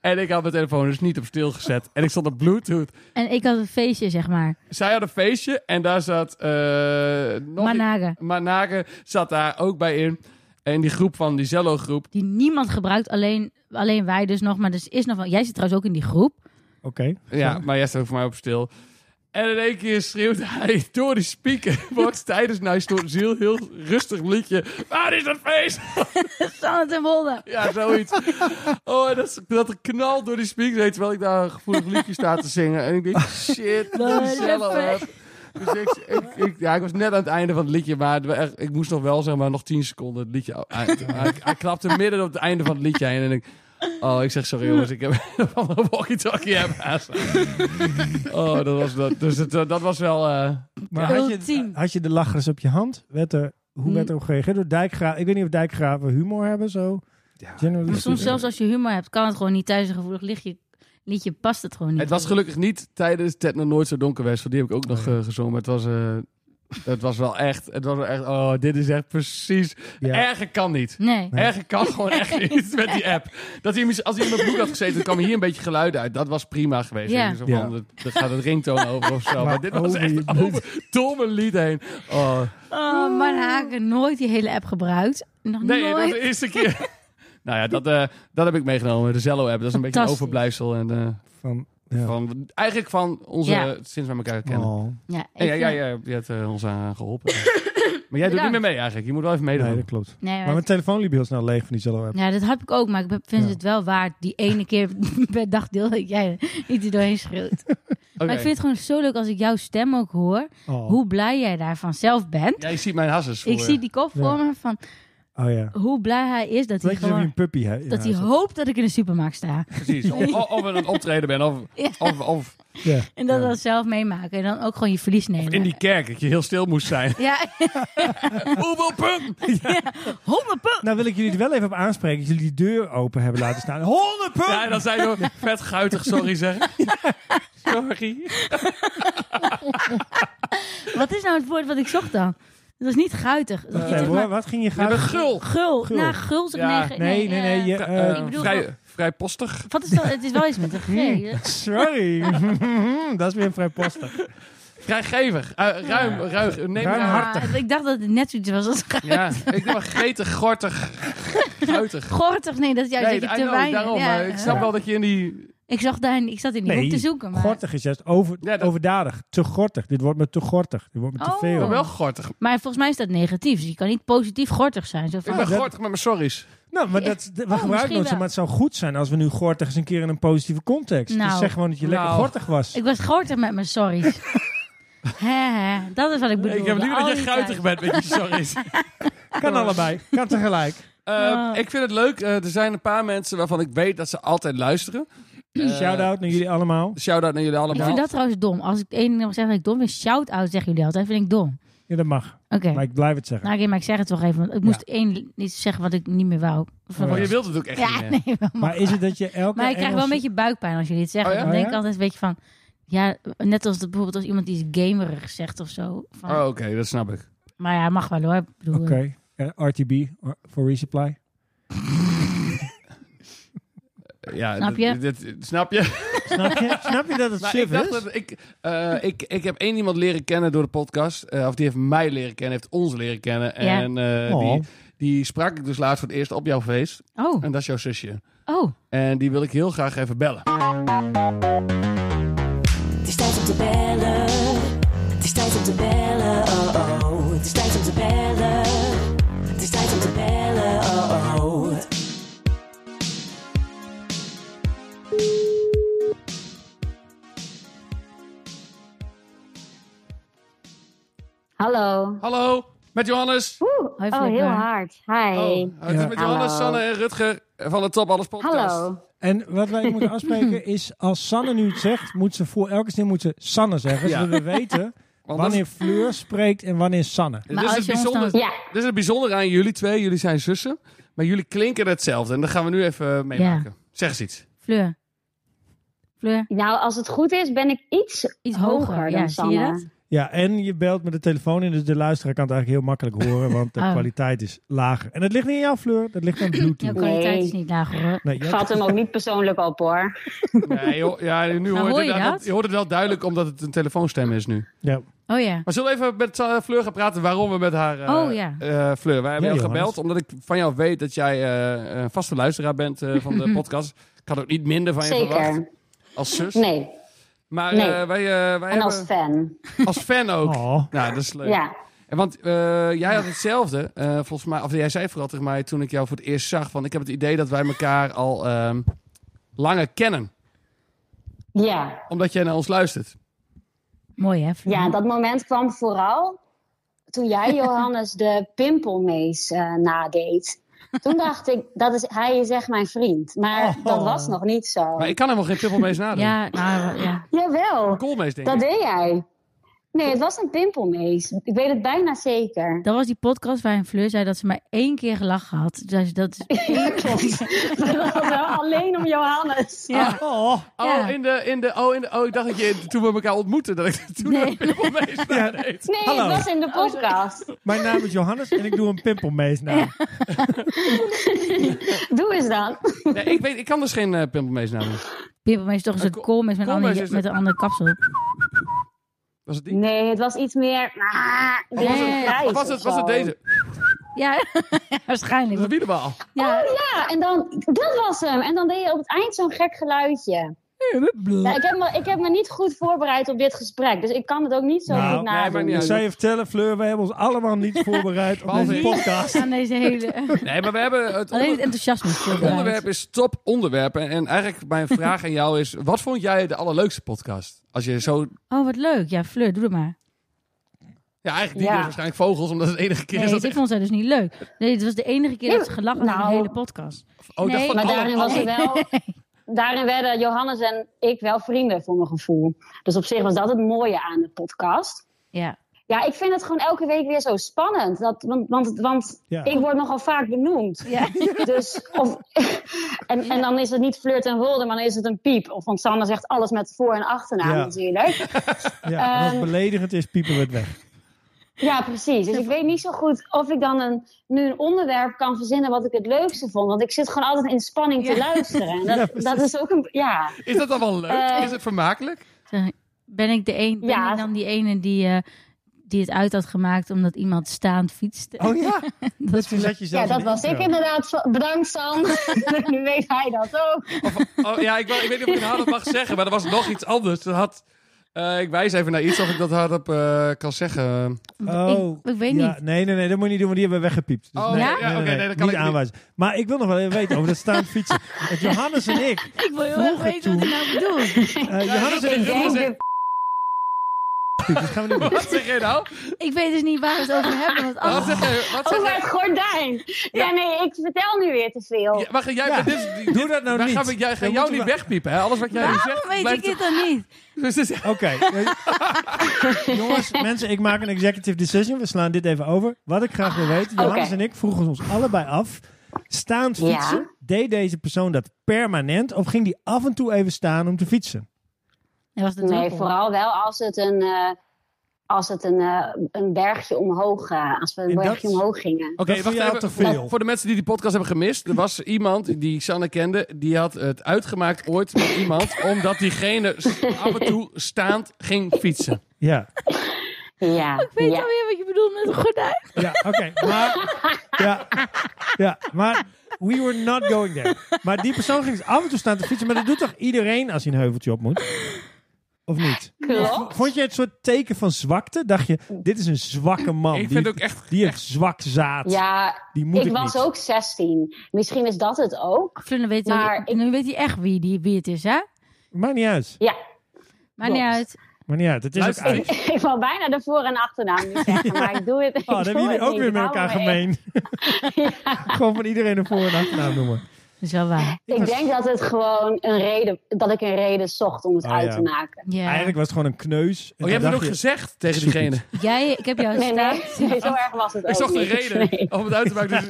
Speaker 2: en ik had mijn telefoon dus niet op stil gezet. En ik stond op Bluetooth.
Speaker 1: En ik had een feestje, zeg maar.
Speaker 2: Zij hadden een feestje. En daar zat... eh nog
Speaker 1: Managen.
Speaker 2: maar Nage zat daar ook bij in. In die groep van die Zello-groep.
Speaker 1: Die niemand gebruikt. Alleen, alleen wij dus nog. Maar dus is nog wel... Jij zit trouwens ook in die groep.
Speaker 3: Oké.
Speaker 2: Ja, maar jij staat ook voor mij op stil. En in één keer schreeuwt hij door die speakerbox tijdens Nice to Ziel heel rustig liedje. Waar is dat feest?
Speaker 1: Sanne ten Wolde.
Speaker 2: Ja, zoiets. Oh, en dat, dat knal door die speaker heen, terwijl ik daar een gevoelig liedje sta te zingen. En ik denk, shit,
Speaker 1: Waar
Speaker 2: dat
Speaker 1: is
Speaker 2: is
Speaker 1: dat
Speaker 2: Zello.
Speaker 1: feest?
Speaker 2: hè. Dus ik, ik, ik- ja, ik was net aan het einde van het liedje, maar het wa- echt- ik moest nog wel zeg maar nog 10 seconden het liedje. uit- Hij, hij klapte midden op het einde van het liedje heen en ik. Oh, ik zeg sorry jongens, ik heb van mijn walkie-talkie heb haast. Oh, dat was dat. Dus het, eh, dat was wel. eh,
Speaker 3: Maar had je,
Speaker 1: Ultiem.
Speaker 3: had je de lachers op je hand? Werd er, hoe werd
Speaker 1: Hm.
Speaker 3: er op gereageerd? Door dijkgra ik weet niet of dijkgraven humor hebben, zo. Generally
Speaker 1: Maar soms
Speaker 3: speaking.
Speaker 1: zelfs als je humor hebt, kan het gewoon niet. Tijdens een gevoelig liedje, liedje past het gewoon niet.
Speaker 2: het was gelukkig niet tijdens Ted nog nooit zo donker was, want die heb ik ook nog eh, gezongen. Maar het was, eh, het was wel echt. Het was wel echt. Oh, dit is echt precies.
Speaker 3: Ja.
Speaker 2: Erger kan niet.
Speaker 1: Nee.
Speaker 3: Nee.
Speaker 2: Erger kan gewoon echt niet met die app. Dat hij, mis- als hij in mijn broek had gezeten, dan kwam hier een beetje geluid uit. Dat was prima geweest.
Speaker 1: Ja.
Speaker 2: Ja. Zo van,
Speaker 3: Ja.
Speaker 2: dat, dat gaat het ringtoon over of zo. Maar, dit was
Speaker 3: over je
Speaker 2: echt
Speaker 3: bed.
Speaker 2: over domme lied heen. Oh.
Speaker 1: Oh, maar Haken nooit die hele app gebruikt. Nog
Speaker 2: Nee, dat was
Speaker 1: nooit.
Speaker 2: de eerste keer. nou ja, dat, eh, dat heb ik meegenomen. De Zello-app. Dat is een beetje een
Speaker 1: Fantastisch.
Speaker 2: overblijfsel. En, eh,
Speaker 3: Van, ja.
Speaker 2: van, eigenlijk van onze,
Speaker 1: Ja.
Speaker 2: sinds we elkaar kennen.
Speaker 3: Oh.
Speaker 1: Ja,
Speaker 2: En
Speaker 1: ik,
Speaker 2: ja, ja,
Speaker 1: eh,
Speaker 2: ja, je hebt eh, ons aan geholpen. maar jij doet niet
Speaker 1: Bedankt.
Speaker 2: meer mee eigenlijk. Je moet wel even meedoen.
Speaker 3: Nee, dat klopt.
Speaker 1: Nee, maar
Speaker 3: Maar mijn telefoon liep heel snel leeg van die zelf app.
Speaker 1: Ja, dat heb ik ook, maar ik be- vind
Speaker 3: Ja.
Speaker 1: het wel waard. Die ene keer per dagdeel dat jij er niet er doorheen schreeuwt. Maar ik vind het gewoon zo leuk als ik jouw stem ook hoor.
Speaker 3: Oh.
Speaker 1: Hoe blij jij daarvan zelf bent.
Speaker 2: Jij ziet mijn hasses voor
Speaker 1: ik zie die kop voor
Speaker 3: Ja.
Speaker 1: me van
Speaker 3: oh ja.
Speaker 1: hoe blij hij is dat hij
Speaker 3: Weet je of je
Speaker 1: gewoon...
Speaker 3: een puppy hebt?
Speaker 1: Dat hij hoopt dat ik in de supermarkt sta.
Speaker 2: eh, Precies. Of, of- of we een optreden ben. Of,
Speaker 1: Ja.
Speaker 2: of, of
Speaker 3: Ja.
Speaker 1: En dat
Speaker 3: Ja.
Speaker 1: dan zelf meemaken. En dan ook gewoon je verlies nemen.
Speaker 2: in die kerk, dat je heel stil moest zijn.
Speaker 1: Ja,
Speaker 2: Hoeveel punten?
Speaker 1: 100 punten.
Speaker 3: Nou wil ik jullie er wel even op aanspreken dat jullie die deur open hebben laten staan. 100 punten!
Speaker 2: Ja, dan zijn we vet guitig sorry zeggen. Sorry.
Speaker 1: Wat is nou het woord wat ik zocht dan? Dat was niet guitig. Dat was
Speaker 3: Wacht
Speaker 1: iets,
Speaker 3: even,
Speaker 1: zeg
Speaker 3: hoor.
Speaker 1: maar,
Speaker 3: wat ging je
Speaker 2: Je
Speaker 3: gaan?
Speaker 2: bent gul.
Speaker 1: gul.
Speaker 3: Gul.
Speaker 1: Nou, gul zeg
Speaker 2: Ja.
Speaker 1: nee, ge-
Speaker 3: nee, nee, nee.
Speaker 1: eh,
Speaker 3: je,
Speaker 2: Eh,
Speaker 3: eh,
Speaker 1: ik bedoel-
Speaker 2: vrij, vrij postig.
Speaker 1: Wat is dat? Het is wel iets met een G.
Speaker 3: sorry. dat is weer vrijpostig.
Speaker 2: Vrijgevig. Eh, ruim. Ruim. Neem
Speaker 3: Ruim
Speaker 2: maar-
Speaker 3: hart.
Speaker 1: Ah, ik dacht dat het net zoiets was als
Speaker 2: Ja, ik ben gretig, gortig, guitig.
Speaker 1: gortig. Nee, dat is juist
Speaker 2: Nee,
Speaker 1: dat
Speaker 2: I
Speaker 1: je te
Speaker 2: know,
Speaker 1: weinig...
Speaker 2: daarom.
Speaker 1: ja,
Speaker 2: eh, ik snap
Speaker 1: eh,
Speaker 2: wel dat je in die...
Speaker 1: ik zag daar, ik zat in die
Speaker 3: Nee,
Speaker 1: hoek te zoeken. Maar,
Speaker 3: Gortig is juist over,
Speaker 2: Ja, dat-
Speaker 3: overdadig. Te gortig. Dit wordt me te gortig. Dit wordt me te
Speaker 1: Oh.
Speaker 3: veel.
Speaker 2: Maar wel gortig.
Speaker 1: maar volgens mij is dat negatief. Dus je kan niet positief gortig zijn. Zo
Speaker 2: Ik
Speaker 1: van,
Speaker 2: ben
Speaker 3: dat-
Speaker 2: gortig met mijn sorry's.
Speaker 3: Nou, maar
Speaker 1: Ja.
Speaker 3: dat, we
Speaker 1: Oh, misschien
Speaker 3: gebruiken het,
Speaker 1: wel.
Speaker 3: maar het zou goed zijn als we nu gortig eens een keer in een positieve context.
Speaker 1: Nou.
Speaker 3: Dus zeg gewoon dat je
Speaker 2: Nou.
Speaker 3: lekker gortig was.
Speaker 1: Ik was groter met mijn sorry's. hè, hè, dat is wat ik bedoel.
Speaker 2: Ik heb nu dat je guitig
Speaker 1: guitig
Speaker 2: bent met je sorry's.
Speaker 3: Kan allebei, kan tegelijk.
Speaker 2: Eh,
Speaker 1: Ja.
Speaker 2: Ik vind het leuk. Eh, er zijn een paar mensen waarvan ik weet dat ze altijd luisteren. Eh,
Speaker 3: Shout-out naar jullie allemaal.
Speaker 2: Shout-out naar jullie
Speaker 1: Ik
Speaker 2: allemaal.
Speaker 1: vind dat trouwens dom. Als ik één ding mag zeggen dat ik dom vind, shout-out zeggen jullie altijd. vind ik dom.
Speaker 3: Ja, dat mag.
Speaker 1: Oké.
Speaker 3: Maar ik blijf het zeggen.
Speaker 1: Nou, oké, maar ik zeg het toch even. Want ik moest één niet zeggen wat ik niet meer wou. Of wat
Speaker 3: Oh,
Speaker 2: Maar
Speaker 1: ik-
Speaker 2: je wilt het ook echt
Speaker 1: ja,
Speaker 2: niet meer.
Speaker 1: nee, wel.
Speaker 3: Nou, Maar is het dat je elke
Speaker 1: Maar ik krijg wel een
Speaker 3: Engelse-
Speaker 1: beetje buikpijn als jullie het zeggen.
Speaker 2: Oh ja?
Speaker 1: Dan denk
Speaker 3: Oh
Speaker 1: ik
Speaker 3: ja?
Speaker 1: altijd een beetje van... Ja, net als de, bijvoorbeeld als iemand die is gamerig zegt of zo. Van,
Speaker 2: Oh, oké, dat snap ik.
Speaker 1: Maar ja, mag wel hoor. Ik bedoel,
Speaker 3: Oké, eh, RTB or- voor resupply.
Speaker 2: Ja,
Speaker 1: Snap
Speaker 2: dit-
Speaker 1: je?
Speaker 2: Dit, dit- snap je? dus?
Speaker 3: Snap je, snap je dat het
Speaker 2: Maar
Speaker 3: sif
Speaker 2: Nou, ik, dacht
Speaker 3: is?
Speaker 2: dat ik, eh, ik, ik heb één iemand leren kennen door de podcast. eh, of die heeft mij leren kennen, heeft ons leren kennen.
Speaker 1: Ja.
Speaker 2: En eh,
Speaker 3: Oh.
Speaker 2: die, die sprak ik dus laatst voor het eerst op jouw feest.
Speaker 1: Oh,
Speaker 2: En dat is jouw zusje.
Speaker 1: oh.
Speaker 2: En die wil ik heel graag even bellen.
Speaker 4: Het is tijd om te bellen. Het is tijd om te bellen. Oh oh. Het is tijd om te bellen. Het is tijd om te bellen. Oh oh.
Speaker 6: Hallo.
Speaker 2: Hallo, met Johannes.
Speaker 6: Oeh,
Speaker 1: Hoi,
Speaker 6: oh,
Speaker 1: Flipper.
Speaker 6: heel hard. Hi.
Speaker 2: Oh, het is
Speaker 3: Ja.
Speaker 2: met Johannes,
Speaker 6: Hallo.
Speaker 2: Sanne en Rutger van de Top Alles podcast.
Speaker 6: Hallo.
Speaker 3: En wat wij moeten afspreken is, als Sanne nu het zegt, moet ze voor elke zin moet ze Sanne zeggen.
Speaker 2: Ja.
Speaker 3: Zodat we weten
Speaker 2: Want dat is-
Speaker 3: wanneer Fleur spreekt en wanneer Sanne.
Speaker 1: Maar
Speaker 2: dit, is
Speaker 1: als
Speaker 2: het
Speaker 1: je ons dan-
Speaker 2: bijzonder,
Speaker 6: Ja,
Speaker 2: dit is het bijzondere aan jullie twee. Jullie zijn zussen, maar jullie klinken hetzelfde. En dat gaan we nu even eh, meemaken. Zeg eens iets.
Speaker 1: Fleur. Fleur,
Speaker 6: nou als het goed is ben ik iets,
Speaker 1: Iets hoger,
Speaker 6: hoger, dan
Speaker 1: ja, zie
Speaker 6: Sanne.
Speaker 1: je dat?
Speaker 3: Ja, en je belt met de telefoon in, dus de luisteraar kan het eigenlijk heel makkelijk horen, want de
Speaker 1: Oh.
Speaker 3: kwaliteit is lager. En dat ligt niet in jouw Fleur, dat ligt aan
Speaker 1: jouw
Speaker 3: Bluetooth.
Speaker 6: Nee.
Speaker 1: kwaliteit is niet laag hoor.
Speaker 3: Nee,
Speaker 6: Ik
Speaker 3: jij-
Speaker 6: vat hem ook niet persoonlijk op hoor.
Speaker 2: Nee, joh, ja,
Speaker 6: Nou,
Speaker 2: nu
Speaker 1: Maar
Speaker 2: hoor,
Speaker 1: hoor
Speaker 2: je,
Speaker 1: je
Speaker 2: dat-
Speaker 1: dat?
Speaker 2: je hoort het wel duidelijk, omdat het een telefoonstem is nu.
Speaker 3: ja.
Speaker 1: Oh ja.
Speaker 2: Maar zullen we even met eh, Fleur gaan praten waarom we met haar... eh,
Speaker 1: Oh, ja.
Speaker 2: eh, Fleur, wij hebben jou
Speaker 3: Ja, Johannes.
Speaker 2: gebeld, omdat ik van jou weet dat jij eh, een vaste luisteraar bent eh, van de podcast. Ik had ook niet minder van je verwacht
Speaker 6: Zeker.
Speaker 2: als zus.
Speaker 6: Nee.
Speaker 2: Maar
Speaker 6: Nee.
Speaker 2: eh, wij, eh, wij
Speaker 6: En
Speaker 2: hebben...
Speaker 6: als fan.
Speaker 2: als fan ook.
Speaker 3: Oh.
Speaker 2: Nou, dat is leuk.
Speaker 6: Ja.
Speaker 2: En Want eh, jij had hetzelfde, eh, volgens mij, of jij zei vooral tegen mij toen ik jou voor het eerst zag, van ik heb het idee dat wij elkaar al ehm, langer kennen,
Speaker 6: Ja.
Speaker 2: omdat jij naar ons luistert.
Speaker 1: Mooi hè, Fleur?
Speaker 6: ja, dat moment kwam vooral toen jij Johannes de pimpelmees eh, nadeed. Toen dacht ik, dat is, hij is echt mijn vriend. Maar dat was nog niet zo.
Speaker 2: Oh. Maar ik kan helemaal geen pimpelmees nadoen. Ja.
Speaker 1: Ja, nou ja.
Speaker 6: Jawel.
Speaker 2: Koolmees denk
Speaker 6: Dat
Speaker 2: ik.
Speaker 6: deed jij. Nee, het was een pimpelmees. Ik weet het bijna zeker.
Speaker 1: Dat was die podcast waarin Fleur zei dat ze maar één keer gelachen had. Dus dat is...
Speaker 6: Klopt. Maar dat was wel alleen om Johannes.
Speaker 1: Ja.
Speaker 3: Oh.
Speaker 1: Ja.
Speaker 2: Oh, in de, in de, oh, in de, oh, ik dacht dat je toen we elkaar ontmoetten, dat ik toen
Speaker 1: Nee.
Speaker 2: een pimpelmees nadeed.
Speaker 6: Nee,
Speaker 3: Hallo.
Speaker 6: het was in de
Speaker 2: Oh,
Speaker 6: podcast.
Speaker 3: Mijn naam is Johannes en ik doe een pimpelmees na.
Speaker 6: Doe eens dan.
Speaker 2: Nee, ik weet, ik kan dus geen eh, pimpelmees nadoen.
Speaker 1: Pimpelmees is toch een soort
Speaker 2: ko-
Speaker 1: koolmees met, een
Speaker 2: koolmees
Speaker 1: andere-
Speaker 2: is
Speaker 1: met een andere kapsel.
Speaker 2: Was het die?
Speaker 6: Nee, het was iets meer... Ah,
Speaker 2: Of Oh, was,
Speaker 1: Nee.
Speaker 2: het, of was, het, was het deze?
Speaker 1: Ja, waarschijnlijk.
Speaker 2: Dat is een wielerbal.
Speaker 1: Ja,
Speaker 6: Ja, en dan... Dat was hem. En dan deed je op het eind zo'n gek geluidje. Ja, ik, heb me, ik heb me niet goed voorbereid op dit gesprek. Dus ik kan het ook niet zo
Speaker 3: Nou,
Speaker 6: goed
Speaker 2: nee,
Speaker 6: nadoen.
Speaker 2: maakt niet
Speaker 3: Ik
Speaker 2: uit.
Speaker 3: zou je vertellen, Fleur, we hebben ons allemaal niet voorbereid op
Speaker 2: Behalve
Speaker 3: deze
Speaker 2: ik.
Speaker 3: podcast.
Speaker 1: aan deze hele...
Speaker 2: Nee, maar we hebben het
Speaker 1: Alleen het
Speaker 2: onder-
Speaker 1: enthousiasme is
Speaker 2: Het onderwerp is top onderwerp. En, en eigenlijk mijn vraag aan jou is: wat vond jij de allerleukste podcast? Als je zo.
Speaker 1: Oh, wat leuk. Ja, Fleur, doe het maar.
Speaker 2: Ja, eigenlijk die
Speaker 6: Ja.
Speaker 2: dus waarschijnlijk vogels, omdat het de enige keer
Speaker 1: Nee,
Speaker 2: is dat
Speaker 1: dit vond zij dus niet leuk. Nee, het was de enige keer dat ze gelachen had in
Speaker 6: Nou.
Speaker 1: de hele podcast.
Speaker 2: Oh, ik dacht
Speaker 1: nee,
Speaker 2: van
Speaker 6: Maar
Speaker 2: alle-
Speaker 6: daarin was
Speaker 2: alle-
Speaker 6: het wel. Daarin werden Johannes en ik wel vrienden voor mijn gevoel. Dus op zich was dat het mooie aan de podcast.
Speaker 1: Ja.
Speaker 6: Ja, ik vind het gewoon elke week weer zo spannend. Dat, want want, want
Speaker 3: Ja.
Speaker 6: ik word nogal vaak benoemd.
Speaker 1: Ja.
Speaker 6: Dus, of, en, en dan is het niet flirt en wolde, maar dan is het een piep. Of, want Sanne zegt alles met voor- en achternaam
Speaker 3: Ja.
Speaker 6: natuurlijk.
Speaker 1: eh,
Speaker 3: Ja, en als
Speaker 6: Ehm.
Speaker 3: het beledigend is, piepen we het weg.
Speaker 6: Ja, precies. Dus ik weet niet zo goed of ik dan een, nu een onderwerp kan verzinnen wat ik het leukste vond. Want ik zit gewoon altijd in spanning te luisteren. En dat, dat is ook een... Ja.
Speaker 2: Is dat dan wel leuk?
Speaker 6: Eh.
Speaker 2: is het vermakelijk?
Speaker 1: Zeg, Ben ik, de een, ben
Speaker 6: Ja.
Speaker 1: ik dan die ene die, eh, die het uit had gemaakt omdat iemand staand fietste?
Speaker 3: Oh ja,
Speaker 1: dat
Speaker 3: toen zet je
Speaker 6: Ja,
Speaker 3: zelf
Speaker 6: dat
Speaker 3: een
Speaker 6: was ik
Speaker 3: intro.
Speaker 6: inderdaad. Bedankt, Sam. nu weet hij dat ook.
Speaker 2: Of, oh, ja, ik, wou- ik weet niet of ik het harder mag zeggen, maar er was nog iets anders. Er had. eh, Eh, ik wijs even naar iets of ik dat hardop eh kan zeggen.
Speaker 3: Oh,
Speaker 1: ik, ik weet
Speaker 3: ja,
Speaker 1: niet.
Speaker 3: Nee, nee, nee, dat moet je niet doen, want die hebben we weggepiept. Dus
Speaker 2: Oh,
Speaker 3: nee,
Speaker 1: ja?
Speaker 2: Ja, oké, nee, dat kan
Speaker 3: niet
Speaker 2: ik niet.
Speaker 3: aanwijzen. Maar ik wil nog wel even weten over dat staand fietsen. Want Johannes en ik,
Speaker 1: Ik wil heel erg
Speaker 3: Vroeger
Speaker 1: weten wat je nou bedoelt.
Speaker 3: eh, Johannes en ik,
Speaker 6: Ik denk
Speaker 2: zeggen.
Speaker 6: de
Speaker 3: dat gaan we niet doen.
Speaker 2: Wat zeg jij nou?
Speaker 1: Ik weet dus niet waar we het over hebben. Want
Speaker 2: Wat
Speaker 1: alles...
Speaker 2: zeg jij? Wat zeg
Speaker 6: over
Speaker 2: jij?
Speaker 6: het gordijn. Ja, nee, ik vertel nu weer te veel.
Speaker 2: Ja, wacht, jij,
Speaker 3: Ja,
Speaker 2: dit, is- dit-
Speaker 3: doe dat nou
Speaker 2: wij
Speaker 3: niet.
Speaker 2: gaan we- jij, gaan
Speaker 3: Dan
Speaker 2: jou
Speaker 3: moeten
Speaker 2: niet
Speaker 3: we-
Speaker 2: wegpiepen, hè? Alles wat jij nu zegt.
Speaker 1: Waarom weet
Speaker 2: blijft-
Speaker 1: ik het dan niet?
Speaker 2: Dus het is-
Speaker 3: Oké. eh, Jongens, mensen, ik maak een executive decision. We slaan dit even over. Wat ik graag wil weten, Johannes
Speaker 6: Oké.
Speaker 3: en ik vroegen ons allebei af. Staand
Speaker 6: Ja.
Speaker 3: fietsen, deed deze persoon dat permanent of ging die af en toe even staan om te fietsen?
Speaker 1: Nee, was de
Speaker 6: Nee,
Speaker 1: druppel.
Speaker 6: vooral wel als het een, eh, als het een, eh, een bergje omhoog, eh, als we een
Speaker 3: En dat-
Speaker 6: bergje omhoog gingen.
Speaker 2: Oké,
Speaker 3: dat
Speaker 2: wacht
Speaker 3: vind je al
Speaker 2: even.
Speaker 3: te veel.
Speaker 2: Voor de mensen die die podcast hebben gemist, er was iemand die Sanne kende, die had het uitgemaakt ooit met iemand, omdat diegene s- af en toe staand ging fietsen.
Speaker 3: Ja, Oh.
Speaker 6: Ja,
Speaker 1: Ik weet
Speaker 6: ja.
Speaker 1: alweer wat je bedoelt met een gordijn.
Speaker 3: ja oké. Maar, ja, ja, maar we were not going there. Maar die persoon ging dus af en toe staan te fietsen. Maar dat doet toch iedereen als hij een heuveltje op moet? Of niet?
Speaker 6: klopt.
Speaker 3: Vond je het soort teken van zwakte? Dacht je, dit is een zwakke man.
Speaker 2: ik
Speaker 3: die,
Speaker 2: vind het ook echt...
Speaker 3: die heeft zwak zaad.
Speaker 6: Ja,
Speaker 3: Die moet
Speaker 6: ik,
Speaker 3: ik,
Speaker 6: was
Speaker 3: niet.
Speaker 6: ook 16. Misschien is dat het ook.
Speaker 1: Flunder weet,
Speaker 6: Maar
Speaker 1: nu, weet hij echt wie, die, wie het is, hè?
Speaker 3: Maakt niet uit.
Speaker 6: Ja,
Speaker 1: Maar niet
Speaker 6: Klopt.
Speaker 1: uit.
Speaker 3: Maakt niet uit. Het is
Speaker 2: Luister,
Speaker 3: ook
Speaker 2: ik-
Speaker 3: uit.
Speaker 6: ik wou bijna de voor- en achternaam niet zeggen, maar ik doe het. ik
Speaker 3: Oh, dan hebben
Speaker 6: doe
Speaker 3: jullie
Speaker 6: het
Speaker 3: ook weer
Speaker 6: niet. Nou,
Speaker 3: met
Speaker 6: Ik hou
Speaker 3: elkaar
Speaker 6: me echt-
Speaker 3: gemeen. Gewoon van iedereen een voor- en achternaam noemen.
Speaker 1: Dat is wel waar.
Speaker 3: Ik
Speaker 6: Ik
Speaker 3: was-
Speaker 6: denk dat het gewoon een reden, dat ik een reden zocht om het
Speaker 3: Oh,
Speaker 6: uit
Speaker 3: ja.
Speaker 6: te maken.
Speaker 1: Ja.
Speaker 3: Eigenlijk was het gewoon een kneus. En
Speaker 2: Oh, je hebt
Speaker 3: toen
Speaker 2: het ook
Speaker 3: dacht
Speaker 2: gezegd tegen
Speaker 3: zoek
Speaker 2: diegene.
Speaker 1: Jij, ik heb jou
Speaker 6: Nee,
Speaker 1: staan.
Speaker 6: nee, nee, zo erg was het ook
Speaker 2: Ik zocht een
Speaker 6: niet.
Speaker 2: reden
Speaker 6: Nee.
Speaker 2: om het uit te maken.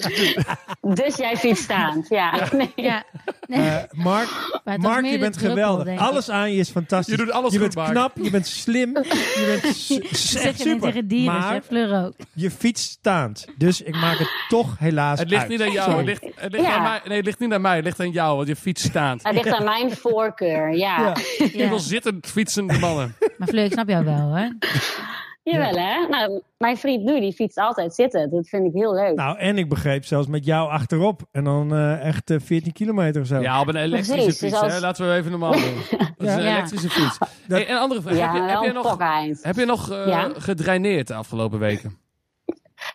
Speaker 2: Dus-
Speaker 6: Dus jij fietst staand, ja. Nee.
Speaker 1: Ja. Nee,
Speaker 3: je, eh, Mark,
Speaker 1: maar het was
Speaker 3: Mark
Speaker 1: meer
Speaker 3: je
Speaker 1: de
Speaker 3: bent
Speaker 1: druppel,
Speaker 3: geweldig.
Speaker 1: denk ik.
Speaker 3: Alles aan je is fantastisch.
Speaker 2: Je doet alles
Speaker 3: Je
Speaker 2: goed,
Speaker 3: bent
Speaker 2: Mark.
Speaker 3: knap, je bent slim, je bent s- s-
Speaker 1: Dat
Speaker 3: echt
Speaker 1: zeg je niet
Speaker 3: super.
Speaker 1: tegen dieren,
Speaker 3: maar
Speaker 1: zeg Fleur ook.
Speaker 3: je fietst staand. Dus ik maak het toch helaas
Speaker 2: Het ligt
Speaker 3: uit.
Speaker 2: niet aan jou.
Speaker 3: Sorry.
Speaker 2: Het ligt, het ligt
Speaker 6: Ja.
Speaker 2: aan mij. Nee, het ligt niet aan mij. Het ligt aan jou, want je fiets staand.
Speaker 6: Het ligt aan mijn voorkeur, ja.
Speaker 3: Ja.
Speaker 2: Ik
Speaker 1: Ja.
Speaker 2: wil zitten fietsende mannen.
Speaker 1: Maar Fleur, ik snap jou wel, hè?
Speaker 6: Jawel, hè? Nou, mijn vriend nu, die fietst altijd zitten. Dat vind ik heel leuk.
Speaker 3: Nou, en ik begreep zelfs met jou achterop. En dan eh, echt eh, 14 kilometer of zo.
Speaker 2: Ja, op een elektrische
Speaker 6: Precies,
Speaker 2: fiets.
Speaker 6: dus als-
Speaker 2: Hè? Laten we even normaal doen. Dat is een
Speaker 1: Ja.
Speaker 2: elektrische fiets. Hey, en andere vraag.
Speaker 6: ja,
Speaker 2: heb, je, heb
Speaker 6: wel
Speaker 2: je
Speaker 6: een
Speaker 2: nog,
Speaker 6: pakhuis.
Speaker 2: heb je nog eh,
Speaker 6: Ja.
Speaker 2: gedraineerd de afgelopen weken?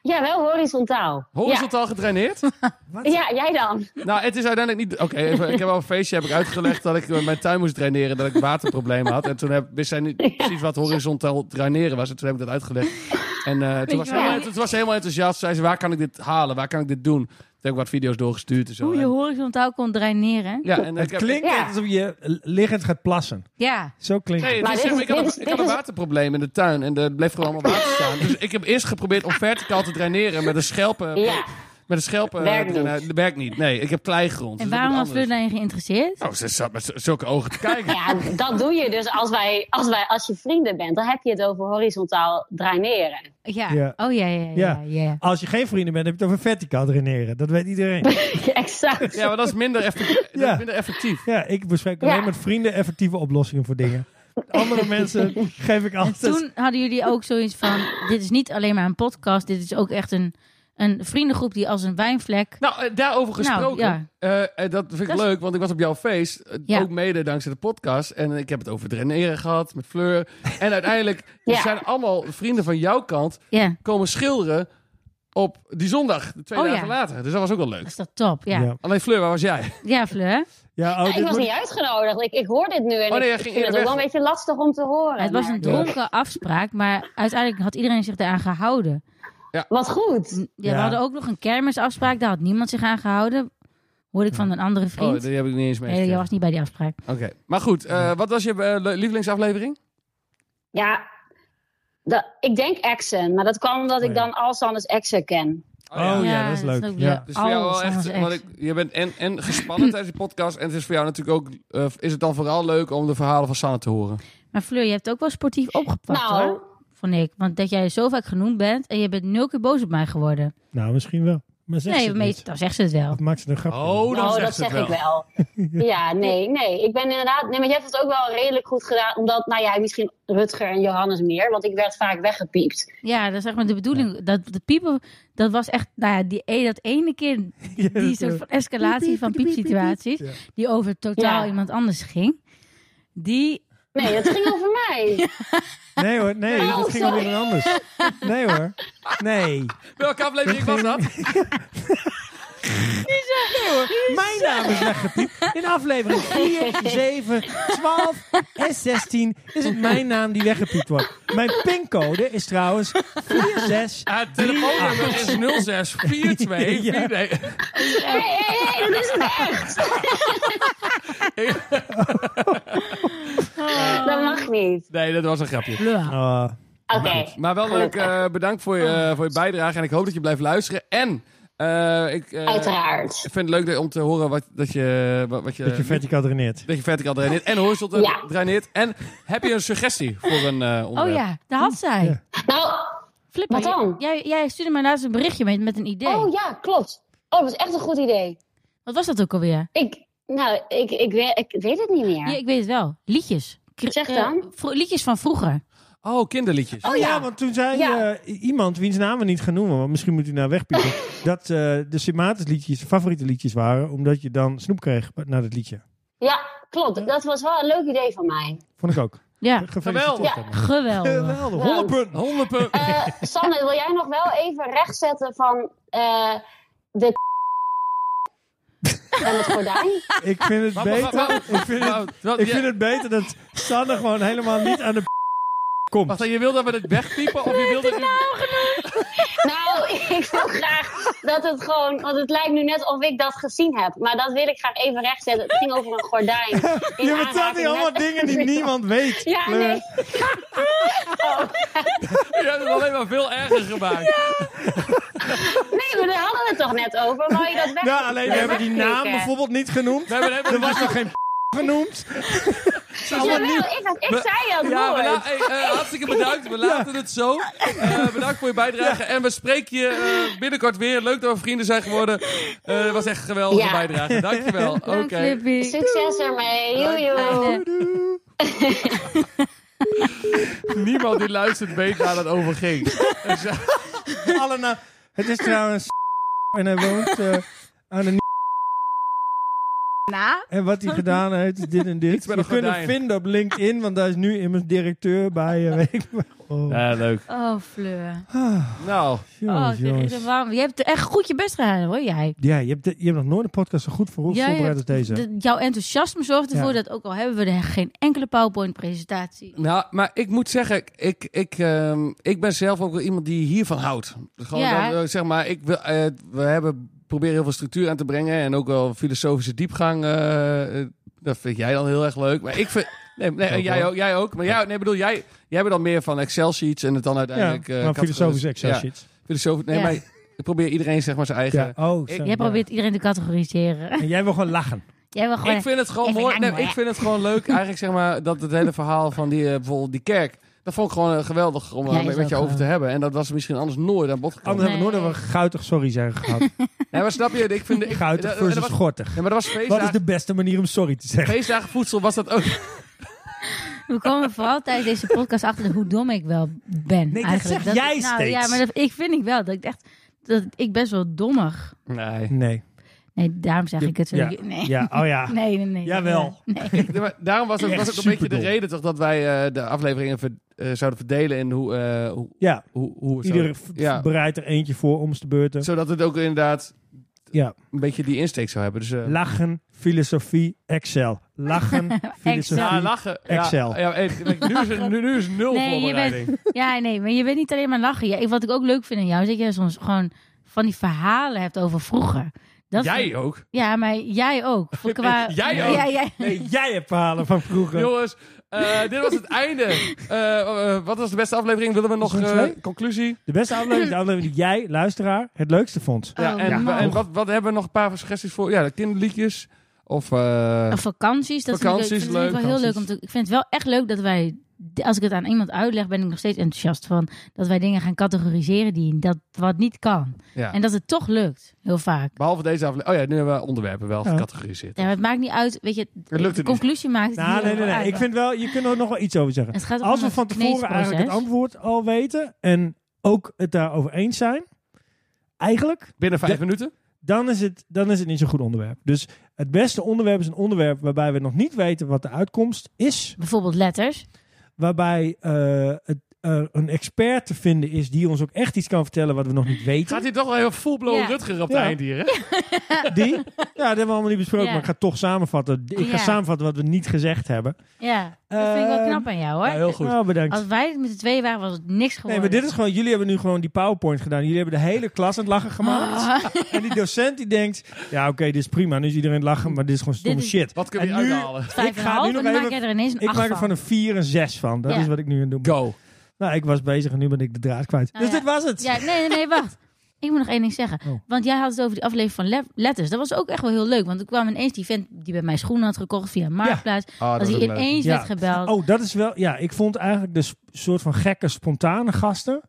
Speaker 6: Ja, wel horizontaal.
Speaker 2: Horizontaal gedraineerd?
Speaker 6: Ja, ja jij dan.
Speaker 2: nou, het is uiteindelijk niet... Oké, even- ik heb al een feestje heb ik uitgelegd dat ik eh, mijn tuin moest draineren. Dat ik waterproblemen had. En toen heb, wist zij niet precies wat horizontaal draineren was. En toen heb ik dat uitgelegd. En eh, toen, was
Speaker 1: je
Speaker 2: ze helemaal,
Speaker 1: wel?
Speaker 2: toen was ze helemaal enthousiast. Zei ze, waar kan ik dit halen? Waar kan ik dit doen? Toen heb ik wat video's doorgestuurd en zo.
Speaker 3: Oh,
Speaker 1: Hoe je
Speaker 2: En-
Speaker 1: horizontaal kon draineren.
Speaker 2: ja, en
Speaker 3: Het
Speaker 2: ik heb-
Speaker 3: klinkt
Speaker 6: Ja.
Speaker 3: net alsof je liggend gaat plassen.
Speaker 1: Ja.
Speaker 3: Zo klinkt
Speaker 2: Nee, het
Speaker 3: het.
Speaker 6: Maar
Speaker 2: is
Speaker 6: dit
Speaker 2: zeg maar, ik
Speaker 6: is-
Speaker 2: had,
Speaker 6: dit
Speaker 2: een,
Speaker 6: is-
Speaker 2: ik had een
Speaker 6: dit is-
Speaker 2: waterprobleem in de tuin en er bleef gewoon allemaal water staan. Dus ik heb eerst geprobeerd om verticaal te draineren met een schelpen.
Speaker 6: Ja.
Speaker 2: Met een schelpen.
Speaker 6: Werkt
Speaker 2: eh,
Speaker 6: niet.
Speaker 2: draina- Dat werkt niet. Nee, ik heb kleigrond.
Speaker 1: En
Speaker 2: dus dat
Speaker 1: waarom
Speaker 2: moet
Speaker 1: was Fleur
Speaker 2: anders.
Speaker 1: daarin geïnteresseerd?
Speaker 2: Oh, ze zat met z- zulke ogen te kijken.
Speaker 6: ja, dat doe je dus als, wij, als, wij, als je vrienden bent. Dan heb je het over horizontaal draineren.
Speaker 1: Ja.
Speaker 3: Ja.
Speaker 1: Oh ja, ja, ja.
Speaker 3: Ja.
Speaker 1: ja.
Speaker 3: Als je geen vrienden bent, heb je het over verticaal draineren. Dat weet iedereen.
Speaker 6: exact.
Speaker 2: Ja, maar dat is minder, effectief. dat is
Speaker 3: Ja.
Speaker 2: minder effectief.
Speaker 3: Ja, ik bespreek
Speaker 6: Ja.
Speaker 3: alleen met vrienden effectieve oplossingen voor dingen. Andere mensen geef ik
Speaker 1: En
Speaker 3: altijd...
Speaker 1: toen hadden jullie ook zoiets van: dit is niet alleen maar een podcast, dit is ook echt een, een vriendengroep die als een wijnvlek.
Speaker 2: Nou, eh, daarover
Speaker 1: Nou,
Speaker 2: gesproken.
Speaker 1: ja.
Speaker 2: eh, eh, dat vind ik
Speaker 1: Dat is-
Speaker 2: leuk, want ik was op jouw feest. eh,
Speaker 1: Ja.
Speaker 2: Ook mede dankzij de podcast. En ik heb het over draineren gehad met Fleur. En uiteindelijk
Speaker 6: Ja.
Speaker 2: zijn allemaal vrienden van jouw kant
Speaker 1: Ja,
Speaker 2: komen schilderen op die zondag, twee
Speaker 1: Oh,
Speaker 2: dagen
Speaker 1: ja.
Speaker 2: later. Dus dat was ook wel
Speaker 1: dat
Speaker 2: leuk.
Speaker 1: is dat top. Ja, ja.
Speaker 3: Ja.
Speaker 2: Alleen Fleur, waar was jij?
Speaker 1: Fleur.
Speaker 3: Ja, oh,
Speaker 6: Ja, ik
Speaker 3: dit
Speaker 6: was
Speaker 3: moet-
Speaker 6: niet uitgenodigd. Ik, ik hoor dit nu en
Speaker 2: Oh, nee, jij
Speaker 6: ik, ik
Speaker 2: ging
Speaker 6: vind het ook
Speaker 2: weg.
Speaker 6: wel een beetje lastig om te horen.
Speaker 1: het was een
Speaker 6: maar-
Speaker 1: dronken afspraak, maar uiteindelijk had iedereen zich eraan gehouden. Dus
Speaker 6: Wat goed.
Speaker 1: Ja,
Speaker 3: Ja.
Speaker 1: We hadden ook nog een kermisafspraak, daar had niemand zich aan gehouden. Hoorde ik van een andere
Speaker 2: Oh,
Speaker 1: vriend.
Speaker 2: die heb ik niet eens
Speaker 1: Nee,
Speaker 2: meegekregen.
Speaker 1: jij was niet bij die afspraak.
Speaker 2: Oké, maar goed. eh, wat was je eh, le- lievelingsaflevering?
Speaker 6: Ja, dat, ik denk Exen, maar dat kwam omdat
Speaker 3: Oh,
Speaker 6: ik
Speaker 3: ja.
Speaker 6: dan al Sannes Exen ken.
Speaker 3: Oh, ja, dat is leuk. Ja.
Speaker 2: Dus voor jou
Speaker 6: Oh,
Speaker 1: Alles
Speaker 2: wel echt,
Speaker 1: anders
Speaker 2: want ik, je bent en, en gespannen tijdens de podcast. En het is voor jou natuurlijk ook, eh, is het dan vooral leuk om de verhalen van Sanne te horen.
Speaker 1: Maar Fleur, je hebt ook wel sportief opgepakt
Speaker 6: Nou.
Speaker 1: hoor. Vond ik. Want dat jij zo vaak genoemd bent en je bent nul keer boos op mij geworden.
Speaker 3: Nou, misschien wel. Maar zeg ze
Speaker 1: nee,
Speaker 3: het
Speaker 1: meest,
Speaker 3: niet.
Speaker 1: dan zegt ze het wel.
Speaker 3: Of maakt ze een grapje?
Speaker 2: Oh, dan
Speaker 6: nou,
Speaker 2: zegt
Speaker 6: dat
Speaker 2: ze het
Speaker 6: zeg ik wel. ja, nee, nee. Ik ben inderdaad... Nee, maar jij hebt het ook wel redelijk goed gedaan. Omdat, nou ja, misschien Rutger en Johannes meer. Want ik werd vaak weggepiept.
Speaker 1: Ja, dat is zeg maar de bedoeling. Dat de piepen, dat was echt, nou ja, die, e- dat ene keer
Speaker 3: Ja, dat eh,
Speaker 1: die soort
Speaker 3: is-
Speaker 1: van escalatie van piepsituaties,
Speaker 3: Ja.
Speaker 1: die over totaal
Speaker 6: Ja.
Speaker 1: iemand anders ging. Die oh
Speaker 6: Nee, dat ging over mij.
Speaker 3: Nee hoor, nee,
Speaker 6: Oh,
Speaker 3: dat ging over
Speaker 6: sorry.
Speaker 3: iemand anders. Nee hoor, nee.
Speaker 7: Welke aflevering was dat?
Speaker 3: Mijn naam is weggepiept. In aflevering 4, 7, 12 en 16 is het mijn naam die weggepiept wordt. Mijn pincode is trouwens 46.
Speaker 7: Het telefoonnummer is 0642.
Speaker 3: Ja.
Speaker 7: Nee.
Speaker 6: Hé, hé, hé, dat is het echt. Dat mag niet.
Speaker 7: nee, dat was een grapje.
Speaker 1: Blua.
Speaker 3: Oh,
Speaker 6: Oké.
Speaker 2: Maar wel leuk. eh, bedankt voor je, voor je bijdrage. En ik hoop dat je blijft luisteren. En eh, ik eh,
Speaker 6: Uiteraard.
Speaker 2: ik vind het leuk om te horen wat, dat je, wat, wat je...
Speaker 3: dat je verticaal draineert.
Speaker 2: dat je verticaal draineert en horizontaal
Speaker 6: Ja.
Speaker 2: draineert. En heb je een suggestie voor een eh onderwerp?
Speaker 1: Oh ja, daar had zij.
Speaker 3: Ja.
Speaker 6: Nou,
Speaker 1: Flipper,
Speaker 6: Wat dan?
Speaker 1: Jij, jij stuurde mij laatst een berichtje met, met een idee.
Speaker 6: oh ja, klopt. Oh, dat is echt een goed idee.
Speaker 1: Wat was dat ook alweer?
Speaker 6: Ik, nou, ik, ik, weet, ik weet het niet meer.
Speaker 1: Ja, ik weet het wel. Liedjes. Kr-
Speaker 6: Zeg
Speaker 1: eh,
Speaker 6: dan.
Speaker 1: vro- liedjes van vroeger.
Speaker 2: Oh, kinderliedjes.
Speaker 3: Oh ja, want toen zei
Speaker 6: Ja.
Speaker 3: eh, iemand, wiens naam we niet gaan noemen, want misschien moet hij nou wegpiepen, dat eh, de Simatis liedjes de favoriete liedjes waren, omdat je dan snoep kreeg na dat liedje.
Speaker 6: Ja, klopt. Dat was wel een leuk idee van mij.
Speaker 3: Vond ik ook.
Speaker 1: Ja,
Speaker 3: Gefeliciteerd.
Speaker 6: Ja.
Speaker 3: allemaal.
Speaker 1: geweldig.
Speaker 3: Geweldig. 100 punten.
Speaker 2: 100 punten.
Speaker 6: Eh Sanne, wil jij nog wel even rechtzetten van eh, de en het gordijn?
Speaker 3: Ik vind het
Speaker 2: Wat- wat-
Speaker 3: beter.
Speaker 2: wat-
Speaker 3: Ik vind het
Speaker 2: Nou, wat-
Speaker 3: Ik
Speaker 2: je-
Speaker 3: vind het beter dat Sanne gewoon helemaal niet aan de p- komt.
Speaker 2: Wacht, je wil dat we het wegpiepen of je wil dat...
Speaker 6: Nou, ik wil graag dat het gewoon... Want het lijkt nu net of ik dat gezien heb. Maar dat wil ik graag even rechtzetten. Het ging over een gordijn. in
Speaker 3: Je vertelt
Speaker 6: aanraking
Speaker 3: hier allemaal
Speaker 6: met-
Speaker 3: dingen die niemand weet.
Speaker 6: Ja,
Speaker 3: Fleur.
Speaker 6: nee.
Speaker 7: Je hebt het alleen maar veel erger gemaakt.
Speaker 6: Nee, maar daar hadden we het toch net over. Wou je dat weg?
Speaker 3: Nou, alleen we hebben die
Speaker 6: wegklikken.
Speaker 3: naam bijvoorbeeld niet genoemd.
Speaker 7: Nee, we hebben
Speaker 3: Er was nog geen p- genoemd.
Speaker 6: Jawel, ik, ik zei dat
Speaker 7: Ja, we
Speaker 6: woord.
Speaker 7: la- hey, eh, hartstikke bedankt. We laten het zo. Eh, bedankt voor je bijdrage. En we spreken je eh, binnenkort weer. Leuk dat we vrienden zijn geworden. Eh, Het was echt een geweldige
Speaker 6: Ja.
Speaker 7: bijdrage. Dankjewel. Oké.
Speaker 1: Dank, Flippy.
Speaker 6: Succes ermee. Joe, joe.
Speaker 2: Niemand die luistert weet waar dat over ging.
Speaker 3: Alle na- Het is trouwens en hij woont eh, aan een
Speaker 1: Na?
Speaker 3: en wat hij gedaan heeft is dit en dit.
Speaker 2: Iets met
Speaker 3: We
Speaker 2: een
Speaker 3: kunnen
Speaker 2: gordijn.
Speaker 3: vinden op LinkedIn, want daar is nu immers directeur bij. eh, weet ik wel. oh.
Speaker 2: Ja, leuk.
Speaker 1: Oh, Fleur.
Speaker 3: Ah,
Speaker 2: Nou,
Speaker 1: Oh,
Speaker 3: jongens,
Speaker 1: ik vind het
Speaker 3: jongens.
Speaker 1: warm. Je hebt echt goed je best gedaan, hoor, jij.
Speaker 3: Ja, je hebt, de- je hebt nog nooit een podcast zo goed voor
Speaker 1: Jij
Speaker 3: voorbereid als
Speaker 1: hebt-
Speaker 3: deze.
Speaker 1: de- jouw enthousiasme zorgt ervoor
Speaker 3: Ja.
Speaker 1: dat ook al hebben we er geen enkele PowerPoint-presentatie.
Speaker 2: nou, maar ik moet zeggen, ik, ik, ehm, ik ben zelf ook wel iemand die hiervan houdt. Gewoon,
Speaker 1: Ja.
Speaker 2: dat, eh, zeg maar, ik wil, eh, we hebben proberen heel veel structuur aan te brengen en ook wel filosofische diepgang. eh, eh, dat vind jij dan heel erg leuk. Maar ik vind, nee, nee,
Speaker 3: Ook
Speaker 2: jij
Speaker 3: wel.
Speaker 2: ook, jij ook. Maar jij, nee, bedoel, jij, jij bent dan meer van Excel sheets en het dan
Speaker 3: ja,
Speaker 2: uiteindelijk. eh,
Speaker 3: maar
Speaker 2: categorie-
Speaker 3: filosofische Excel
Speaker 2: Ja,
Speaker 3: sheets.
Speaker 2: filosofisch- nee,
Speaker 1: Ja.
Speaker 2: maar ik probeer iedereen zeg maar zijn eigen.
Speaker 3: Ja. Oh,
Speaker 2: Ik-
Speaker 3: zo,
Speaker 1: Jij
Speaker 3: ja.
Speaker 1: probeert iedereen te categoriseren.
Speaker 3: En jij wil gewoon lachen.
Speaker 2: Oh,
Speaker 1: Jij wil gewoon...
Speaker 2: Ik vind het gewoon
Speaker 1: Even
Speaker 2: mooi. Nee,
Speaker 1: lang,
Speaker 2: ik
Speaker 1: hè?
Speaker 2: vind het gewoon leuk eigenlijk zeg maar dat het hele verhaal van die eh, bijvoorbeeld die kerk. Dat vond ik gewoon eh, geweldig om
Speaker 1: Ja,
Speaker 2: daar
Speaker 1: is
Speaker 2: met je
Speaker 1: ook,
Speaker 2: over te
Speaker 1: eh,
Speaker 2: hebben. En dat was misschien anders nooit aan bod gekomen.
Speaker 3: Anders hebben we nooit dat we guitig sorry zeggen gehad.
Speaker 2: Nee, maar snap je? Ik vind ik, eh,
Speaker 3: Guitig
Speaker 2: dat- dat
Speaker 3: versus
Speaker 2: was-
Speaker 3: gortig.
Speaker 2: Ja, maar dat was
Speaker 3: Wat is
Speaker 2: feestdagen.
Speaker 3: de beste manier om sorry te zeggen?
Speaker 2: Feestdagen voedsel was dat ook.
Speaker 1: We komen vooral tijdens deze podcast achter hoe dom ik wel ben.
Speaker 3: dat
Speaker 1: eigenlijk.
Speaker 3: zeg jij
Speaker 1: nou,
Speaker 3: steeds.
Speaker 1: Ja, maar dat, ik vind ik wel dat ik echt... Dat ik best wel dommig...
Speaker 2: Nee.
Speaker 3: Nee.
Speaker 1: Nee, daarom zeg ik het zo. Nee.
Speaker 3: Ja, oh ja.
Speaker 1: Nee, nee, nee.
Speaker 3: Jawel.
Speaker 1: Nee.
Speaker 2: Ja, maar daarom was het
Speaker 3: Echt
Speaker 2: was ook een beetje de
Speaker 3: superdom.
Speaker 2: reden toch dat wij eh, de afleveringen ver- eh, zouden verdelen in hoe, eh, hoe,
Speaker 3: Ja.
Speaker 2: hoe, hoe we
Speaker 3: Ieder
Speaker 2: zouden-
Speaker 3: v-
Speaker 2: ja,
Speaker 3: bereidt er eentje voor om de beurten.
Speaker 2: Zodat het ook inderdaad
Speaker 3: Ja.
Speaker 2: een beetje die insteek zou hebben. Dus, eh,
Speaker 3: Lachen, filosofie, Excel. Lachen,
Speaker 2: ja,
Speaker 3: filosofie.
Speaker 2: lachen. Ja,
Speaker 3: Excel.
Speaker 2: Ja, eh, nu, is, er- nu, nu is nul
Speaker 1: Nee, je
Speaker 2: voorbereiding.
Speaker 1: Ja, nee, maar je bent niet alleen maar lachen. Ja, ik- wat ik ook leuk vind aan jou, is dat jij soms gewoon van die verhalen hebt over vroeger. Dat vind ik-
Speaker 2: Jij ook.
Speaker 1: Ja, maar jij ook. Voor qua-
Speaker 2: Jij ook.
Speaker 1: Ja, jij-
Speaker 3: Nee, jij hebt verhalen van vroeger.
Speaker 2: Jongens, eh, dit was het einde. Eh, eh, wat was de beste aflevering? Willen we nog
Speaker 3: Seizoen
Speaker 2: eh,
Speaker 3: twee?
Speaker 2: conclusie?
Speaker 3: De beste aflevering is de aflevering die jij, luisteraar, het leukste vond.
Speaker 1: Oh,
Speaker 2: en
Speaker 1: man.
Speaker 2: en wat, wat hebben we nog een paar suggesties voor? Ja, de kinderliedjes. Of eh,
Speaker 1: Of vakanties, dat
Speaker 2: Vakanties,
Speaker 1: vind ik, leuk. ik vind het
Speaker 2: leuk.
Speaker 1: wel heel leuk om te. Ik vind het wel echt leuk dat wij, als ik het aan iemand uitleg, ben ik nog steeds enthousiast van dat wij dingen gaan categoriseren die dat wat niet kan.
Speaker 2: ja.
Speaker 1: En dat het toch lukt, heel vaak.
Speaker 2: behalve deze aflevering. Oh ja, nu hebben we onderwerpen wel
Speaker 3: Ja.
Speaker 2: gecategoriseerd.
Speaker 1: Ja, maar het maakt niet uit, weet je,
Speaker 2: Het lukt
Speaker 1: de
Speaker 2: het niet.
Speaker 1: conclusie maakt het
Speaker 3: Nou,
Speaker 1: niet
Speaker 3: nee, nee, nee.
Speaker 1: uit.
Speaker 3: Ik vind wel, je kunt er nog wel iets over zeggen.
Speaker 1: Het gaat ook
Speaker 3: Als
Speaker 1: om
Speaker 3: we
Speaker 1: het
Speaker 3: van tevoren eigenlijk het
Speaker 1: kneesproces.
Speaker 3: antwoord al weten en ook het daarover eens zijn, eigenlijk
Speaker 2: Binnen vijf minuten?
Speaker 3: dan is, het, dan is het niet zo'n goed onderwerp. Dus het beste onderwerp is een onderwerp waarbij we nog niet weten wat de uitkomst is.
Speaker 1: Bijvoorbeeld letters.
Speaker 3: Waarbij eh, het, er een expert te vinden is die ons ook echt iets kan vertellen wat we nog niet weten.
Speaker 2: Gaat hier toch wel heel full-blown
Speaker 1: Ja.
Speaker 2: Rutger op de
Speaker 3: Ja.
Speaker 2: einddier, hè?
Speaker 3: Die? Ja, dat hebben we allemaal niet besproken,
Speaker 1: Ja.
Speaker 3: maar ik ga toch samenvatten. Ik ga
Speaker 1: Ja.
Speaker 3: samenvatten wat we niet gezegd hebben.
Speaker 1: Ja, dat vind ik wel
Speaker 3: Ehm,
Speaker 1: knap aan jou hoor.
Speaker 2: Ja, heel goed.
Speaker 3: Nou, bedankt.
Speaker 1: Als wij met de twee waren, was het niks
Speaker 3: Nee,
Speaker 1: geworden.
Speaker 3: maar dit is gewoon, jullie hebben nu gewoon die PowerPoint gedaan. Jullie hebben de hele klas aan het lachen gemaakt.
Speaker 1: Ah,
Speaker 3: En die docent die denkt, ja oké, dit is prima. Nu is iedereen aan het lachen, maar dit is gewoon stomme
Speaker 1: Dit is-
Speaker 3: shit.
Speaker 2: Wat kun je
Speaker 3: En nu-
Speaker 2: uithalen?
Speaker 1: vijf
Speaker 3: Ik
Speaker 1: en
Speaker 3: ga
Speaker 1: een half,
Speaker 3: nu nog
Speaker 1: en dan maak
Speaker 3: even-
Speaker 1: jij er ineens een
Speaker 3: Ik
Speaker 1: acht
Speaker 3: maak er van
Speaker 1: van.
Speaker 3: een 4 en 6 van. Dat
Speaker 1: Ja.
Speaker 3: is wat ik nu aan het doen ben.
Speaker 2: Go.
Speaker 3: Nou, ik was bezig en nu ben ik de draad kwijt.
Speaker 1: Nou
Speaker 3: dus
Speaker 1: ja.
Speaker 3: dit was het.
Speaker 1: Ja, nee, nee, nee, wacht. Ik moet nog één ding zeggen.
Speaker 3: Oh.
Speaker 1: Want jij had het over die aflevering van le- letters. Dat was ook echt wel heel leuk. Want er kwam ineens die vent die bij mij schoenen had gekocht via Marktplaats.
Speaker 3: Oh,
Speaker 2: Ah,
Speaker 1: Als
Speaker 2: is
Speaker 1: hij
Speaker 2: ook leuk.
Speaker 1: ineens
Speaker 3: Ja.
Speaker 1: werd gebeld.
Speaker 3: Oh, dat is wel... Ja, ik vond eigenlijk de sp- soort van gekke, spontane gasten...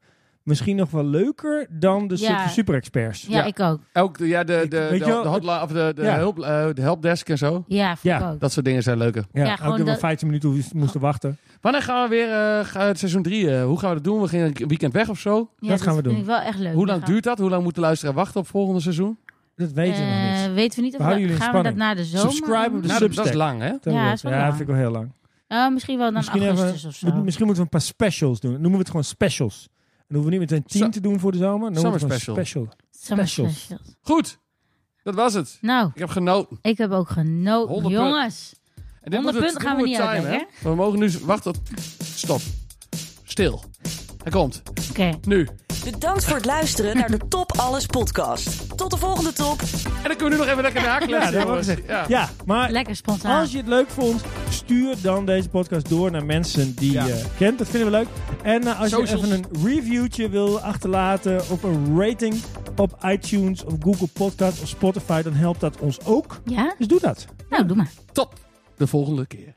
Speaker 3: misschien nog wel leuker dan de
Speaker 1: Ja.
Speaker 3: super superexperts.
Speaker 1: ja,
Speaker 2: ja.
Speaker 1: ik ook.
Speaker 2: Ook de- ja, de, de,
Speaker 3: Ik- weet
Speaker 2: de,
Speaker 3: je wel,
Speaker 2: de hotla- of de, de,
Speaker 3: ja.
Speaker 2: hulp, eh, de helpdesk en zo.
Speaker 1: Ja, vond
Speaker 3: Ja.
Speaker 1: ik ook.
Speaker 2: Dat soort dingen zijn leuker.
Speaker 3: Ja,
Speaker 1: Ja,
Speaker 3: ook
Speaker 1: gewoon
Speaker 3: dat we
Speaker 1: dat-
Speaker 3: 15 minuten hoef- moesten wachten.
Speaker 2: Wanneer gaan we weer eh, ga- het seizoen 3? hoe gaan we dat doen? We gingen een weekend weg of zo?
Speaker 1: Ja,
Speaker 3: dat gaan we doen.
Speaker 1: vind ik wel echt leuk.
Speaker 2: Hoe
Speaker 1: We
Speaker 2: lang
Speaker 1: gaan-
Speaker 2: duurt dat? Hoe lang moet de luisteraar wachten op volgende seizoen?
Speaker 3: Dat weten we nog
Speaker 1: Eh,
Speaker 3: niet.
Speaker 1: Weten we niet. Of
Speaker 3: We houden
Speaker 1: we-
Speaker 3: jullie in
Speaker 1: gaan we dat
Speaker 3: spanning.
Speaker 1: na de zomer?
Speaker 3: Subscribe op de
Speaker 1: doen?
Speaker 2: Nou, dat- dat is
Speaker 3: substack.
Speaker 2: lang, hè?
Speaker 1: Ja, dat is wel
Speaker 3: ja,
Speaker 1: lang.
Speaker 3: vind ik wel heel lang.
Speaker 1: Nou, misschien wel dan
Speaker 3: Misschien,
Speaker 1: augustus
Speaker 3: even-
Speaker 1: of zo.
Speaker 3: we- misschien moeten we een paar specials doen. Dan noemen we het gewoon specials. Dan hoeven we niet meteen 10
Speaker 2: Zo-
Speaker 3: te doen voor de zomer. Dan noemen we het gewoon
Speaker 2: Zomerspecial.
Speaker 3: special.
Speaker 1: Summer
Speaker 3: specials.
Speaker 1: specials.
Speaker 2: Goed, dat was het.
Speaker 1: Nou,
Speaker 2: Ik heb genoten.
Speaker 1: ik heb ook
Speaker 2: 100
Speaker 1: genoten.
Speaker 2: punten.
Speaker 1: Jongens,
Speaker 2: En
Speaker 1: 100
Speaker 2: moeten we-
Speaker 1: punten gaan we
Speaker 2: moeten
Speaker 1: niet
Speaker 2: timen,
Speaker 1: uitleggen,
Speaker 2: hè? We mogen nu... Wacht, tot- stop. Stil. Hij komt.
Speaker 1: oké.
Speaker 2: Nu.
Speaker 4: Bedankt voor het luisteren naar de Top Alles podcast. Tot de volgende top.
Speaker 2: En dan kunnen we nu nog even lekker nakletsen.
Speaker 3: Ja, dat hebben we
Speaker 2: jongens.
Speaker 3: gezegd.
Speaker 2: Ja.
Speaker 3: Ja, maar
Speaker 1: Lekker spontaan.
Speaker 3: als je het leuk vond, stuur dan deze podcast door naar mensen die
Speaker 2: Ja.
Speaker 3: je kent. Dat vinden we leuk. En eh, als
Speaker 2: Socials.
Speaker 3: je even een reviewtje wil achterlaten of een rating op iTunes of Google Podcast of Spotify, dan helpt dat ons ook.
Speaker 1: Ja?
Speaker 3: Dus doe dat.
Speaker 1: Nou, doe maar.
Speaker 2: Top. De volgende keer.